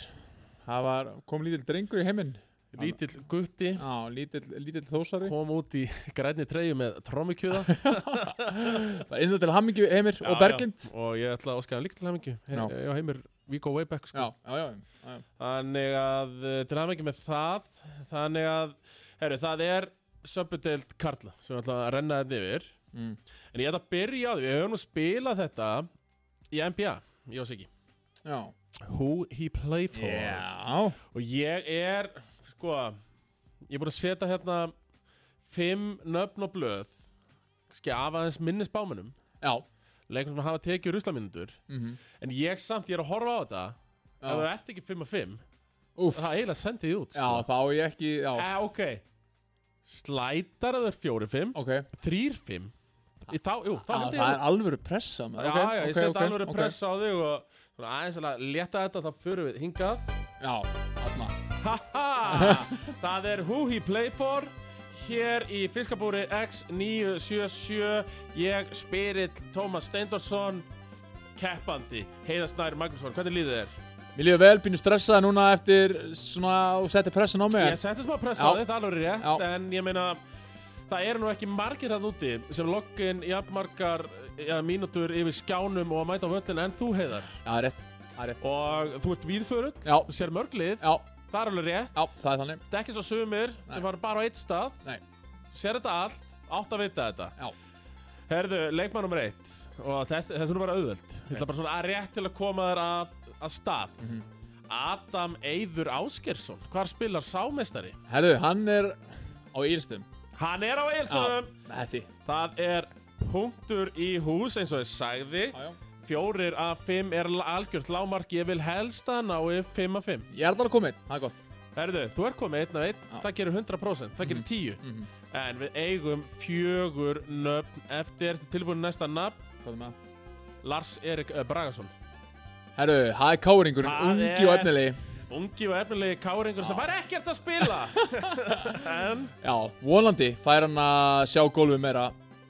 Speaker 2: það var, kom lítill drengur í heiminn
Speaker 1: Lítill gutti
Speaker 2: já, lítill, lítill þósari
Speaker 1: kom út í grænni treyju með trómikjöða
Speaker 2: bara innan til hamingju heimir
Speaker 1: Já,
Speaker 2: og berglind
Speaker 1: já. Og ég ætla að óska hann líkt til hamingju
Speaker 2: Já.
Speaker 1: He- Já, heimir, we go way back sko.
Speaker 2: já, já, já, já, já.
Speaker 1: Þannig að, eh, til hamingju með það Þannig að, herru, það er Söpudeld Karla sem ég ætla að renna þetta yfir
Speaker 2: Mm.
Speaker 1: En ég ætla að byrja á því, við höfum nú spilað þetta í NBA, ég ás ekki
Speaker 2: já.
Speaker 1: Who he played for
Speaker 2: já.
Speaker 1: Og ég er, sko, ég er búin að setja hérna fimm nöfn og blöð, skjafa aðeins minni spámanum,
Speaker 2: já.
Speaker 1: leikur sem hafa tekið ruslaminundur,
Speaker 2: mhm.
Speaker 1: en ég samt, ég er að horfa á þetta, ef það ert ekki fimm og fimm,
Speaker 2: Úff.
Speaker 1: það er eiginlega sendið út,
Speaker 2: já,
Speaker 1: sko.
Speaker 2: þá á ég ekki já,
Speaker 1: Eh, ok, slætar að það er fjóri fimm,
Speaker 2: ok
Speaker 1: þrýr fimm, í þá, jú, þá
Speaker 2: Já,
Speaker 1: hendi
Speaker 2: Ah, það
Speaker 1: ég...
Speaker 2: er alvöru pressa
Speaker 1: Já,
Speaker 2: maður. Ok,
Speaker 1: já, ég
Speaker 2: ok,
Speaker 1: setja
Speaker 2: ok,
Speaker 1: alveg
Speaker 2: ok.
Speaker 1: press á þig og svona aðeins að leta þetta, þá fyrir við hingað.
Speaker 2: Já, þarna
Speaker 1: Haha, það er Who He Play For hér í Fiskabúri X977 ég spyrill Tómas Steindorsson keppandi, Heiðar Snær Magnússon hvernig líður þér?
Speaker 2: Mér líður vel, pínu stressaði núna eftir svona og setti pressan á mig
Speaker 1: Ég
Speaker 2: yes.
Speaker 1: setti smá press
Speaker 2: Já.
Speaker 1: á þig, það er alveg rétt
Speaker 2: Já.
Speaker 1: en ég meina, það eru nú ekki margir hann úti sem loggin jafnmargar ja, mínútur yfir skjánum og að mæta á völlin en þú Heiðar
Speaker 2: Já, rétt Það er rétt
Speaker 1: og þú ert víðförull,
Speaker 2: Já.
Speaker 1: þú sér mörglið
Speaker 2: Já,
Speaker 1: það er alveg rétt,
Speaker 2: já, það er þannig
Speaker 1: þetta er ekki svo sumir
Speaker 2: Nei.
Speaker 1: sem fara bara á eitt stað
Speaker 2: Nei,
Speaker 1: sér þetta allt, átt að vita þetta
Speaker 2: Já.
Speaker 1: Herðu, leikmann nummer eitt og þess, þess er nú bara auðvöld Ég ætla bara svona að rétt til að koma þér að, að stað
Speaker 2: Mhm.
Speaker 1: Adam Eyður Áskersson hvar spilar sámestari?
Speaker 2: herðu, hann er á Ílstum
Speaker 1: Hann er á Eilsöðum
Speaker 2: Þetta
Speaker 1: Það er punktur í hús eins og ég sagði
Speaker 2: Já, já
Speaker 1: Fjórir af fimm er la- algjört lámark Ég vil helst að ná yfir fimm af fimm
Speaker 2: Ég er alltaf að koma inn, það er gott
Speaker 1: Herðu, þú er komið einn af einn,
Speaker 2: Já.
Speaker 1: það gerir 100%, það gerir 10
Speaker 2: Mhm.
Speaker 1: En við eigum fjögur nöfn eftir tilbúinu næsta nafn
Speaker 2: Hvað er með það?
Speaker 1: Lars Erik eh, Bragason
Speaker 2: Herðu, það er káringur,
Speaker 1: Það
Speaker 2: ungi
Speaker 1: er-
Speaker 2: og efnilegi
Speaker 1: Ungi og efnilegi káringur sem fær ekkert að spila En
Speaker 2: Já, vonandi fær hann að sjá gólfið meira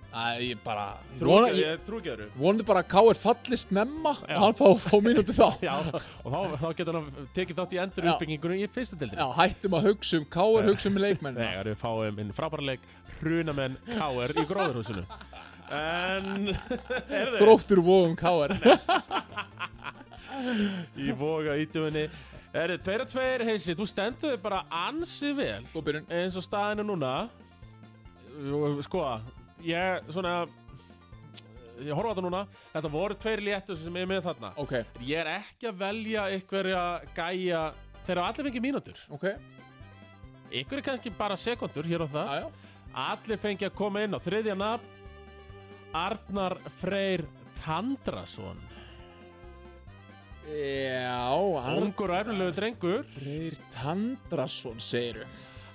Speaker 2: Það ég bara vona, ég,
Speaker 1: trúgeður
Speaker 2: Vonandi bara að K.R. fallist nemma
Speaker 1: Já.
Speaker 2: og hann fá, fá mínúti þá
Speaker 1: Já, og þá, þá getur hann tekið þátt í endur
Speaker 2: Já.
Speaker 1: uppbyggingunum í fyrstu deildinni
Speaker 2: Já, hættum að hugsa um K.R. hugsa um leikmenn
Speaker 1: Þegar við fáum inn frábærarleik hrunamenn káir í gróðurhúsinu En er þeir
Speaker 2: Þróttur vóðum K.R.
Speaker 1: í voga ítjöfunni Er þeir tveir að tveir, heisi, þú stendur þig bara ansi vel
Speaker 2: Góð byrjun
Speaker 1: eins og staðinu núna Jú, sko ég svona sko, ég horfa á þetta núna Þetta voru tveir léttu sem er með þarna
Speaker 2: Ok,
Speaker 1: Ég er ekki að velja ykkurja gæja Þeir eru allir fengið mínútur
Speaker 2: ok,
Speaker 1: Ykkur er kannski bara sekundur hér og það
Speaker 2: aðjá
Speaker 1: Allir fengi að koma inn á þriðja nafn Arnar Freyr Tandrason
Speaker 2: Já, hann
Speaker 1: Ungur og efnilegu drengur
Speaker 2: Freyr Tandrason, segiru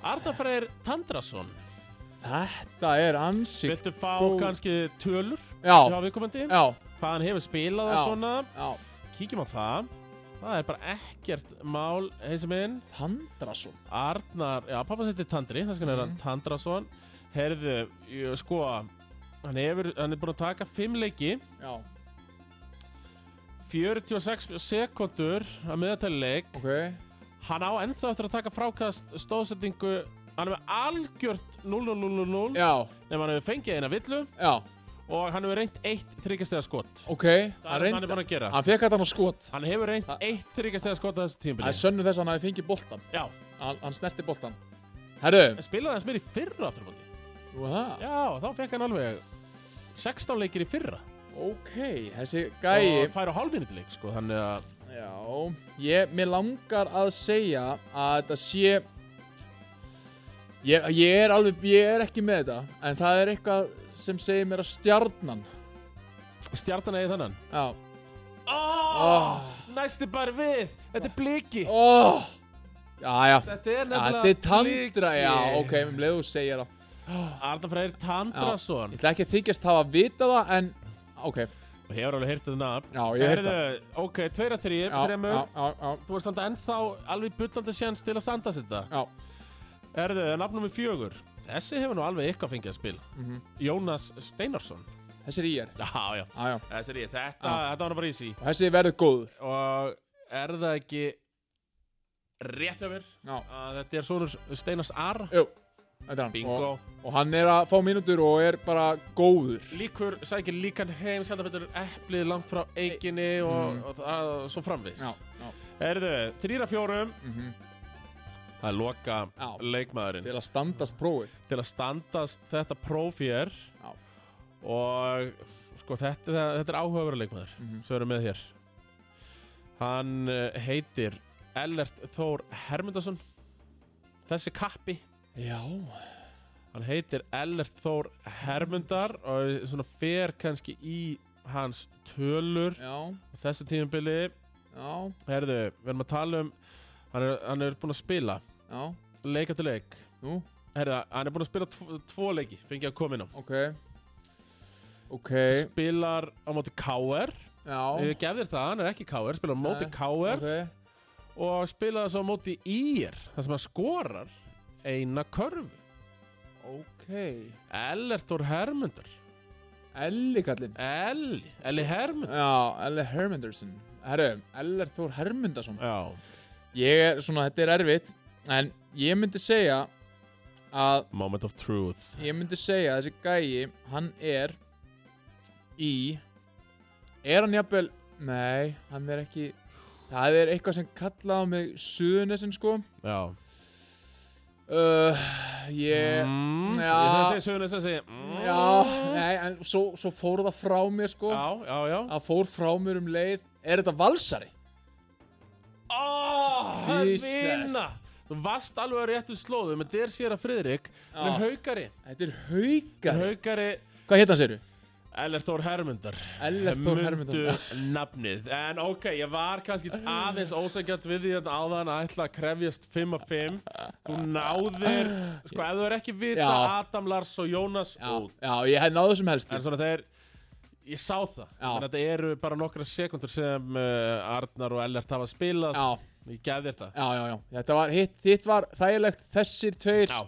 Speaker 1: Arnar Freyr Tandrason
Speaker 2: Þetta er ansi
Speaker 1: Viltu fá
Speaker 2: Góð.
Speaker 1: kannski tölur
Speaker 2: Já,
Speaker 1: hjá viðkomandi?
Speaker 2: já,
Speaker 1: Hvað hann hefur spilað og
Speaker 2: Já.
Speaker 1: svona
Speaker 2: já
Speaker 1: Kíkjum á það Það er bara ekkert mál Heisi minn
Speaker 2: Tandrason
Speaker 1: Arnar, já pappa seti Tandri Það skal mm. hann
Speaker 2: Mhm.
Speaker 1: Tandrason Herðu, ég- sko Hann, hefur, hann er búin að taka fimm leiki
Speaker 2: Já,
Speaker 1: 46 sekundur að meðatæli leik
Speaker 2: ok
Speaker 1: Hann á ennþá eftir að taka frákast stóðsetningu Hann er með algjört 0-0-0-0
Speaker 2: Já,
Speaker 1: Nefn hann hefur fengið eina villu
Speaker 2: já,
Speaker 1: Og hann hefur reynt eitt þryggjastega skot
Speaker 2: ok
Speaker 1: Það
Speaker 2: Hann,
Speaker 1: er hann
Speaker 2: reynd,
Speaker 1: er búin að gera
Speaker 2: hann fekk þetta hann á skot
Speaker 1: Hann hefur reynt
Speaker 2: Það-
Speaker 1: eitt þryggjastega skot að þessu
Speaker 2: Það er
Speaker 1: tímpili
Speaker 2: sönnu þess að hann hafi fengið boltan
Speaker 1: Já,
Speaker 2: Hann, hann snerti boltan Herru,
Speaker 1: en spilaði hans mér í fyrra afturbóti
Speaker 2: nú er það
Speaker 1: Já, þá fekk hann alveg 16 leikir í fyrra
Speaker 2: Ok, þessi
Speaker 1: Og
Speaker 2: gæi
Speaker 1: fær á hálfminuti leik sko Þannig að
Speaker 2: Já, ég, mér langar að segja að þetta sé ég, ég er alveg, ég er ekki með þetta en það er eitthvað sem segir mér að stjarnan
Speaker 1: stjartan eigi þannan
Speaker 2: Já,
Speaker 1: oh,
Speaker 2: oh,
Speaker 1: Næsti bara við Þetta er bliki
Speaker 2: oh. Já, já,
Speaker 1: Þetta er
Speaker 2: Já,
Speaker 1: nefnilega
Speaker 2: þetta er tandra,
Speaker 1: bliki.
Speaker 2: já, ok, um leiðu þú segir það
Speaker 1: Arnar Freyr Tandrason
Speaker 2: Ég ætla ekki að þykjast hafa að vita það, en, ok,
Speaker 1: Ég hefur alveg heyrt þetta nafn
Speaker 2: já, ég heyrt það
Speaker 1: Heyrðu, Ok, tveira
Speaker 2: Já,
Speaker 1: þrýr,
Speaker 2: já,
Speaker 1: þremur
Speaker 2: já, já,
Speaker 1: Þú ert standa ennþá alveg bullandi sjans til að standa sér þetta
Speaker 2: já,
Speaker 1: Herðu, nafn nummer fjögur Þessi hefur nú alveg eitthvað fengið að spil
Speaker 2: mhm.
Speaker 1: Jónas Steinarsson
Speaker 2: þessi er í er,
Speaker 1: Já, já,
Speaker 2: já, já,
Speaker 1: þessi er ég Þetta,
Speaker 2: Já.
Speaker 1: þetta var nú bara easy
Speaker 2: og þessi verður góður,
Speaker 1: Og er það ekki rétt hjá mér
Speaker 2: já,
Speaker 1: að þetta er sonur Steinars Ar
Speaker 2: jú, þetta er hann Og-
Speaker 1: Bingo
Speaker 2: og hann er að fá mínútur og er bara góður
Speaker 1: Líkur sækir líkan heim Sjálf þetta er eplið langt frá eiginni og,
Speaker 2: Mm.
Speaker 1: og það svo framvis
Speaker 2: já, já,
Speaker 1: Erðu, þrýra fjórum
Speaker 2: mhm,
Speaker 1: Það er loka
Speaker 2: já
Speaker 1: leikmaðurinn
Speaker 2: til að standast prófið
Speaker 1: Til að standast þetta prófér
Speaker 2: Já.
Speaker 1: Og sko þetta, þetta er áhugaverið leikmaður
Speaker 2: Mhm.
Speaker 1: Svo erum við hér Hann eh, heitir Ellert Þór Hermundarsson Þessi kappi
Speaker 2: já,
Speaker 1: Hann heitir Ellert Þór Hermundar og svona fer kannski í hans tölur
Speaker 2: já,
Speaker 1: á þessu tímabili
Speaker 2: já,
Speaker 1: Herðu, við erum að tala um hann er, hann er búinn að spila
Speaker 2: já
Speaker 1: leik eftir leik
Speaker 2: nú,
Speaker 1: Herðu, hann er búinn að spila tvo, tvo leiki fengið að koma inn á
Speaker 2: ok ok,
Speaker 1: Spilar á móti KR
Speaker 2: já
Speaker 1: Ég gef þér það, hann er ekki KR Spilar á móti
Speaker 2: Nei.
Speaker 1: KR
Speaker 2: ok,
Speaker 1: og spilaði svo á móti IR þar sem hann skorar eina körfu
Speaker 2: ok
Speaker 1: Ellert Þór Hermundar
Speaker 2: Elli kallinn
Speaker 1: Elli, Elli Hermundar
Speaker 2: já, Elli Hermunderson herru, Eller Þór Hermundarsson
Speaker 1: Já,
Speaker 2: ég er svona, þetta er erfitt en ég myndi segja að,
Speaker 1: moment of truth
Speaker 2: ég myndi segja að þessi gæi, hann er í er hann jafnvel, nei hann er ekki, það er eitthvað sem kallaði á mig suðunesin sko
Speaker 1: Já
Speaker 2: uh, ég
Speaker 1: mm,
Speaker 2: já.
Speaker 1: Það segir söguna þess að segja mm,
Speaker 2: já, nei, en svo, svo fór það frá mér sko,
Speaker 1: Já, já, já
Speaker 2: það fór frá mér um leið er þetta valsari?
Speaker 1: Ó, það
Speaker 2: Ah, Jesus.
Speaker 1: vinna Ah, Þú varst alveg á réttu slóðu með þér sér að Friðrik
Speaker 2: Já.
Speaker 1: með haukari
Speaker 2: Þetta er haugari,
Speaker 1: haukari
Speaker 2: hvað hétt hann séru?
Speaker 1: Ellert Þór Hermundar
Speaker 2: Eller Þór Hermundarsson
Speaker 1: Mundu nafnið En ok, ég var kannski aðeins ósækjant við því að áðan að ætla að krefjast 5 af 5 Þú náðir Sko, ef þú er ekki vita
Speaker 2: Já.
Speaker 1: Adam, Lars og Jónas
Speaker 2: já,
Speaker 1: út
Speaker 2: já, ég hef náðu sem helst
Speaker 1: En svona þeir Ég sá það
Speaker 2: Já.
Speaker 1: En þetta eru bara nokkra sekundur sem uh, Arnar og Ellert hafa spilað
Speaker 2: já,
Speaker 1: Ég gef þér það
Speaker 2: já, já, já, þetta var hitt, hitt var þægilegt þessir tveir
Speaker 1: Já,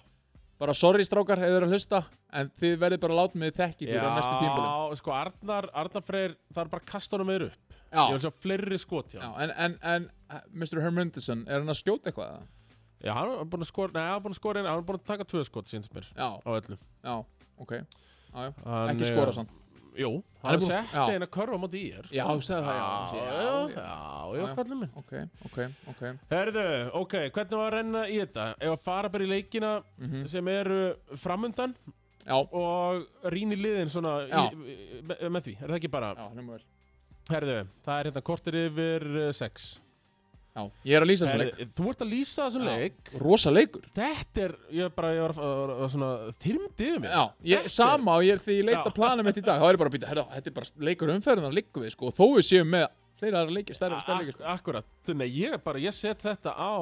Speaker 2: bara sorry strákar ef þið eru að hlusta en þið verðið bara að láta mig þekki ykkur á næstu tímbilum
Speaker 1: já sko Arnar, Arnar Freyr Það er bara að kasta honum meður upp Ég vil
Speaker 2: já,
Speaker 1: sjá fleiri skot hjá
Speaker 2: já,
Speaker 1: Já,
Speaker 2: en, en, en eh, Mr. Hermundason, er hann að skjóta eitthvað? eða?
Speaker 1: já hann er búin að skora Nei, hann er búin að skora einu Hann er búin að taka tvö skot síns mér
Speaker 2: Já,
Speaker 1: Á öllu
Speaker 2: já, ok já, já.
Speaker 1: hann,
Speaker 2: ekki
Speaker 1: eh,
Speaker 2: skora samt
Speaker 1: Jú, hann
Speaker 2: Hann er
Speaker 1: er
Speaker 2: búinn-
Speaker 1: sett
Speaker 2: já.
Speaker 1: eina körfa móti í þér
Speaker 2: Já, þú sagði það, já,
Speaker 1: já,
Speaker 2: já,
Speaker 1: já,
Speaker 2: já.
Speaker 1: já, já,
Speaker 2: Já.
Speaker 1: kallum minn
Speaker 2: ok, ok, ok
Speaker 1: Herðu, ok, hvernig var að renna í þetta? Ef að fara bara í leikina
Speaker 2: mhm,
Speaker 1: sem eru framundan
Speaker 2: Já,
Speaker 1: og rýni liðin svona í,
Speaker 2: Já.
Speaker 1: me, með því, er það ekki bara
Speaker 2: já, hljóma vel
Speaker 1: Herðu, það er hérna kortir yfir 6
Speaker 2: Já, ég er að lýsa þessum leik
Speaker 1: Þú ert að lýsa þessum
Speaker 2: Já.
Speaker 1: leik
Speaker 2: Rosa leikur
Speaker 1: Þetta er, ég bara, ég var, var, var svona þyrmdiðu mig
Speaker 2: Já, ég, sama og ég er því ég leita
Speaker 1: Já.
Speaker 2: að plana mitt í dag þá er ég bara að býta, herra, þetta er bara leikur umferðan liggum við sko og þó við séum með fleira aðra leiki,
Speaker 1: Ah,
Speaker 2: stærri, stærri leiki sko.
Speaker 1: Ak- Akkurat, þannig að ég bara, ég set þetta á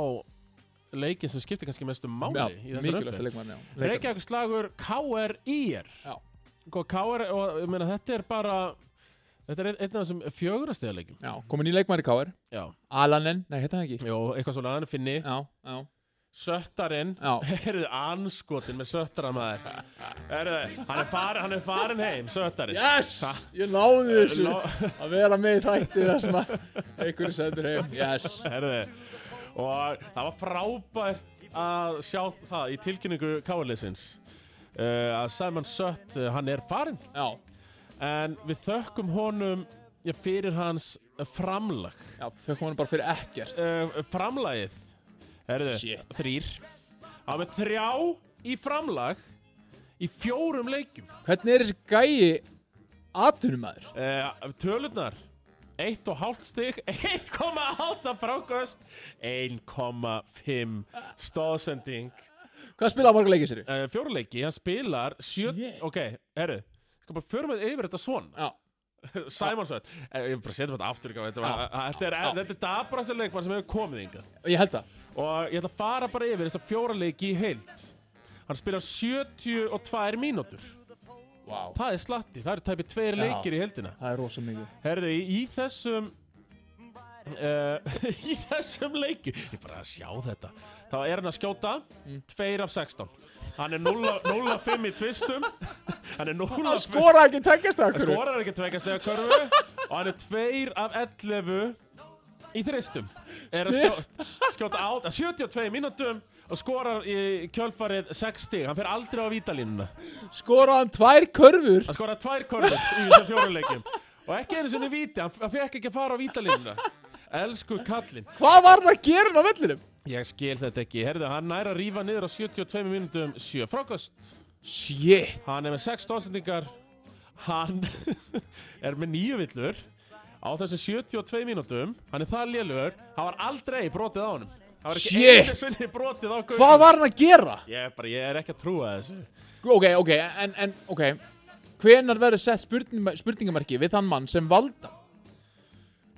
Speaker 1: leikin sem skiptir kannski mestu máli
Speaker 2: Já,
Speaker 1: ah, í þessar
Speaker 2: mikilvægsta
Speaker 1: umferð.
Speaker 2: leikmann, já Leikmann.
Speaker 1: Reykjavík slagur KR-IR
Speaker 2: Já.
Speaker 1: Og KR, Sko, og ég meina þetta er bara Þetta er einn einn af þessum fjögurastega leikum
Speaker 2: Já, komin í leikmann í K.R.
Speaker 1: Já,
Speaker 2: Alanen, nei, hérna ekki
Speaker 1: Jó, eitthvað svona aðan finni
Speaker 2: Já, já,
Speaker 1: Söttarinn
Speaker 2: já
Speaker 1: Herðu, anskotin með söttara maður Herðu, hann er farin, hann er farin heim, söttarinn
Speaker 2: Yes, ég náði þessu
Speaker 1: Ló-
Speaker 2: að vera með í þætti þar sem að einhverju sendur heim Yes,
Speaker 1: Herðu, og það var frábært að sjá það í tilkynningu káliðsins uh, að Simon Sött, uh, hann er farin
Speaker 2: já,
Speaker 1: en við þökkum honum já, fyrir hans framlag
Speaker 2: já, þau komum bara fyrir ekkert
Speaker 1: uh, framlagið Herðu,
Speaker 2: Shit.
Speaker 1: þrýr hann var með þrjá í framlag í fjórum leikjum
Speaker 2: Hvernig er þessi gæi atvinnumæður?
Speaker 1: uh, Tölurnar 1,5 stig, 1,8 frákvöst 1,5 stóðsending
Speaker 2: Hvað spilaði marga leikið sér í?
Speaker 1: uh, Fjóruleiki, hann spilar sjö...
Speaker 2: Shit.
Speaker 1: Ok, herru Sko bara förum við yfir þetta svona
Speaker 2: Já,
Speaker 1: Simon Svett Ég vil bara setja þetta aftur ekki á Þetta, var,
Speaker 2: Já,
Speaker 1: þetta er,
Speaker 2: já.
Speaker 1: þetta er dabrasa leikmann sem hefur komið hingað
Speaker 2: ég held það
Speaker 1: Og ég ætla að fara bara yfir þessa fjóruleiki í heild Hann spilar 72 mínútur
Speaker 2: Vá,
Speaker 1: Það er slatti, það eru tæpið tveir
Speaker 2: Já.
Speaker 1: leikir í heldina
Speaker 2: það er rosa mikið
Speaker 1: Herðu, í, í þessum uh, í þessum leikju ég er bara að sjá þetta þá er hann að skjóta 2 af 16 hann er 0 af- 0 af 5 í tvistum hann er 0
Speaker 2: Hann
Speaker 1: af 5
Speaker 2: skora ekki tekjast það okkur
Speaker 1: skorar ekki tvekast eða körfu og hann er 2 af 11 í þristum er að skjóta, skjóta át að 72 mínútum og skorar í kjölfarið 6 stig hann fer aldrei á vítalínuna
Speaker 2: Skoraði hann tvær körfur
Speaker 1: hann skoraði tvær korfur í þessum fjóruleikjum og ekki einu sinni víti, hann, hann fekk ekki að fara á vítalínuna Elsku kallinn
Speaker 2: Hvað var hann að gera hann á vellinum?
Speaker 1: Ég skil þetta ekki, herðu, hann nær að rífa niður á 72 mínútum 7 frákost
Speaker 2: Shit
Speaker 1: Hann er með 6 stóðsendingar Hann er með 9 villur á þessum 72 mínútum Hann er það lélur, hann var aldrei brotið á honum Hann var ekki
Speaker 2: Shit.
Speaker 1: einu sinni brotið á gauðum
Speaker 2: Hvað var hann að gera?
Speaker 1: Ég, er bara, ég er ekki að trúa þessu
Speaker 2: Ok, ok, en, en, ok Hvenar verður sett spurning, spurningamarki við þann mann sem valda?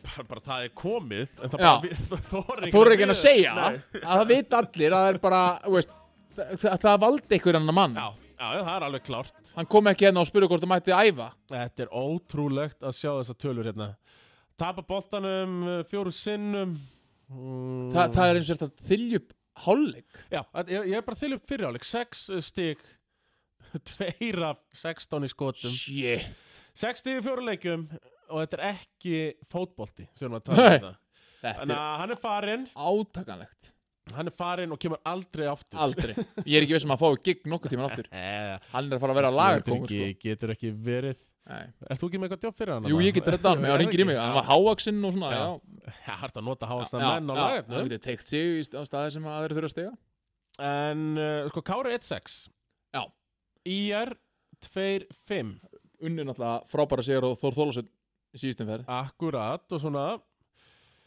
Speaker 1: bara, bara það er komið en það
Speaker 2: Já.
Speaker 1: bara þóri
Speaker 2: Þú eru ekki að segja að það veit allir að það er bara, þú veist, það, það- það valdi einhver annan mann.
Speaker 1: Já, já, já, það er alveg klárt.
Speaker 2: Hann kom ekki hérna og spurði hvort það mætti æfa.
Speaker 1: Þetta er ótrúlegt að sjá þessa tölur hérna. Tapa boltanum uh, fjóru sinnum. Mm,
Speaker 2: Þa, það er eins og þetta þylju upp hálfleik.
Speaker 1: Já, að- ég, ég er bara til upp fyrir áleik. Sex uh, stig, tveir af 16 í skotum.
Speaker 2: Shit.
Speaker 1: Sex stig í fjóru leikjum og þetta er ekki fótbolti sem við erum að tala um
Speaker 2: Nei.
Speaker 1: þetta.
Speaker 2: Þetta
Speaker 1: Þannig
Speaker 2: er
Speaker 1: að hann er farinn,
Speaker 2: átakanlegt.
Speaker 1: hann er farinn og kemur aldrei aftur.
Speaker 2: Aldrei. Ég er ekki viss um að fá gig nokkuð tíma áttur.
Speaker 1: Eh,
Speaker 2: Hann er að fara að vera
Speaker 1: getur
Speaker 2: lagarkomu, sko.
Speaker 1: ekki, getur ekki verið.
Speaker 2: Nei.
Speaker 1: Er þú ekki með eitthvað djópp fyrir hann?
Speaker 2: Jú, ég get þetta á hann, hann ringir í mig. Hann var hávaksinn og svona,
Speaker 1: Já.
Speaker 2: já.
Speaker 1: Það er hægt að nota háast
Speaker 2: Já,
Speaker 1: menn á
Speaker 2: já,
Speaker 1: lagarnu.
Speaker 2: Hann getur teikt sig í st- á staði sem aðeir þurfa að stiga.
Speaker 1: En uh, sko, Kári 1-6
Speaker 2: Já.
Speaker 1: IR 2-5
Speaker 2: Unni náttúrulega frábæra sigur og Þór Þólasund í síðustum ferð
Speaker 1: Akkurat og svona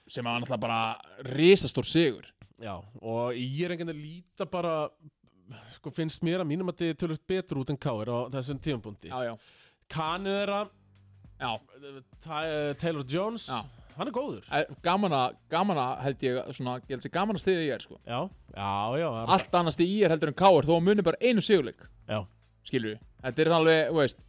Speaker 2: sem var náttúrulega bara risastór sigur
Speaker 1: Já, og IR einhvern veginn líta bara sko finnst mér að mínum að þið tölvöld betur út en Kári á þessum tímabundi
Speaker 2: Já, já,
Speaker 1: Kanið þeirra
Speaker 2: já,
Speaker 1: uh, Ta- uh, Taylor Jones
Speaker 2: já.
Speaker 1: Hann er góður
Speaker 2: Er- Gaman að, gaman að held ég svona, ég held sér gaman að stiðið í er sko
Speaker 1: Já, já, já, það er-
Speaker 2: Allt annað stiðið í er heldur en káir þó að muni bara einu sigurleik
Speaker 1: já.
Speaker 2: Skilur við, þetta er alveg, þú veist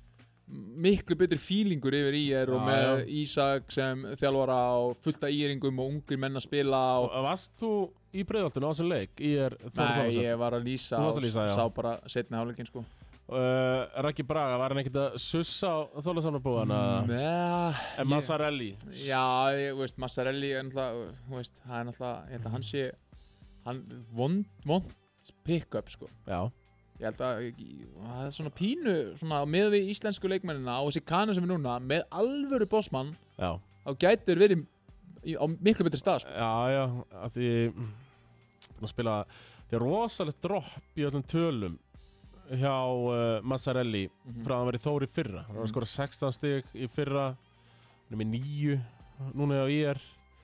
Speaker 2: miklu betri fílingur yfir í er og
Speaker 1: Já,
Speaker 2: með
Speaker 1: já.
Speaker 2: Ísak sem þjálfara og fullta íringum og ungir menn að spila og
Speaker 1: Varst þú í breiðaltinu á þessum leik? IR
Speaker 2: Nei,
Speaker 1: Þorðsson
Speaker 2: ég var að lýsa
Speaker 1: Þú varst
Speaker 2: og
Speaker 1: að lýsa, já.
Speaker 2: sá bara setna hálfleikin sko
Speaker 1: uh, Raki Braga, var hann ekkert að sussa á Eh, Þorðssonabúðana?
Speaker 2: Mm, Með-
Speaker 1: En Massarelli
Speaker 2: Já, ég þú veist, Massarelli er náttúrulega, þú veist, það er náttúrulega, ég held að hann
Speaker 1: Mhm.
Speaker 2: sé, hann, vond, vond pick-up, sko.
Speaker 1: Já
Speaker 2: Ég held að það er svona pínu, svona, með við íslensku leikmennina og þessi kanu sem er núna, með alvöru bossmann,
Speaker 1: Já,
Speaker 2: þá gætur verið í- á miklu betri stað, sko.
Speaker 1: já, já, að því búin að spila, það er rosalegt dropp í öllum tölum hjá uh, Massarelli
Speaker 2: Mm.
Speaker 1: frá að hann verið Þór í fyrra hann var að
Speaker 2: Mhm.
Speaker 1: skora 16 stig í fyrra hann er með 9 núna hjá IR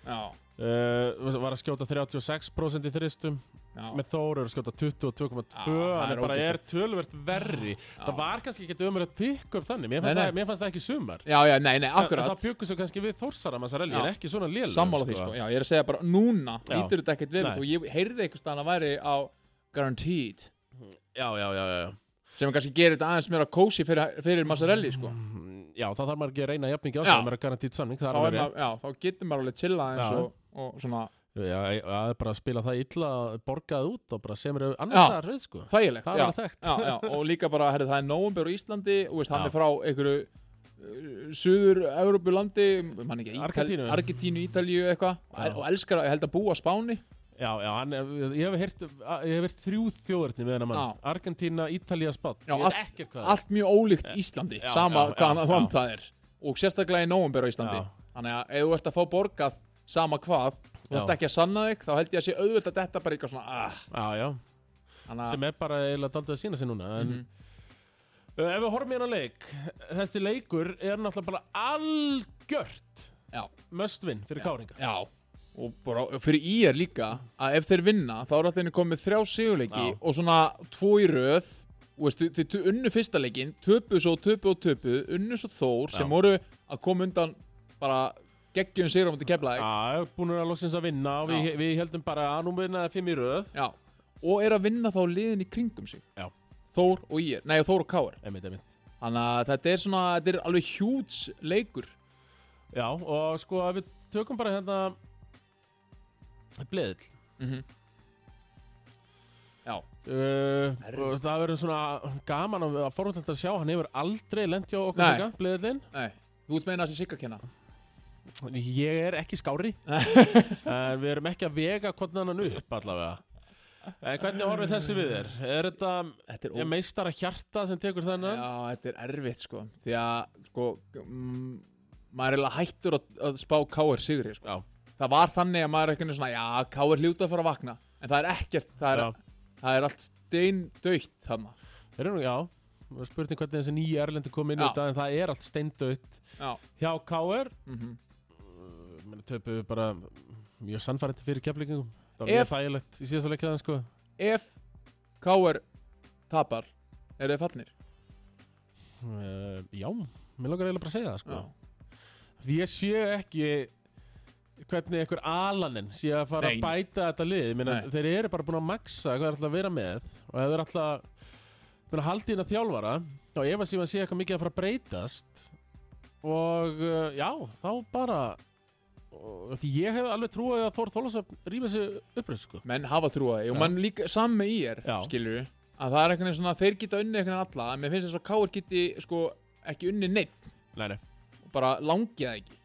Speaker 2: já,
Speaker 1: uh, var að skjóta 36% í þristum
Speaker 2: já,
Speaker 1: með Þór er að skjóta 22,2
Speaker 2: Já, Ah, það
Speaker 1: hann
Speaker 2: er
Speaker 1: er bara er
Speaker 2: ógeðslegt.
Speaker 1: tölvert verri það var kannski ekki umrætt pick up þannig mér fannst,
Speaker 2: Nei, nei.
Speaker 1: Það, mér fannst það ekki í sumar
Speaker 2: já, já, nei, nei,
Speaker 1: En
Speaker 2: akkurat
Speaker 1: það byggur svo kannski við Þórsara Massarelli
Speaker 2: Já.
Speaker 1: er ekki svona lélega
Speaker 2: sammála því sko, já, ég er að segja bara núna
Speaker 1: Já.
Speaker 2: lítur þetta ekkert vel
Speaker 1: Nei.
Speaker 2: út og ég heyrði einhvers staðan að væri á Guaranteed
Speaker 1: já, já, já, já, já.
Speaker 2: sem kannski gerir þetta aðeins meira kósi fyrir, fyrir Massarelli sko
Speaker 1: Mm, já, það þarf maður ekki að reyna jafn mikið á
Speaker 2: Já.
Speaker 1: sig að maður er garantít samning það
Speaker 2: þá,
Speaker 1: er
Speaker 2: er
Speaker 1: alveg rétt.
Speaker 2: maður, já, þá getur maður alveg chilla aðeins
Speaker 1: Já.
Speaker 2: og, og svona
Speaker 1: Já, já, það er bara að spila það illa borgað út og bara semur annars
Speaker 2: Já.
Speaker 1: staðar við sko
Speaker 2: þægilegt
Speaker 1: það
Speaker 2: já,
Speaker 1: er alveg þekkt
Speaker 2: já, já, og líka bara, herri, það er nóumber á Íslandi og veist, hann
Speaker 1: Já.
Speaker 2: er frá einhverju uh, suður Evrópulandi man ekki, Ítal-
Speaker 1: Argentínu.
Speaker 2: Argentínu, Ítalíu eitthvað
Speaker 1: Já.
Speaker 2: og, og elskar að, ég held að búa á Spáni
Speaker 1: Já, já, hann, er- ég hef heyrt ég hef heyrt þrjú þjóðurni með hennar mann Argentína, Ítalía, Spán
Speaker 2: Já,
Speaker 1: Ég
Speaker 2: allt-
Speaker 1: veit ekkert hvað
Speaker 2: allt mjög ólíkt Íslandi
Speaker 1: Já,
Speaker 2: sama
Speaker 1: já, já,
Speaker 2: hvað
Speaker 1: já.
Speaker 2: hann það er og sérstaklega í nóumber á Íslandi
Speaker 1: Já.
Speaker 2: þannig að ef þú ert að fá borgað sama hvað þú
Speaker 1: Já.
Speaker 2: ert ekki að sanna þig, þá held ég að sé auðvöld að þetta bara eitthvað svona ah,
Speaker 1: Já, já,
Speaker 2: þannig að
Speaker 1: sem er bara eiginlega daldið að sína sig núna en,
Speaker 2: Mhm.
Speaker 1: uh, Ef við horfum hérna á leik þessi leikur er náttúrulega bara algjört
Speaker 2: Já.
Speaker 1: möstvinn fyrir káringa
Speaker 2: Já Og bara, og fyrir í er líka að ef þeir vinna þá er allir komið þrjá sigurleiki
Speaker 1: Já.
Speaker 2: og svona tvo í röð og veist, þeir tu- unnu fyrsta leikin töpu svo, töpu og töpu, unnu svo þór
Speaker 1: Já.
Speaker 2: sem voru að koma undan bara geggjum sigur á mútið keflaði
Speaker 1: Já, búin að loksins að vinna og við,
Speaker 2: Já.
Speaker 1: við heldum bara að nú vinnaði fimm í röð
Speaker 2: Já. og er að vinna þá liðin í kringum sig
Speaker 1: Já.
Speaker 2: Þór og í er, nei og Þór og Káar
Speaker 1: Einmitt, einmitt
Speaker 2: þannig að þetta er svona, þetta er alveg hjúts leikur
Speaker 1: Já, og sko ef við tökum bara hérna bleðil
Speaker 2: Já,
Speaker 1: uh, og það verður svona gaman að, að forhundlega að sjá hann hefur aldrei lent hjá okkur
Speaker 2: Nei.
Speaker 1: líka, bleðilinn
Speaker 2: nei, þú ert meina þessi sigga kenna
Speaker 1: ég er ekki skári en við erum ekki að vega hvernig hann upp allavega en hvernig horfið þessi við þér? er þetta
Speaker 2: Þetta
Speaker 1: er meistara hjarta sem tekur þennan?
Speaker 2: Já, þetta er erfitt sko Því að sko mm, Maður er eiginlega hættur að, að spá K.R. Sigri sko.
Speaker 1: Já.
Speaker 2: Það var þannig að maður er einhvern veginn svona Já, K.R. hljóta að fara að vakna En það er ekkert, það
Speaker 1: Já.
Speaker 2: er, það er allt steindautt þarna
Speaker 1: Þeir eru nú, já, Við erum spurning hvernig þessi nýja erlendi kom inn í
Speaker 2: Já.
Speaker 1: þetta en það er allt steindautt
Speaker 2: Já,
Speaker 1: hjá K.R.
Speaker 2: mm
Speaker 1: Mér töpu við bara mjög sannfærandi fyrir keflingum Það var
Speaker 2: Ef-
Speaker 1: mjög þægilegt í síðasta leikjaðan sko
Speaker 2: Ef K.R. tapar Er þið fallnir?
Speaker 1: uh, Já, mér langar eiginlega bara að segja það sko Því ég sé ekki hvernig einhver alaninn sé að fara
Speaker 2: Nei.
Speaker 1: að bæta þetta lið Ég meina,
Speaker 2: Nei.
Speaker 1: Þeir eru bara búin að maksa hvað er alltaf að vera með og þeir eru alltaf búin að halda inn að þjálfara og ef að síðan sé eitthvað mikið að fara að breytast og uh, já, þá bara og, því ég hef alveg trúið að Þór Þólasöfn rýma sig uppröð sko
Speaker 2: Menn hafa trúaði Og
Speaker 1: Já.
Speaker 2: mann líka saman með IR,
Speaker 1: Já.
Speaker 2: skilur við Að það er einhvern veginn svona Þeir geta unni einhvern veginn alla En mér finnst þess að K.R. geti sko ekki unni neitt
Speaker 1: Nei, nei
Speaker 2: Bara langið það ekki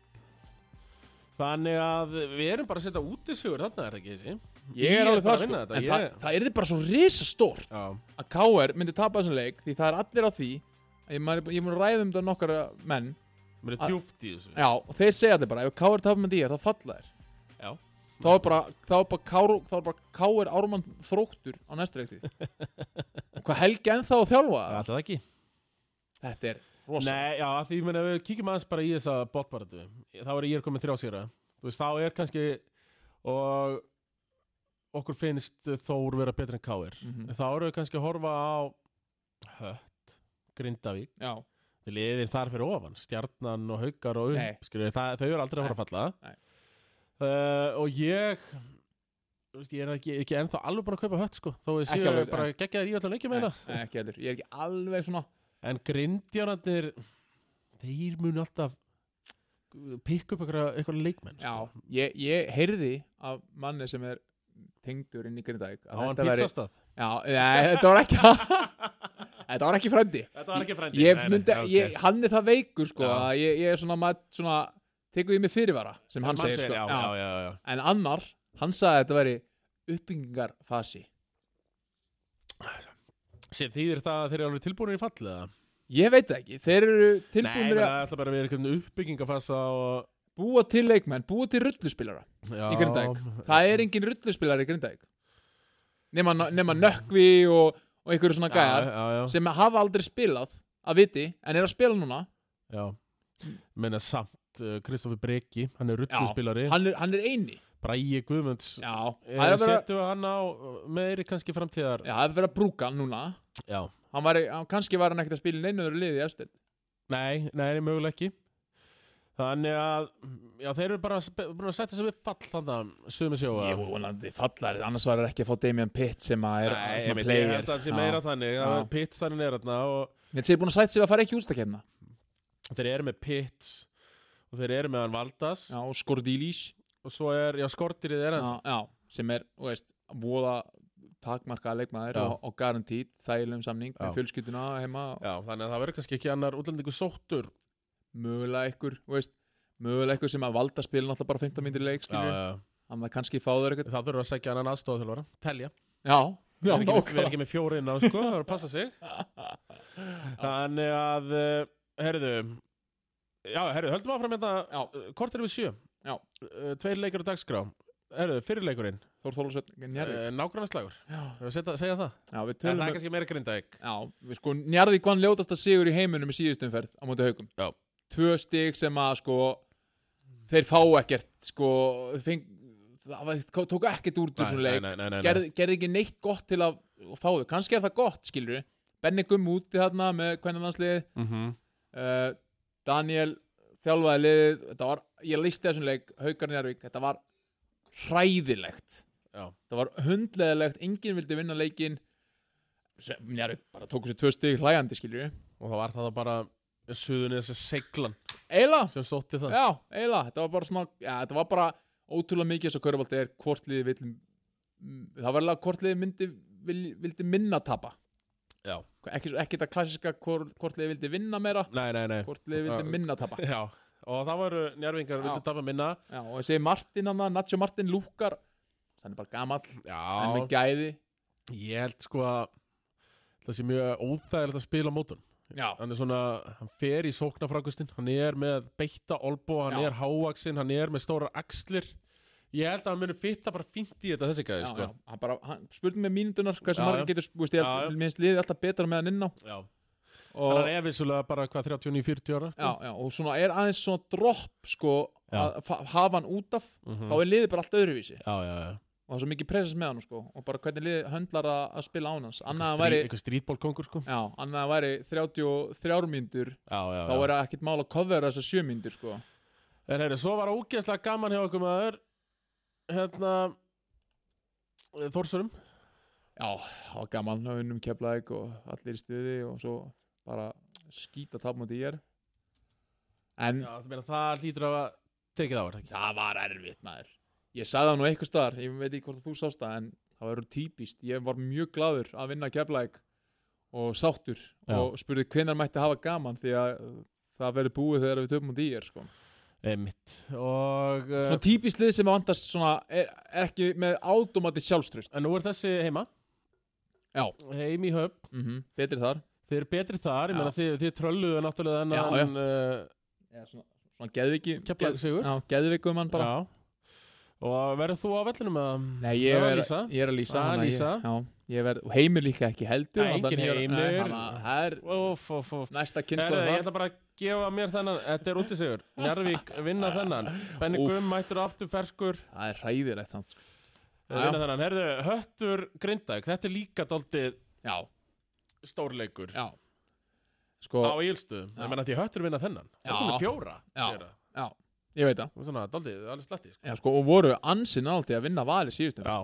Speaker 1: Þannig að við erum bara að setja út í sigur þarna er það ekki þessi
Speaker 2: Ég er
Speaker 1: bara
Speaker 2: alveg það
Speaker 1: að
Speaker 2: sko,
Speaker 1: vinna
Speaker 2: en
Speaker 1: þetta,
Speaker 2: það, það er þið bara svo risastórt
Speaker 1: Já,
Speaker 2: að K.R. myndi tapa þessum leik því það er allir á því að ég, maður, ég mun ræða um þetta nokkara menn
Speaker 1: mér er
Speaker 2: Að-
Speaker 1: djúft í þessu
Speaker 2: já, og þeir segja allir bara, ef K.R. tapar með þér þá falla þér
Speaker 1: Já.
Speaker 2: þá er bara, þá er bara, Kár, þá er bara K.R. Ármann þróttur á næstu leikti og hvað helgi ennþá að þjálfa
Speaker 1: Það er alltaf ekki
Speaker 2: þetta er rosa
Speaker 1: Nei, já, því ég meina, ef við kíkjum aðeins bara í þessa botbaratu Þá er ég komið þrjá sigra Þú veist, þá er kannski Og okkur finnst Þór vera betri en Káir
Speaker 2: Mhm.
Speaker 1: Þá eru við kannski að horfa á Hött, Grindavík
Speaker 2: já,
Speaker 1: Þeir liðir þar fyrir ofan, stjarnan og haukar og
Speaker 2: Nei.
Speaker 1: upp, skilur, það, þau eru aldrei að fara að falla
Speaker 2: Nei.
Speaker 1: uh, og ég þú veist, ég er ekki, ekki ennþá alveg búin að kaupa hött sko, þó ég
Speaker 2: Ekki
Speaker 1: séu
Speaker 2: alveg,
Speaker 1: bara geggjaðir í öllum leikjum
Speaker 2: nei,
Speaker 1: meina
Speaker 2: nei, ekki heldur, ég er ekki alveg svona
Speaker 1: en grindjánandir þeir munu alltaf pikk upp einhverja, einhverja leikmenn
Speaker 2: já,
Speaker 1: sko.
Speaker 2: ég, ég heyrði af manni sem er tengdur inn í Grindavík
Speaker 1: á
Speaker 2: að
Speaker 1: hann
Speaker 2: þetta væri-
Speaker 1: pizzastað
Speaker 2: Já, nei, þetta var ekki Þetta var ekki frændi
Speaker 1: þetta var ekki frændi
Speaker 2: Ég myndi, ég, hann er það veikur sko,
Speaker 1: Já.
Speaker 2: að ég, ég er svona, mað, svona tekur ég mig fyrirvara sem hann segir sko.
Speaker 1: já, já, já, já, já.
Speaker 2: En annar, hann sagði að þetta væri uppbyggingarfasi
Speaker 1: Sér, þýðir það að þeir eru alveg tilbúinir í fallið eða?
Speaker 2: Ég veit það ekki, þeir eru
Speaker 1: Nei,
Speaker 2: tilbúinir
Speaker 1: það
Speaker 2: að
Speaker 1: ætla bara að vera einhvern uppbyggingafasa og...
Speaker 2: búa til leikmenn, búa til rulluspilara
Speaker 1: Já,
Speaker 2: í Grindavík Það er engin rulluspilar í Grindavík Nefna, nefna nökkvi og, og einhverju svona gæjar
Speaker 1: já, já,
Speaker 2: sem hafa aldrei spilað að viti en er að spila núna
Speaker 1: já. Menna samt uh, Kristoffer Breki, hann er rulluspilari
Speaker 2: hann er, hann er eini
Speaker 1: Bræi Guðmunds
Speaker 2: já, það er
Speaker 1: Er
Speaker 2: að vera,
Speaker 1: setjum við hann á uh, meiri kannski framtíðar
Speaker 2: já, það er að vera brúkan núna
Speaker 1: Já.
Speaker 2: hann var, hann, kannski var hann ekkert að spila í neinu öðru liði í efstil
Speaker 1: Nei, nei, möguleg ekki Þannig að já, þeir eru bara sp- búin að setja sig við fall þannig að sögum sjóa
Speaker 2: Jú, vonandi fallar, annars var það ekki að fá Damian Pitt sem að er
Speaker 1: Nei, ég
Speaker 2: svona
Speaker 1: meina,
Speaker 2: player
Speaker 1: Ég held að það sé
Speaker 2: Já.
Speaker 1: meira þannig Það
Speaker 2: Já.
Speaker 1: er pits þannig er þarna og
Speaker 2: Mér sé búin að sætt sig að fara ekki úrstakefna
Speaker 1: þeir eru með pits og þeir eru með hann Valdas
Speaker 2: Já, og Skordílís
Speaker 1: og svo er, já, skortirið er hann
Speaker 2: já, já, sem er, þú veist, voða takmarkaða leikmaður
Speaker 1: Já.
Speaker 2: og, og garantít þægilegum samning
Speaker 1: Já.
Speaker 2: með fjölskylduna heima og
Speaker 1: Já, þannig að það verður kannski ekki annar útlendingu sóttur
Speaker 2: mögulega ykkur, þú veist mögulega ykkur sem að valda spila náttúrulega bara 15 myndir leik, skilju,
Speaker 1: já.
Speaker 2: þannig að kannski fá þau eitthvað
Speaker 1: Það þurfa að segja annan aðstofa þjálfara Telja
Speaker 2: Já, já,
Speaker 1: Við erum ekki,
Speaker 2: nákvæmlega
Speaker 1: er ekki með fjóri inn á sko, það er að passa sig Þannig að, eh, heyrðu Já, heyrðu, höldum áfram hérna
Speaker 2: Já,
Speaker 1: Kort erum við sjö
Speaker 2: Já.
Speaker 1: Eh, Tveir leikur á dagskrá Heyrðu, fyrirleikurinn
Speaker 2: Þór Þólasöfn Njarðvík,
Speaker 1: Nágrannaslagur
Speaker 2: já,
Speaker 1: Segja það
Speaker 2: já,
Speaker 1: Eh,
Speaker 2: við
Speaker 1: En það
Speaker 2: tölum
Speaker 1: er
Speaker 2: um-
Speaker 1: kannski meira grindaðik
Speaker 2: Já, við sko, Njarðvík vann ljótasta sigur í heiminum í síðustumferð á móti haugum
Speaker 1: Já.
Speaker 2: Tvö stig sem að, sko þeir fá ekkert, sko feng, það var- tóku ekkert úr úr svona leik
Speaker 1: nei, nei,
Speaker 2: gerði, gerði ekki neitt gott til að fá þau, kannski er það gott, skilur við Benni Gumm úti þarna með hvernig landslið
Speaker 1: Mhm.
Speaker 2: uh, Daniel þjálfaði liðið, þetta var ég listi þessum leik, Haukar Njárvík, þetta var hræðilegt
Speaker 1: Já.
Speaker 2: það var hundleðilegt, enginn vildi vinna leikin Njárvík bara tóku sér tvö stig hlæjandi, skilur við
Speaker 1: Og það var það bara Suðunni þessi seglan
Speaker 2: Eila,
Speaker 1: sem sótti það
Speaker 2: já, eila, þetta var bara svona já, þetta var bara ótrúlega mikið þess að Körubaldi er hvort liðið vill mm, það var alveg að hvort liðið myndi vil, vildi minna tapa
Speaker 1: Já.
Speaker 2: ekki, ekki þetta klassiska hvor- hvort liðið vildi vinna meira
Speaker 1: Nei, nei, nei
Speaker 2: hvort liðið vildi
Speaker 1: Já.
Speaker 2: minna tapa
Speaker 1: Já Og það voru njárvingar
Speaker 2: Já.
Speaker 1: Viltu tapa minna
Speaker 2: Já, og ég segi Martin hann, Nacho Martin lúkar hann er bara gamall, en
Speaker 1: Já
Speaker 2: með gæði
Speaker 1: Ég held sko að Það sé mjög óþægilegt að spila á mótun
Speaker 2: Já,
Speaker 1: hann er svona, hann fer í sóknarfrákustin hann er með beitta olbó, hann
Speaker 2: Já.
Speaker 1: er hávaksinn, hann er með stóra axlir ég held að hann muni fitta bara fínt í þetta þessi
Speaker 2: já,
Speaker 1: gæði,
Speaker 2: já,
Speaker 1: sko
Speaker 2: hann bara, hann spurði með mínutunar hversu
Speaker 1: Já,
Speaker 2: margir
Speaker 1: já.
Speaker 2: getur, þú veist, ég
Speaker 1: Já,
Speaker 2: held-
Speaker 1: já.
Speaker 2: mér finnst liðið alltaf betra með hann inn á
Speaker 1: já.
Speaker 2: og,
Speaker 1: hann er vissulega bara hvað 39-40 ára
Speaker 2: já, já, og svona er aðeins svona dropp, sko,
Speaker 1: Já.
Speaker 2: að fa- hafa hann út af
Speaker 1: mm
Speaker 2: þá er liðið bara allt öðruvísi
Speaker 1: já, já, já.
Speaker 2: og það er svo mikið presens með hann, sko og bara hvernig liðið höndlar að, að spila án hans annað
Speaker 1: Einhver
Speaker 2: hann væri,
Speaker 1: strí- einhver strítbólkongur, sko
Speaker 2: já, annað hann væri 33 mínútur,
Speaker 1: já, já,
Speaker 2: þá
Speaker 1: já.
Speaker 2: er ekkert mál að covera þessar 7 mínútur, sko
Speaker 1: en heyrðu, svo var ógeðslega gaman hjá okkur maður hérna eh, Þórsurum
Speaker 2: Já, það var gaman að unnum keflaðik og allir í stuði og svo bara skýta tapmáti í er En
Speaker 1: já, það, meina, það hlýtur að hafa tekið á er það ekki?
Speaker 2: það var erfitt maður Ég sagði það nú eitthvað staðar, ég veit ekki hvort þú sást það en það var típist, ég var mjög gladur að vinna keflaðik og sáttur
Speaker 1: Já.
Speaker 2: og spurði hvenær mætti hafa gaman því að uh, það verður búið þegar við töfum á dýjar sko.
Speaker 1: Einmitt. og uh,
Speaker 2: Svona típist lið sem að vandast svona er, er ekki með átomati sjálfströst
Speaker 1: en nú er þessi heima
Speaker 2: Já.
Speaker 1: heim í höfn
Speaker 2: mm Betri þar
Speaker 1: Þið eru betri þar, ég meina
Speaker 2: Já.
Speaker 1: þið, þið trölluðu náttúrulega
Speaker 2: Já, já.
Speaker 1: þennan uh,
Speaker 2: Já, svona, svona geðviki
Speaker 1: Keflavík sigur.
Speaker 2: Já, geðvikum hann bara
Speaker 1: Já Og verður þú á vellinum að
Speaker 2: Nei, ég
Speaker 1: Það var
Speaker 2: er,
Speaker 1: Lísa.
Speaker 2: ég er að lýsa
Speaker 1: Það er
Speaker 2: hana,
Speaker 1: Lísa.
Speaker 2: ég, já, ég verð, og heimur líka ekki heldur
Speaker 1: Nei,
Speaker 2: hann
Speaker 1: enginn
Speaker 2: þannig að-
Speaker 1: Heimir.
Speaker 2: nei, hann að- Það er
Speaker 1: Óf, óf, óf
Speaker 2: næsta
Speaker 1: Herðu,
Speaker 2: kynnslóð
Speaker 1: ég
Speaker 2: þar
Speaker 1: ætla bara að gefa mér þennan, þetta er út í sigur Njarvík vinna þennan Benny
Speaker 2: Úff.
Speaker 1: Gumm mættur aftur ferskur
Speaker 2: Það er hræðilegt samt sko.
Speaker 1: eh, vinna þennan Herðu, Höttur Grindæk, þetta er líka daldið
Speaker 2: Já,
Speaker 1: stórleikur
Speaker 2: já Sko,
Speaker 1: á Ílstuðum
Speaker 2: Já.
Speaker 1: Það menn að því Höttur vinna þennan
Speaker 2: Já.
Speaker 1: Það er komið fjóra
Speaker 2: Já.
Speaker 1: segir það.
Speaker 2: já, ég veit það
Speaker 1: Og Svona, daldið, alveg slatti sko.
Speaker 2: Já, sko, og voru ansinn aldrei að vinna vali síðustum
Speaker 1: Já,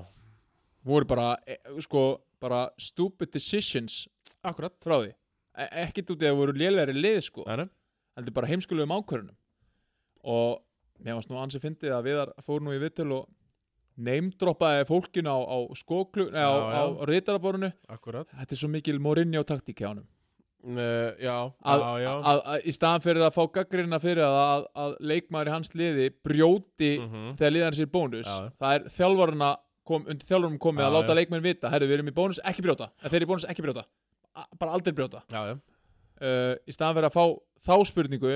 Speaker 2: Voru bara, e, sko, bara stupid decisions
Speaker 1: akkurat
Speaker 2: frá því e Ekkert út í að voru lélegri lið, sko
Speaker 1: Nei, nei.
Speaker 2: heldur bara heimskulegum ákvörunum og mér varst nú ansið fyndið að Viðar fór nú í vittul og neymdroppaði fólkinu á, á skóklu, nei, á,
Speaker 1: Já, já.
Speaker 2: á, á rítaraborinu
Speaker 1: Akkurat
Speaker 2: þetta er svo mikil morinni á taktík hjá honum
Speaker 1: uh, Já,
Speaker 2: að,
Speaker 1: já, já
Speaker 2: að, að í staðan fyrir að fá gaggrina fyrir að, að, að leikmaður í hans liði brjóti
Speaker 1: Mhm.
Speaker 2: þegar liðan sér bónus
Speaker 1: Já, já.
Speaker 2: það er þjálfaruna kom, undir þjálfarum komið
Speaker 1: Já,
Speaker 2: að láta
Speaker 1: já.
Speaker 2: leikmenn vita herru við erum í bónus, ekki brjóta, Ef þeir eru í bónus ekki brjóta A- bara aldrei brjóta
Speaker 1: já, já.
Speaker 2: uh, í staðan fyrir að fá þá spurningu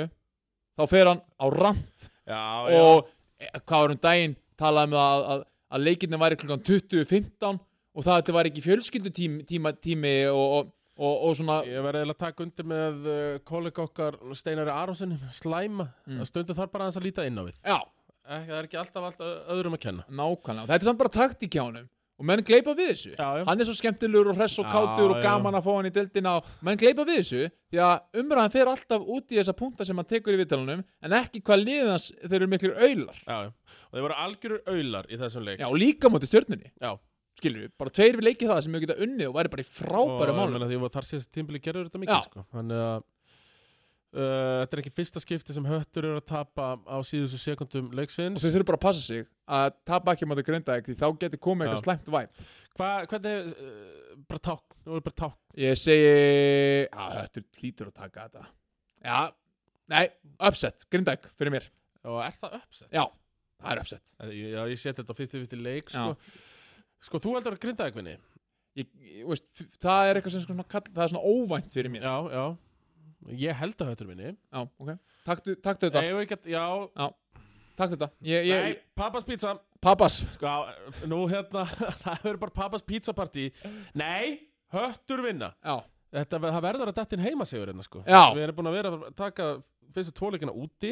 Speaker 2: þá fer hann á rant
Speaker 1: Já, já.
Speaker 2: og e, hvað var um daginn talaði um það að, að, að leikinni væri klukkan 20.15 og það þetta var ekki fjölskyldutími tíma, tími og, og, og, og svona
Speaker 1: Ég verði eiginlega að taka undir með uh, kollega okkar Steinari Aronssoni, slæma
Speaker 2: Mm.
Speaker 1: að stundu þarf bara aðeins að líta inn á við
Speaker 2: já,
Speaker 1: Ek, Það er ekki alltaf allt ö- öðrum að kenna
Speaker 2: nákvæmlega, og þetta er samt bara taktík hjá honum og menn gleypa við þessu
Speaker 1: Já, já.
Speaker 2: hann er svo skemmtilegur og hress og
Speaker 1: Já,
Speaker 2: kátur og
Speaker 1: já.
Speaker 2: gaman að fá hann í deildina og menn gleypa við þessu því að umræðan fer alltaf út í þessa punta sem hann tekur í vitalunum en ekki hvað liðið hans þeir eru miklir auðlar
Speaker 1: Já, já. og þeir voru algjörur aular í þessum leik
Speaker 2: já, og líka móti stjörnunni,
Speaker 1: Já.
Speaker 2: skilur við bara tveir við leikið það sem við geta unnið og væri bara í frábæru
Speaker 1: og ég
Speaker 2: málum
Speaker 1: meina, því að þar síðast tímbili gerður þetta
Speaker 2: Já.
Speaker 1: mikið sko. þannig að uh, þetta er ekki fyrsta skipti sem höttur eru að tapa á síðustu sekundum
Speaker 2: og
Speaker 1: leiksins
Speaker 2: þau þurfum bara að passa sig að tapa ekki mátu gröndaðeg því þá getur komið eitthvað
Speaker 1: Já.
Speaker 2: slæmt væp
Speaker 1: Hva, hvernig uh, bara ták, nú er bara ták
Speaker 2: ég segi að höttur hlýtur að taka þetta já, nei, upset gröndaðeg fyrir mér,
Speaker 1: og er það uppsett?
Speaker 2: já, það er upset
Speaker 1: Já, ég seti þetta á 50-50 leik sko. sko, þú heldur að grinda eitthvað
Speaker 2: ég, ég, veist, f- það er eitthvað sem sko svona kall, það er svona óvænt fyrir mér
Speaker 1: já, já ég held að höttur minni
Speaker 2: já, ok, taktu, taktu þetta
Speaker 1: Eigum við ekki að- já,
Speaker 2: taktu þetta, ég, ég,
Speaker 1: nei, pappas pizza
Speaker 2: pappas
Speaker 1: sko, nú hérna það verður bara pappas pizza partí nei, höttur vinna
Speaker 2: já,
Speaker 1: Þetta, það verður að dættin heimasegur hérna sko
Speaker 2: Já.
Speaker 1: Við erum búin að vera að taka fyrstu tóleikina úti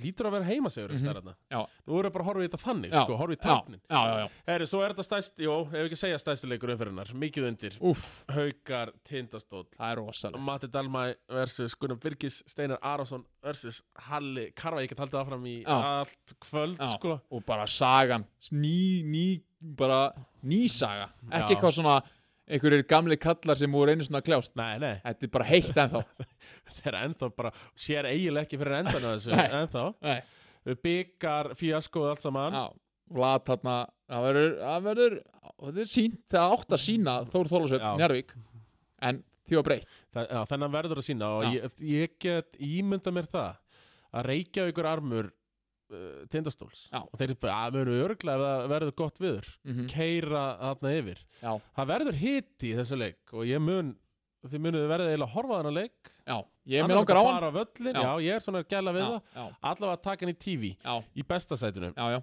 Speaker 1: Lítur að vera heimasegur mm -hmm.
Speaker 2: Já.
Speaker 1: Nú erum við bara að horfa í þetta þannig
Speaker 2: Mhm. Já.
Speaker 1: sko, Horfa í
Speaker 2: já,
Speaker 1: tæknin
Speaker 2: já, já, já.
Speaker 1: Herri, svo er þetta stæst, jó, ef ekki segja stæsti leikur umferðinnar Mikið undir,
Speaker 2: Úf,
Speaker 1: Haukar, Tindastóll
Speaker 2: það er rosalegt
Speaker 1: Matti Dalmæ versus Gunnar Birgis Steinar Arason versus Halli Karva, ég get haldið áfram í
Speaker 2: Já.
Speaker 1: allt kvöld
Speaker 2: Já.
Speaker 1: sko
Speaker 2: og bara sagan, ný, ný bara ný saga ekki
Speaker 1: Já.
Speaker 2: eitthvað svona, einhverjir gamli kallar sem voru einu svona að kljást
Speaker 1: Nei, nei,
Speaker 2: þetta er bara heitt ennþá
Speaker 1: þetta er ennþá bara sér eiginlega ekki fyrir endan á þessu
Speaker 2: Nei.
Speaker 1: ennþá,
Speaker 2: Nei.
Speaker 1: byggar fíaskoð allt saman
Speaker 2: já, Vlad þarna það verður, það verður það er sínt, það átt að sína Þór Þólasöf,
Speaker 1: Já.
Speaker 2: Njarvík en því var breytt
Speaker 1: Þa- Já, þennan verður að sína og
Speaker 2: Já.
Speaker 1: ég, ég get ímynda mér það að reykja ykkur armur uh, tindastóls
Speaker 2: Já.
Speaker 1: og þeir eru bara, að verður örgla ef það verður gott viður
Speaker 2: mm
Speaker 1: keira þarna yfir
Speaker 2: já,
Speaker 1: það verður hiti í þessu leik og ég mun, þið munið verðið eiginlega að horfa á þennan leik
Speaker 2: já, ég er
Speaker 1: Hann
Speaker 2: með langar á
Speaker 1: bara
Speaker 2: hann
Speaker 1: að fara völlin,
Speaker 2: Já.
Speaker 1: já. ég er svona að gæla við
Speaker 2: já,
Speaker 1: það
Speaker 2: já,
Speaker 1: allavega að taka hann í TV
Speaker 2: já,
Speaker 1: í besta sætinu
Speaker 2: já, já.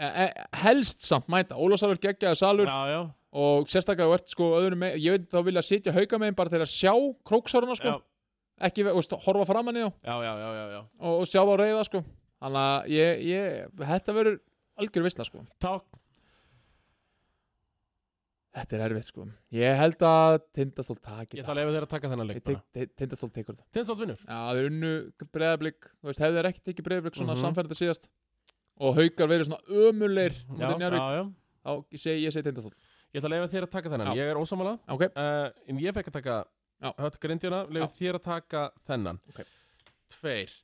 Speaker 2: E, e, helst samt mæta, Ólafsálfur geggjaði salur
Speaker 1: já, já,
Speaker 2: og sérstaklega þú ert sko öðrum með, ég veit þá vilja sitja hauka megin bara þegar að sjá króksáruna sko,
Speaker 1: já,
Speaker 2: ekki ve- veist, horfa framan í þá
Speaker 1: já, já, já, já, já.
Speaker 2: og, og sjá á reyða sko þannig að ég, ég, þetta verður algjör visla sko,
Speaker 1: Ták,
Speaker 2: þetta er erfitt sko ég held að Tindastól taki
Speaker 1: ég ætla að lefa þér að taka þennan leik bara.
Speaker 2: þetta Tindastól tekur þetta
Speaker 1: Tindastóll vinnur
Speaker 2: já, þeir unnu breyðablík, þú veist, hefði þeir ekki tekið breyðablík svona
Speaker 1: Mhm.
Speaker 2: mm síðast og haukar verið svona ömuleir
Speaker 1: já, já, já.
Speaker 2: þá segi ég segi Tindastól
Speaker 1: ég ætla að lefa þér að taka þennan
Speaker 2: Já.
Speaker 1: ég er ósamála
Speaker 2: ok,
Speaker 1: uh, en ég fekk að taka
Speaker 2: Já.
Speaker 1: hött grindjuna, lefði þér að taka þennan
Speaker 2: Ok.
Speaker 1: tveir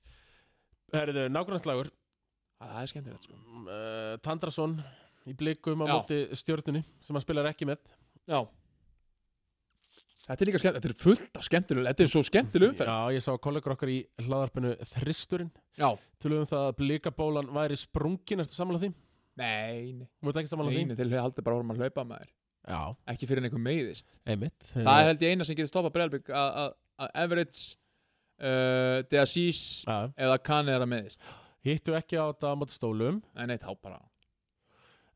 Speaker 1: herriðu, nágrannslagur
Speaker 2: það er skemmtilegt sko
Speaker 1: uh, Tandrason í blikum á
Speaker 2: Já.
Speaker 1: móti stjörnunni sem hann spilar ekki með
Speaker 2: já þetta er líka skemmt, þetta er fullt af skemmtileg þetta er svo skemmtileg umferð
Speaker 1: já, ég sá kollegur okkar í hlaðarpinu Þristurinn,
Speaker 2: já,
Speaker 1: tölum um það að blikabólan væri sprungin, ertu sammála því?
Speaker 2: nei, nei,
Speaker 1: Þú ert ekki sammála því?
Speaker 2: nei til að halda bara vorum að hlaupa maður
Speaker 1: Já,
Speaker 2: ekki fyrir en einhver meiðist
Speaker 1: einmitt
Speaker 2: Það er held ég eina sem getur stoppað Breilbygg að að Everett uh, De Assis
Speaker 1: Já,
Speaker 2: eða Kane er að meðist
Speaker 1: hittu ekki á þetta á móti stólum
Speaker 2: Nei, nei, þá bara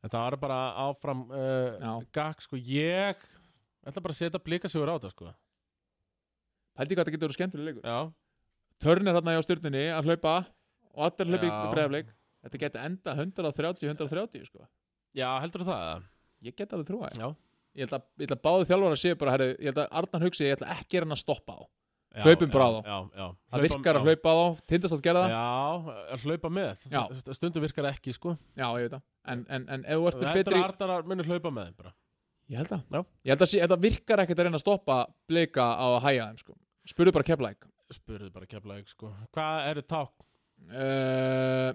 Speaker 1: en það var bara áfram uh,
Speaker 2: Já.
Speaker 1: gag, sko, ég ætla bara að setja blikasigur á þetta, sko
Speaker 2: Pældi hvað þetta getur verið skemmtileg leikur
Speaker 1: Já,
Speaker 2: Törn er hérna hjá stjórnunni að hlaupa og allir hlaupi
Speaker 1: Já.
Speaker 2: í Breilbygg Þetta getur enda 130-130 sko
Speaker 1: já, heldur það? eða?
Speaker 2: Ég get alveg trúa
Speaker 1: Já.
Speaker 2: Ég held að, ég held að báðu þjálfara séu bara herri, Ég held að Arnar hugsi, ég ætla ekki er hann að stoppa á
Speaker 1: Já,
Speaker 2: Hlaupum
Speaker 1: já,
Speaker 2: bara á þá.
Speaker 1: já, já.
Speaker 2: Það virkar að hlaupa á þá, tindastátt gera það Já,
Speaker 1: Já, að hlaupa með
Speaker 2: Já.
Speaker 1: Stundu virkar það ekki, sko
Speaker 2: ég veit það En, en, en ef þú ert með
Speaker 1: Þetta
Speaker 2: betri
Speaker 1: er Arnar að muni hlaupa með þeim bara
Speaker 2: Ég held að,
Speaker 1: Já.
Speaker 2: ég held að, sé, þetta virkar ekkert að reyna að stoppa blika á að hæja þeim sko. Spurðu bara keflæk
Speaker 1: Spurðu bara kefla ekki, sko Hvað eru ták?
Speaker 2: uh,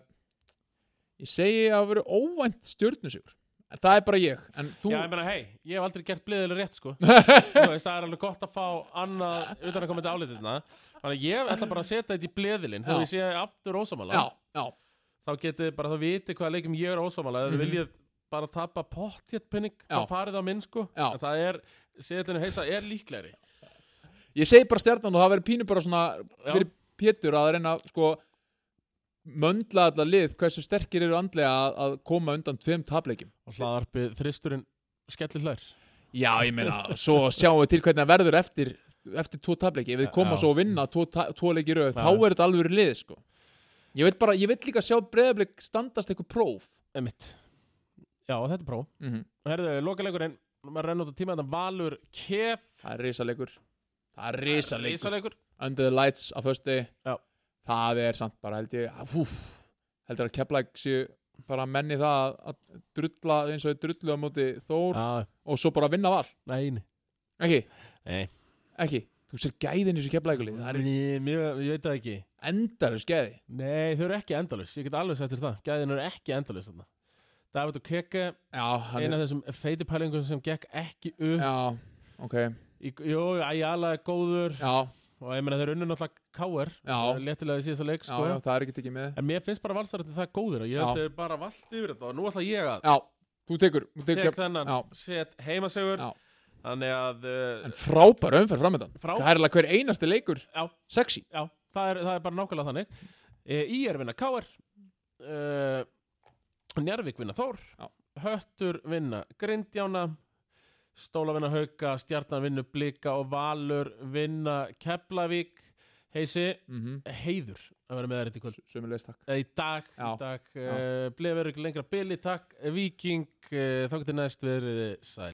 Speaker 2: Ég segi að það verið óvænt stjörnusigur En það er bara ég En þú,
Speaker 1: Já, ég meina, hei, ég hef aldrei gert bliðilega rétt, sko Þú veist, það er alveg gott að fá annað utan að koma til álitirna Þannig að ég ætla bara að setja þetta í bliðilinn
Speaker 2: Já.
Speaker 1: Þegar ég sé aftur ósamála
Speaker 2: já, já,
Speaker 1: Þá getið þið bara, þá vitið hvaða leikum ég er ósamála Ef þið
Speaker 2: Mhm.
Speaker 1: viljið bara tapa pottjéttpenning Þá
Speaker 2: Já.
Speaker 1: farið á minn, sko
Speaker 2: Já.
Speaker 1: En það er, setlinu heisa, er líklegri
Speaker 2: ég segi bara stjarnan og það verið pínu bara svona
Speaker 1: Já.
Speaker 2: fyrir Pétur að reyna sko möndla allar lið hversu sterkir eru andlega að, að koma undan tveim tapleikjum
Speaker 1: Og hlaðarpið þristurinn skellir hlær
Speaker 2: Já, ég meina, svo sjáum við til hvernig það verður eftir, eftir tvo tapleiki. Ef þið koma
Speaker 1: Já.
Speaker 2: svo að vinna tvo, ta- tvo leiki í röð,
Speaker 1: Já.
Speaker 2: þá er þetta alveg lið, sko. Ég veit bara, ég veit líka sjá breyðablik standast eitthvað próf.
Speaker 1: Einmitt. Já, þetta er pró.
Speaker 2: Mm
Speaker 1: Herðu, lokalegurinn, maður renn út á tíma þetta Valur Kef.
Speaker 2: Það er risalegur. Það er risalegur.
Speaker 1: Ísalegur.
Speaker 2: Under the lights á föstu.
Speaker 1: Já.
Speaker 2: Það er samt bara, held ég, húf, heldur að Keflæk séu bara menni það að- að drulla eins og þau drullu á móti Þór
Speaker 1: Já,
Speaker 2: og svo bara vinna var.
Speaker 1: neini.
Speaker 2: Ekki,
Speaker 1: Nei. Mm.
Speaker 2: ekki. Þú sér gæðin í þessu Keflækulið. Það
Speaker 1: Það
Speaker 2: er
Speaker 1: er mjög, ég veit það ekki.
Speaker 2: endarus gæði.
Speaker 1: Nei, þau eru ekki endalus, ég get alveg sagt þér það Gæðin eru ekki endalus þarna David og Keke,
Speaker 2: Já, hann
Speaker 1: eina af þessum feitipælingum sem gekk ekki upp ja.
Speaker 2: Já, ok
Speaker 1: í, Jó, Æjala er góður
Speaker 2: Já,
Speaker 1: og ég meina þeir unnu náttúrulega káir
Speaker 2: Já.
Speaker 1: léttilega í síðasta leik
Speaker 2: já,
Speaker 1: sko.
Speaker 2: já, það er ekki tekið með
Speaker 1: en mér finnst bara valsarðin það góður og ég held
Speaker 2: Já.
Speaker 1: þeir bara vald yfir þetta og nú ætla ég að
Speaker 2: Já, þú tekur, þú tekur
Speaker 1: tek þennan,
Speaker 2: já.
Speaker 1: set heimasegur
Speaker 2: Já.
Speaker 1: þannig að uh,
Speaker 2: En frábær umferð framöndan
Speaker 1: Frá-
Speaker 2: Það er alveg hver einasti leikur
Speaker 1: já,
Speaker 2: Sexy
Speaker 1: já, það er, það er bara nákvæmlega þannig e, Í er vinna káir uh, Njarvík vinna Þór
Speaker 2: Já.
Speaker 1: Höttur vinna Grindjána Stóla vinna Hauka, Stjarnan vinna Blika og Valur vinna Keflavík Heisi,
Speaker 2: mm
Speaker 1: heiður að vera með þær þetta í kvöld
Speaker 2: Sumulegist takk
Speaker 1: Eða í dag, e, í
Speaker 2: Já.
Speaker 1: dag uh, Blefur ekki lengra bili, takk Víking, uh, þá getur e, næst verið sæl